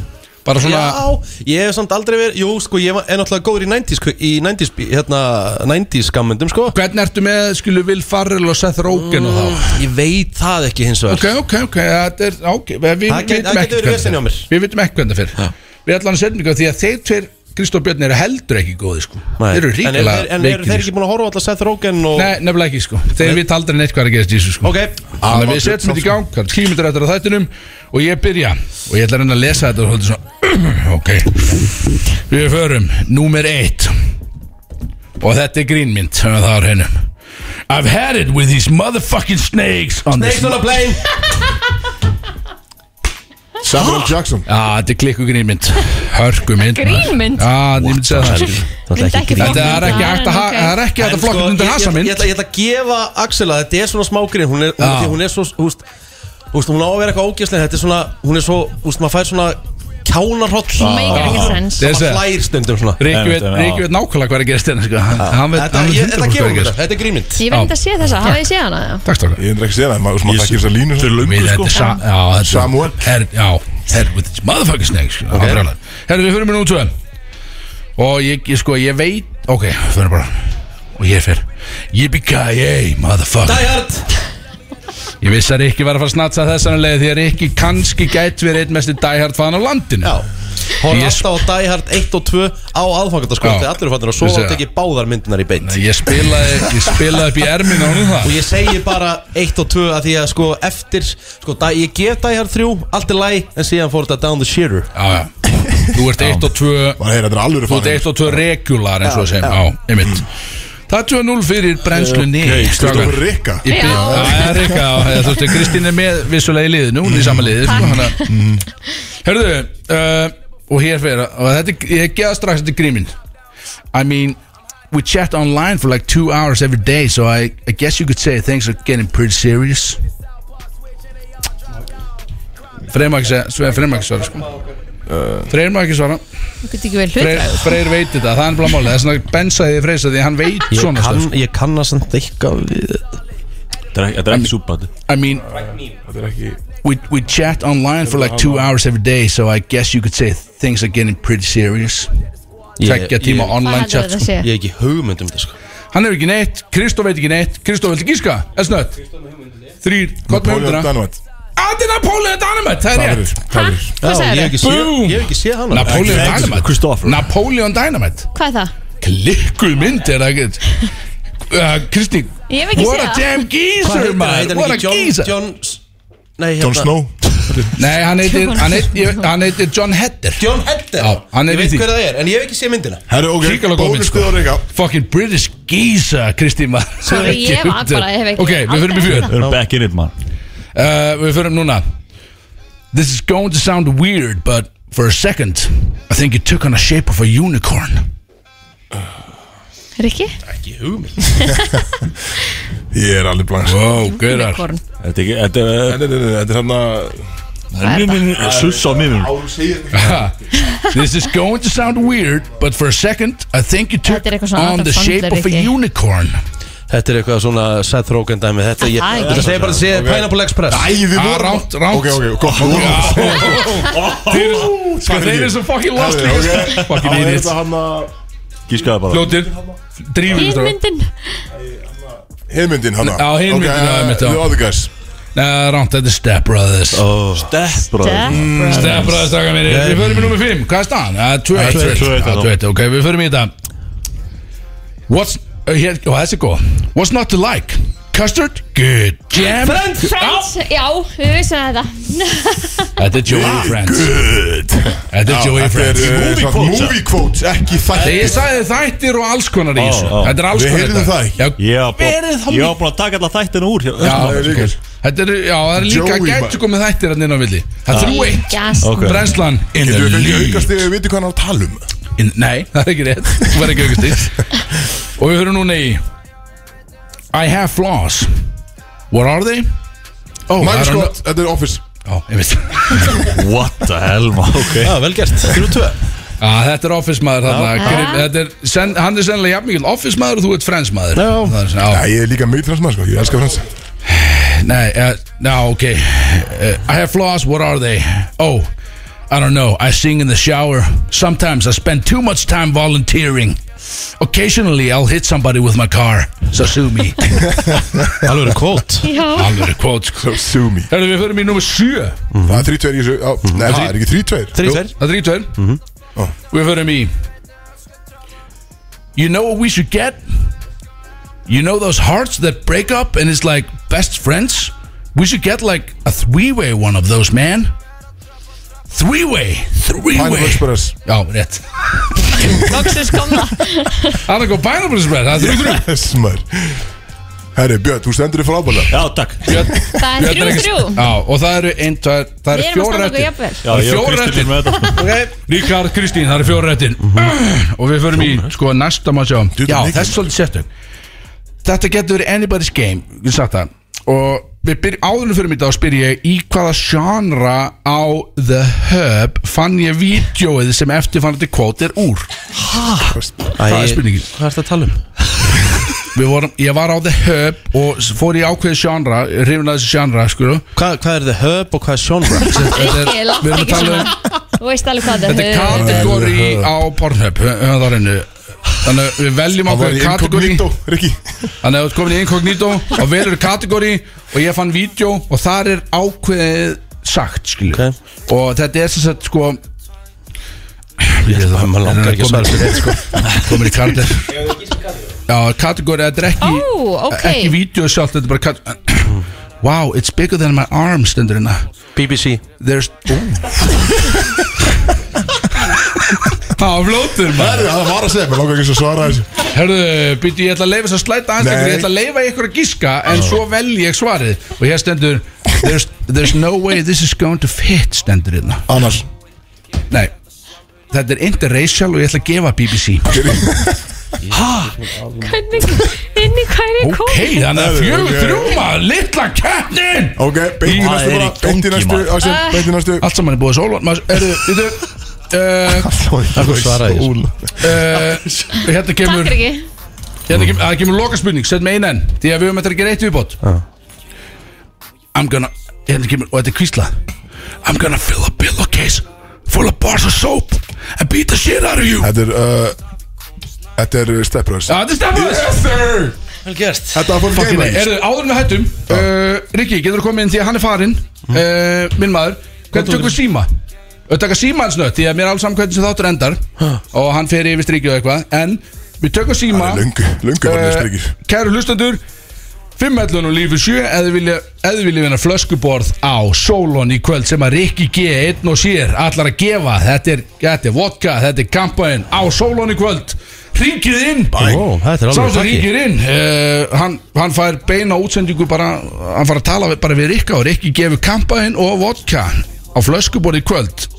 [SPEAKER 2] Bara svona
[SPEAKER 8] Já, ég hef samt aldrei verið Jú, sko, ég var- er náttúrulega góður í 90s ku- Í 90s, bí- hérna, 90s gammundum, sko
[SPEAKER 2] Hvernig ertu með, skilu, Will Farrell og Seth Rogen
[SPEAKER 1] Mm.
[SPEAKER 2] og þá?
[SPEAKER 8] Ég veit það ekki hins vegar
[SPEAKER 2] Ok, ok, ok, þetta er, ok, við við
[SPEAKER 8] Það get-
[SPEAKER 2] vitum
[SPEAKER 8] það
[SPEAKER 2] ekki
[SPEAKER 8] getur verið vesen hjá mér.
[SPEAKER 2] fyrir Við vitum ekki hvernig það fyrir Við ætlum að setja mikið því að þeir tveir, Kristóf Björn, eru heldur ekki góði, sko
[SPEAKER 8] Nei.
[SPEAKER 2] Þeir eru
[SPEAKER 8] En eru þeir-
[SPEAKER 2] ríkilega
[SPEAKER 8] En eru
[SPEAKER 2] veikir
[SPEAKER 8] þeir
[SPEAKER 2] í,
[SPEAKER 8] ekki búin að horfa alltaf Seth Rogen
[SPEAKER 2] sko.
[SPEAKER 8] og
[SPEAKER 2] Nei, nefnilega ekki, sko Þeir vita aldrei neitt hvað er að gerast í þessu, sko
[SPEAKER 8] Ok
[SPEAKER 2] Þannig að við setjum þetta í gang, það er tímitur eftir að þættinum Og ég byrja, og ég ætla að reyna að lesa þetta og þetta svona Ok, við förum, númer eitt Og þetta er grínmynd, sem það er hennum I've had it with these motherfucking snakes on
[SPEAKER 8] Snakes
[SPEAKER 2] this
[SPEAKER 8] on a plane
[SPEAKER 1] Samuel Jackson
[SPEAKER 2] Já, þetta er klikkugrímynd Hörgumynd
[SPEAKER 9] Grínmynd?
[SPEAKER 2] Já, ég myndi segja það
[SPEAKER 8] Þetta er ekki
[SPEAKER 2] Þetta er ekki
[SPEAKER 9] grínmynd.
[SPEAKER 2] hægt að ha-
[SPEAKER 9] Ok.
[SPEAKER 2] það er ekki hægt
[SPEAKER 8] En
[SPEAKER 2] að flokka
[SPEAKER 8] sko,
[SPEAKER 2] þetta undir
[SPEAKER 8] ég-
[SPEAKER 2] hasa
[SPEAKER 8] Ég
[SPEAKER 2] mynd
[SPEAKER 8] ætla, ég ætla að gefa Axel að þetta er svona smágrin Hún er, hún,
[SPEAKER 2] Já.
[SPEAKER 8] því hún er svo, húst Húst, hún á að vera eitthvað ógjörslega Þetta er svona, hún er svo, húst, maður fær svona Kjánarhóll
[SPEAKER 9] Make any sense.
[SPEAKER 2] Þessi.
[SPEAKER 8] Það hlær stundum svona
[SPEAKER 2] Ríkju veit nákvæmlega hvað er að gerast hérna sko. Hann- Hann veit
[SPEAKER 8] Þetta
[SPEAKER 2] hann veit
[SPEAKER 8] ég-
[SPEAKER 2] 100%
[SPEAKER 8] þetta
[SPEAKER 2] hvað er að
[SPEAKER 8] gefur mér
[SPEAKER 2] gerast
[SPEAKER 8] þetta, þetta er grínmynd
[SPEAKER 9] Ég veit að sé þessa, hafið ég séð hana? já?
[SPEAKER 2] Takk stokkar
[SPEAKER 1] Ég er ekki að segja það, maður maður þekkir sko. þessar línur Þetta er
[SPEAKER 2] Við þetta
[SPEAKER 8] sko.
[SPEAKER 2] er sa- já, þetta er-
[SPEAKER 1] Samuel.
[SPEAKER 2] Her- Já, her with this motherfucking snake sko.
[SPEAKER 1] Ok.
[SPEAKER 2] Það er brjálað. Herru, við fyrir mér nú tvö Og ég, ég sko, ég veit Ok, fyrir bara Og ég fyrir Yippee-ki-yay, motherfucker
[SPEAKER 8] Die Hard
[SPEAKER 2] Ég vissi að Rikki var að fara að snatsa þessan leið Því að Rikki kannski gætt verið einn mesti dæhjart fan á landinu Já,
[SPEAKER 8] Hún
[SPEAKER 2] Ég
[SPEAKER 8] er
[SPEAKER 2] sp-
[SPEAKER 8] alltaf á Die Hard 1 og 2 á aðfangandaskvöldi
[SPEAKER 2] Já.
[SPEAKER 8] Allir eru fannir að sofa
[SPEAKER 2] Vissi
[SPEAKER 8] og
[SPEAKER 2] það.
[SPEAKER 8] tekið báðar myndunar í beitt
[SPEAKER 2] Ég spilaði, ég spilaði upp í erminu á hún það
[SPEAKER 8] Og ég segi bara 1 og 2 að því að sko eftir sko, da, Ég gef Die Hard 3, allt er læg En síðan fór þetta Down the Shearer
[SPEAKER 2] Já, já Þú ert 1 og 2
[SPEAKER 1] Bara heyra, þetta er alvöru
[SPEAKER 2] Þú ert
[SPEAKER 1] farið.
[SPEAKER 2] 1 og 2 regular eins og
[SPEAKER 1] Já,
[SPEAKER 2] sem
[SPEAKER 1] já.
[SPEAKER 2] Já, einmitt Það er 2-0 fyrir brennslunni
[SPEAKER 1] Ok, Kristoffer Rikka.
[SPEAKER 2] Ég byrja-
[SPEAKER 1] Já.
[SPEAKER 2] Já, það er Rikka já, já, Þú veist, Kristín er með vissulega í liðinu Hún er í sama liði sko, hana, Herðu uh, Og hér fyrir Og þetta, er- ég geða strax þetta grímin I mean We chat online for like two hours every day So I, I guess you could say things are getting pretty serious Fremaks Fremaks, sko Freyr má ekki svara
[SPEAKER 9] Þú getur ekki verið
[SPEAKER 2] Freyr,
[SPEAKER 9] hlutræður
[SPEAKER 2] Freyr veit þetta, það er nefnilega málið Það er svona bensaðið freysa því hann veit
[SPEAKER 8] Ég
[SPEAKER 2] svona
[SPEAKER 8] kann-
[SPEAKER 2] Ég kannast hann eitthvað við
[SPEAKER 3] Þetta er ekki súpa þetta.
[SPEAKER 2] I mean we, we chat online for like two hours every day So I guess you could say things are getting pretty serious Tveggja tíma online chat sko.
[SPEAKER 8] Ég hef ekki hugmynd um þetta sko
[SPEAKER 2] Hann hefur ekki neitt, Kristó veit ekki neitt Kristó vill gíska, er snött Þrýr, hvað með
[SPEAKER 1] Napoleon
[SPEAKER 2] hundra?
[SPEAKER 1] Dynamite.
[SPEAKER 2] Þetta er Napoleon Dynamite, það er rétt
[SPEAKER 8] Hvað sagðirðu? ég hef ekki séð-
[SPEAKER 2] Boom.
[SPEAKER 8] ég hef ekki séð hana.
[SPEAKER 2] Napoleon
[SPEAKER 8] Ekki-
[SPEAKER 2] Dynamite
[SPEAKER 8] Christopher.
[SPEAKER 2] Napoleon Dynamite
[SPEAKER 9] Hvað er það?
[SPEAKER 2] Klikkuð mynd er það ekki Uh, Kristi
[SPEAKER 9] Ég hef ekki
[SPEAKER 2] What
[SPEAKER 9] séð
[SPEAKER 2] a
[SPEAKER 9] það.
[SPEAKER 2] damn
[SPEAKER 8] Hvað
[SPEAKER 2] geezer
[SPEAKER 8] heitir hann? Heitir
[SPEAKER 2] maður
[SPEAKER 8] hann
[SPEAKER 2] What a
[SPEAKER 8] ekki John-
[SPEAKER 2] geezer
[SPEAKER 8] John Nei, hérna,
[SPEAKER 1] Jon
[SPEAKER 2] Hérna.
[SPEAKER 1] Snow
[SPEAKER 2] Nei, hann heitir, hann heitir, hann heitir John Hedder
[SPEAKER 8] John Hedder?
[SPEAKER 2] Já, hann
[SPEAKER 8] Ég
[SPEAKER 2] er í
[SPEAKER 8] veit
[SPEAKER 2] því
[SPEAKER 8] hver það er, en ég hef ekki séð myndina
[SPEAKER 1] Herru, ok,
[SPEAKER 2] Kíkala góð mynd,
[SPEAKER 1] bónus þið á reyka
[SPEAKER 2] Fucking British geezer, Kristi maður
[SPEAKER 9] Sorry,
[SPEAKER 2] Það er ekki
[SPEAKER 9] ég var
[SPEAKER 2] hugdæl.
[SPEAKER 9] bara- ég hef ekki-
[SPEAKER 2] Ok, við fyrir upp
[SPEAKER 9] aldrei
[SPEAKER 2] í
[SPEAKER 9] heyrt það.
[SPEAKER 2] fjör
[SPEAKER 7] We're back in it man
[SPEAKER 2] Uh, Við fyrir núna This is going to sound weird But for a second I think it took on a shape of a unicorn
[SPEAKER 9] Rikki?
[SPEAKER 8] Ekki hugmynd
[SPEAKER 1] Ég er alveg blank
[SPEAKER 2] Wow, gaurar
[SPEAKER 9] Korn
[SPEAKER 3] Þetta er ekki, þetta er
[SPEAKER 1] Nei, nei, nei, nei, Þetta er hérna- hann
[SPEAKER 7] Mjög minn, suss á mjög minn
[SPEAKER 1] að
[SPEAKER 2] This is going to sound weird But for a second I think it took
[SPEAKER 9] Þetta er eitthvað svona
[SPEAKER 2] on
[SPEAKER 9] Adam
[SPEAKER 2] the
[SPEAKER 9] Sandler,
[SPEAKER 2] shape of a
[SPEAKER 9] Rikki.
[SPEAKER 2] unicorn
[SPEAKER 8] Þetta er eitthvað svona Seth Rogen dæmi Þetta ég-
[SPEAKER 9] Það er ekki.
[SPEAKER 8] þetta segir bara að segja Pineapple Express
[SPEAKER 1] Æ, við
[SPEAKER 2] Ah,
[SPEAKER 1] vorum
[SPEAKER 2] rámt, rámt
[SPEAKER 1] Ok, ok, gott
[SPEAKER 2] Þeir eru- Sko þeir eru svo fucking lost
[SPEAKER 1] Herru,
[SPEAKER 2] líka
[SPEAKER 1] ok.
[SPEAKER 2] Fucking
[SPEAKER 1] Þá er
[SPEAKER 2] idiot
[SPEAKER 1] þetta hann að
[SPEAKER 7] Gískaði bara
[SPEAKER 2] Fljótir Drífum við strákar.
[SPEAKER 9] Ínmyndin
[SPEAKER 1] Hinmyndin hann
[SPEAKER 2] Já, hin myndin, já, einmitt, já.
[SPEAKER 1] eh, The other guys
[SPEAKER 2] Nei, rámt, þetta er Step Brothers
[SPEAKER 7] Step brother
[SPEAKER 9] Death
[SPEAKER 2] Step Brothers, taka mér Við förum í nummer 5, hvað er staðan? Ja, 2-1
[SPEAKER 7] 2-1,
[SPEAKER 2] 2-1,
[SPEAKER 7] 2-1, þá.
[SPEAKER 2] 2-1, ok, við förum í þetta What's uh, hér, Ó, þessi er góð What's not to like? Custard? Good Jam? Friends
[SPEAKER 9] Friends, já, við vissum þetta
[SPEAKER 2] Þetta er Joey Friends
[SPEAKER 1] Good
[SPEAKER 2] Þetta er Joey Friends
[SPEAKER 1] Movie quotes eh, Movie quotes, ekki
[SPEAKER 2] Þegar
[SPEAKER 1] þættir
[SPEAKER 2] ég sagði þættir og alls konar í
[SPEAKER 7] Ó,
[SPEAKER 2] þessu
[SPEAKER 7] ó.
[SPEAKER 2] Þetta er alls
[SPEAKER 1] Við
[SPEAKER 2] konar
[SPEAKER 1] heyrðum
[SPEAKER 2] þetta.
[SPEAKER 1] það ekki.
[SPEAKER 2] Já,
[SPEAKER 7] Ég var
[SPEAKER 2] Verið þá
[SPEAKER 7] búin- ég var búin að taka alla þættinu úr
[SPEAKER 2] Já,
[SPEAKER 1] það er líka.
[SPEAKER 2] þetta er, já, það er líka
[SPEAKER 1] Joey Ah.
[SPEAKER 2] gætu komið þættir hann inn á villi Það er 3-1
[SPEAKER 9] Gæst
[SPEAKER 7] Ok.
[SPEAKER 2] Brennslan In
[SPEAKER 1] Getur
[SPEAKER 2] the
[SPEAKER 1] við fengið
[SPEAKER 2] lead
[SPEAKER 1] aukast þegar við veitum hvað hann er að tala um
[SPEAKER 2] In, nei, það er ekki rétt Það var ekki aukast í Og við höfum núna í I have flaws What are they? Oh, I
[SPEAKER 1] Michael
[SPEAKER 2] don't
[SPEAKER 1] Scott, þetta er Office
[SPEAKER 2] know- Ó, ég veit
[SPEAKER 7] What the hell man Ok
[SPEAKER 8] Já, Ah, vel gert Þrjú tvö
[SPEAKER 2] Já, Ah, þetta er office maður þarna
[SPEAKER 9] Já.
[SPEAKER 2] Grip- Þetta er, sen, hann er sennilega jafnmikil office maður og þú ert friends maður
[SPEAKER 8] Já.
[SPEAKER 2] Það er svona,
[SPEAKER 1] Já,
[SPEAKER 2] á,
[SPEAKER 1] ég er líka mjög fransmann sko, ég elskar frans
[SPEAKER 2] Nei, uh, no, ok uh, I have flaws, what are they? Oh, I don't know I sing in the shower Sometimes I spend too much time volunteering Occasionally I'll hit somebody with my car So sue me
[SPEAKER 8] Alveg eru kólt
[SPEAKER 9] Já,
[SPEAKER 2] Alveg quotes
[SPEAKER 1] So Sko, sue me
[SPEAKER 2] Herðu, við förum í nummer 7
[SPEAKER 1] Það er 3-2 í þessu,
[SPEAKER 2] Mhm.
[SPEAKER 1] já, nei það er ekki 3-2
[SPEAKER 8] Þrjú tveir
[SPEAKER 2] Það er þrítvör
[SPEAKER 1] Ó.
[SPEAKER 2] Við förum í You know what we should get? You know those hearts that break up and it's like best friends? We should get like a three-way one of those, man Three-way
[SPEAKER 1] Pineapple
[SPEAKER 2] Three-way
[SPEAKER 1] Express
[SPEAKER 2] Já, rétt
[SPEAKER 9] loksins kom það
[SPEAKER 2] Það er góð Pineapple Express, það er þrjú þrjú
[SPEAKER 1] Yes, maður Herri, Björn, þú stendur þig frábæðlega
[SPEAKER 7] Já, takk
[SPEAKER 9] Það er þrjú þrjú
[SPEAKER 2] Já, og það eru ein, tvær, það
[SPEAKER 9] Við
[SPEAKER 2] eru
[SPEAKER 9] erum að
[SPEAKER 2] fjóra
[SPEAKER 9] standa okkur
[SPEAKER 2] réttir
[SPEAKER 9] jafnvel
[SPEAKER 7] Já,
[SPEAKER 2] Það
[SPEAKER 7] ég
[SPEAKER 2] eru
[SPEAKER 7] og
[SPEAKER 2] fjóra
[SPEAKER 7] Kristín
[SPEAKER 2] réttir
[SPEAKER 7] erum með
[SPEAKER 2] Ríkard, sko. Kristín, það er fjórurættin
[SPEAKER 7] þetta
[SPEAKER 2] Og við förum í, sko, næsta maður sjá
[SPEAKER 1] Dude,
[SPEAKER 2] Já,
[SPEAKER 1] mikið.
[SPEAKER 2] það er svolítið sérstök Þetta getur verið anybody's game Við sagt það Og við byrjum, áðurinn fyrir mig þá spyr ég Í hvaða genre á The Hub Fann ég vídjóið sem eftirfannandi kvót er úr Það er spurningin
[SPEAKER 8] Hvað er þetta að tala um?
[SPEAKER 2] Við vorum, ég var á The Hub Og s- fór í ákveðið genre Hrifin að þessi genre, skuru
[SPEAKER 8] Hvað hvað er The Hub og hvað er Genre?
[SPEAKER 9] Rikki,
[SPEAKER 2] við
[SPEAKER 9] látt
[SPEAKER 2] erum að
[SPEAKER 9] ekki
[SPEAKER 2] tala
[SPEAKER 9] svona
[SPEAKER 2] um-
[SPEAKER 9] Þú veist alveg hvað
[SPEAKER 2] Þetta er kategóri á Pornhub hö- höfum það á hreinu. Þannig að við veljum
[SPEAKER 1] Það var
[SPEAKER 2] ákveðið
[SPEAKER 1] í
[SPEAKER 2] kategóri
[SPEAKER 1] incognito, Rikki
[SPEAKER 2] Þannig að þú ert komin í inkognító og velur kategóri og ég fann vídeo og þar er ákveðið sagt skilju
[SPEAKER 8] Ok.
[SPEAKER 2] og þetta er sem sagt sko Ég
[SPEAKER 8] það- maður langar ekki að svara
[SPEAKER 2] komin, sko, komin í kardir Já, kategóri, þetta er ekki
[SPEAKER 9] Ó, ok.
[SPEAKER 2] ekki vídeo sjálft, þetta er bara kategóri Wow, it's bigger than my arm stendur hérna
[SPEAKER 8] BBC
[SPEAKER 2] There's Það var flótur maður
[SPEAKER 1] Herri, það var að segja, maður langar ekki að svara þessu
[SPEAKER 2] Herðu, býttu ég ætla að leifa þess að slæta aðeins ykkur,
[SPEAKER 1] Nei.
[SPEAKER 2] Ég ætla að leifa ykkur að gíska En svo vel ég svarið Og hér stendur There's, there's no way this is going to fit Stendur hérna
[SPEAKER 1] Annars
[SPEAKER 2] Nei, þetta er interracial og ég ætla að gefa BBC
[SPEAKER 9] Hvernig, inn í hvað Hvað er ég
[SPEAKER 2] Ok,
[SPEAKER 9] komið?
[SPEAKER 2] þannig að
[SPEAKER 1] Herru,
[SPEAKER 2] fjögur
[SPEAKER 1] ok.
[SPEAKER 2] þrjú maður Littla kettin
[SPEAKER 1] Ok, beint í næstu bara, beint í næstu, Ásjón, beint í næstu
[SPEAKER 2] Allt saman er búið sólan Maður, eh, erðu, veitu
[SPEAKER 8] Það er svarað ég
[SPEAKER 2] uh, Hérna
[SPEAKER 9] Takk
[SPEAKER 2] kemur
[SPEAKER 9] er ekki
[SPEAKER 2] Hérna kemur, það kemur loka spurning Sett með einn enn Því að við höfum eftir að gera eitt viðbót I'm gonna Hérna kemur, og þetta er kvísla I'm gonna fill a pillowcase Full of bars of soap And beat the shit out of you
[SPEAKER 1] Þetta er, uh, þetta er steppurðs
[SPEAKER 2] Já, þetta er stefnus
[SPEAKER 1] Yes, sir
[SPEAKER 8] Vel gert
[SPEAKER 1] Þetta var fólk
[SPEAKER 2] Fucking nei,
[SPEAKER 1] geimar
[SPEAKER 2] Erðu, áður en við hættum uh, Rikki, getur þú komið inn því að hann er farinn
[SPEAKER 1] Hm?
[SPEAKER 2] uh, Minn maður Hvernig tökum við síma? Við tökum síma hans nött Því að mér er alls saman hvernig sem þáttur endar Og hann fer yfir strikið og eitthvað En við tökum síma
[SPEAKER 1] Það er löngu, löngu var með strikir
[SPEAKER 2] Eh, Kæru hlustendur 5.11 og lífið 7 eða þið vilja, ef þið vilja vinna flöskuborð á Solon í kvöld sem að Rikki G einn og sér allar að gefa þetta er, þetta er vodka, þetta er kampaðin á Solon í kvöld ringið inn
[SPEAKER 8] Ó, þetta er alveg
[SPEAKER 2] Sá sem
[SPEAKER 8] pakki.
[SPEAKER 2] ringir inn uh, hann, hann fær beina útsendingu bara, hann fær að tala við, bara við Rikka og Rikki gefur kampaðin og vodka á flöskuborð í kvöld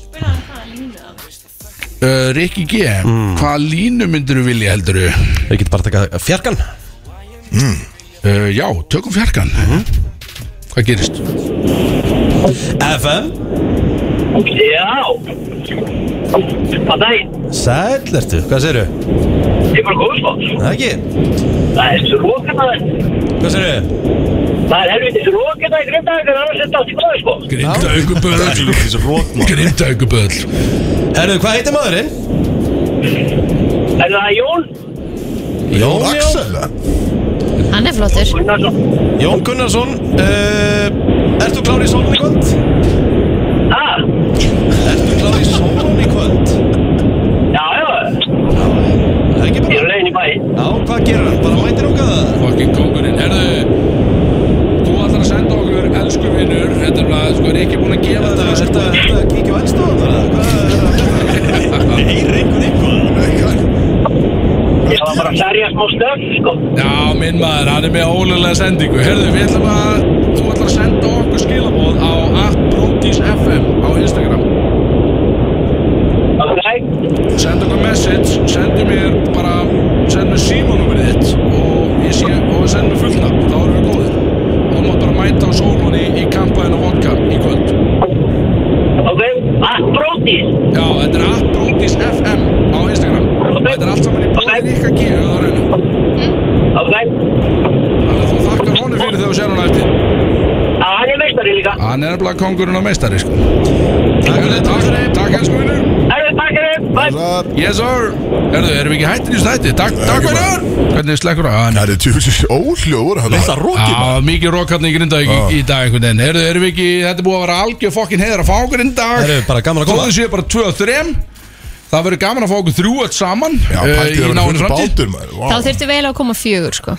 [SPEAKER 2] uh, Rikki G mm. hvað línu myndir þú vilja heldur þú?
[SPEAKER 8] Við getum bara að taka fjarkan
[SPEAKER 2] Uh, já, tökum fjarkan Hvað gerist?
[SPEAKER 8] FM
[SPEAKER 13] Já Það er
[SPEAKER 8] Sæll ertu, hvað segirðu?
[SPEAKER 13] Ég er bara góð sko
[SPEAKER 8] Það ekki?
[SPEAKER 13] Það er svo roka það
[SPEAKER 8] Hvað segirðu?
[SPEAKER 13] Það er helviti svo roka það í grindaðingar Annars er þetta allt í góð sko
[SPEAKER 2] Grindauguböðl Grindauguböðl
[SPEAKER 8] Herðu, hvað heitir maðurinn?
[SPEAKER 13] Er það Jón?
[SPEAKER 8] Jón Axel
[SPEAKER 9] Hann er flottur
[SPEAKER 13] Gunnarsson
[SPEAKER 8] Jón Gunnarsson uh, Ert þú klár í sólun í kvöld?
[SPEAKER 13] Ha?
[SPEAKER 8] Ert þú klár í sólun í kvöld?
[SPEAKER 13] Já, já
[SPEAKER 8] Það er ekki
[SPEAKER 13] Ég
[SPEAKER 8] bara
[SPEAKER 13] er á leiðin í bæ
[SPEAKER 8] Já, hvað gerir hann? Bara mætir hún það?
[SPEAKER 2] Fucking kongurinn Herðu, þú ætlar að senda okkur Elsku vinnur, þetta er bara Sko, er ekki búin að gefa
[SPEAKER 8] Þetta,
[SPEAKER 2] þetta
[SPEAKER 8] þetta, þetta kíkja á eldstóðan þar eða? Hvað er það? Heyr einhvern eitthvað
[SPEAKER 13] Ég var bara að serja smá stöf sko
[SPEAKER 2] Já, minn maður, hann er með ólega sendingu Herðu, við ætlum að Þú ætlar að senda okkur skilabóð á atbrotisfm á Instagram
[SPEAKER 13] Ok
[SPEAKER 2] Senda okkur message Sendu mér bara Sendu mér símanúmerið þitt Og ég sé Og sendu mér fullnafn Þá erum við góðir Og þú mátt bara mæta á sólun í, í kampaðin og vodka í kvöld
[SPEAKER 13] Ok Að brótið
[SPEAKER 2] Já, þetta er Appbrótis FM á Instagram og Þetta er allt saman í bóðin ykkar gíu á raunum
[SPEAKER 13] Ok
[SPEAKER 2] Þannig að þú þakkar honum fyrir þegar þú sér hún eftir
[SPEAKER 13] Að Ah, hann er meistari líka
[SPEAKER 2] Hann er nefnilega kongurinn og meistari sko Herðu, Takk fyrir þetta, takk hans munur
[SPEAKER 13] Erðu takkir Bæ
[SPEAKER 2] Yes sir Herðu, erum við ekki hættin í þessu þætti? Takk, takk fyrir Hvernig slekkur á hann?
[SPEAKER 1] Það er tjóðsins óhljóður hann
[SPEAKER 8] Litla rokið
[SPEAKER 2] Já, mikið rokkarni í grindavík í, í dag einhvern veginn Herðu, erum við ekki, þetta er búið að vera algjör fokkin heiðar að fá okkur inn í dag
[SPEAKER 8] Herðu, bara gaman að koma.
[SPEAKER 2] Góðið séu bara 2 og 3 Það verður gaman að fá okkur þrjú öll saman
[SPEAKER 1] Já,
[SPEAKER 2] eh,
[SPEAKER 1] pæltið
[SPEAKER 2] í
[SPEAKER 1] að vera
[SPEAKER 2] náinni
[SPEAKER 1] full
[SPEAKER 2] framtíð.
[SPEAKER 1] bátur maður Vá.
[SPEAKER 9] Þá þurftu vel að koma fjögur sko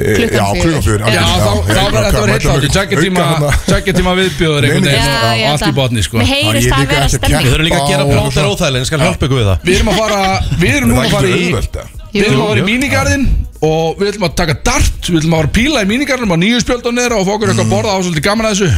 [SPEAKER 1] Eh,
[SPEAKER 9] klukkan
[SPEAKER 1] Já,
[SPEAKER 9] fjögur.
[SPEAKER 1] klukkan fjögur
[SPEAKER 2] Já, þá þá verður þetta verið heilla okkur Tveggja tíma, tveggja tíma viðbjóður einhvern
[SPEAKER 1] Nei, nei,
[SPEAKER 2] veginn
[SPEAKER 9] Já,
[SPEAKER 2] og allt
[SPEAKER 9] ég
[SPEAKER 2] í
[SPEAKER 9] held
[SPEAKER 2] botni sko
[SPEAKER 9] Mér heyrist það vera
[SPEAKER 8] Við
[SPEAKER 9] stemning
[SPEAKER 8] þurfum líka að gera plátar óþægileg, ég skal hjálpa ykkur við það
[SPEAKER 2] Við erum að fara, við erum núna að fara í Við erum að fara í
[SPEAKER 1] Jú, jú.
[SPEAKER 2] mínigarðin og við ætlum að taka dart Við ætlum að fara að píla í mínigarðinum á nýju spjöldunir og fá okkur eitthvað að borða á svolítið gaman að þessu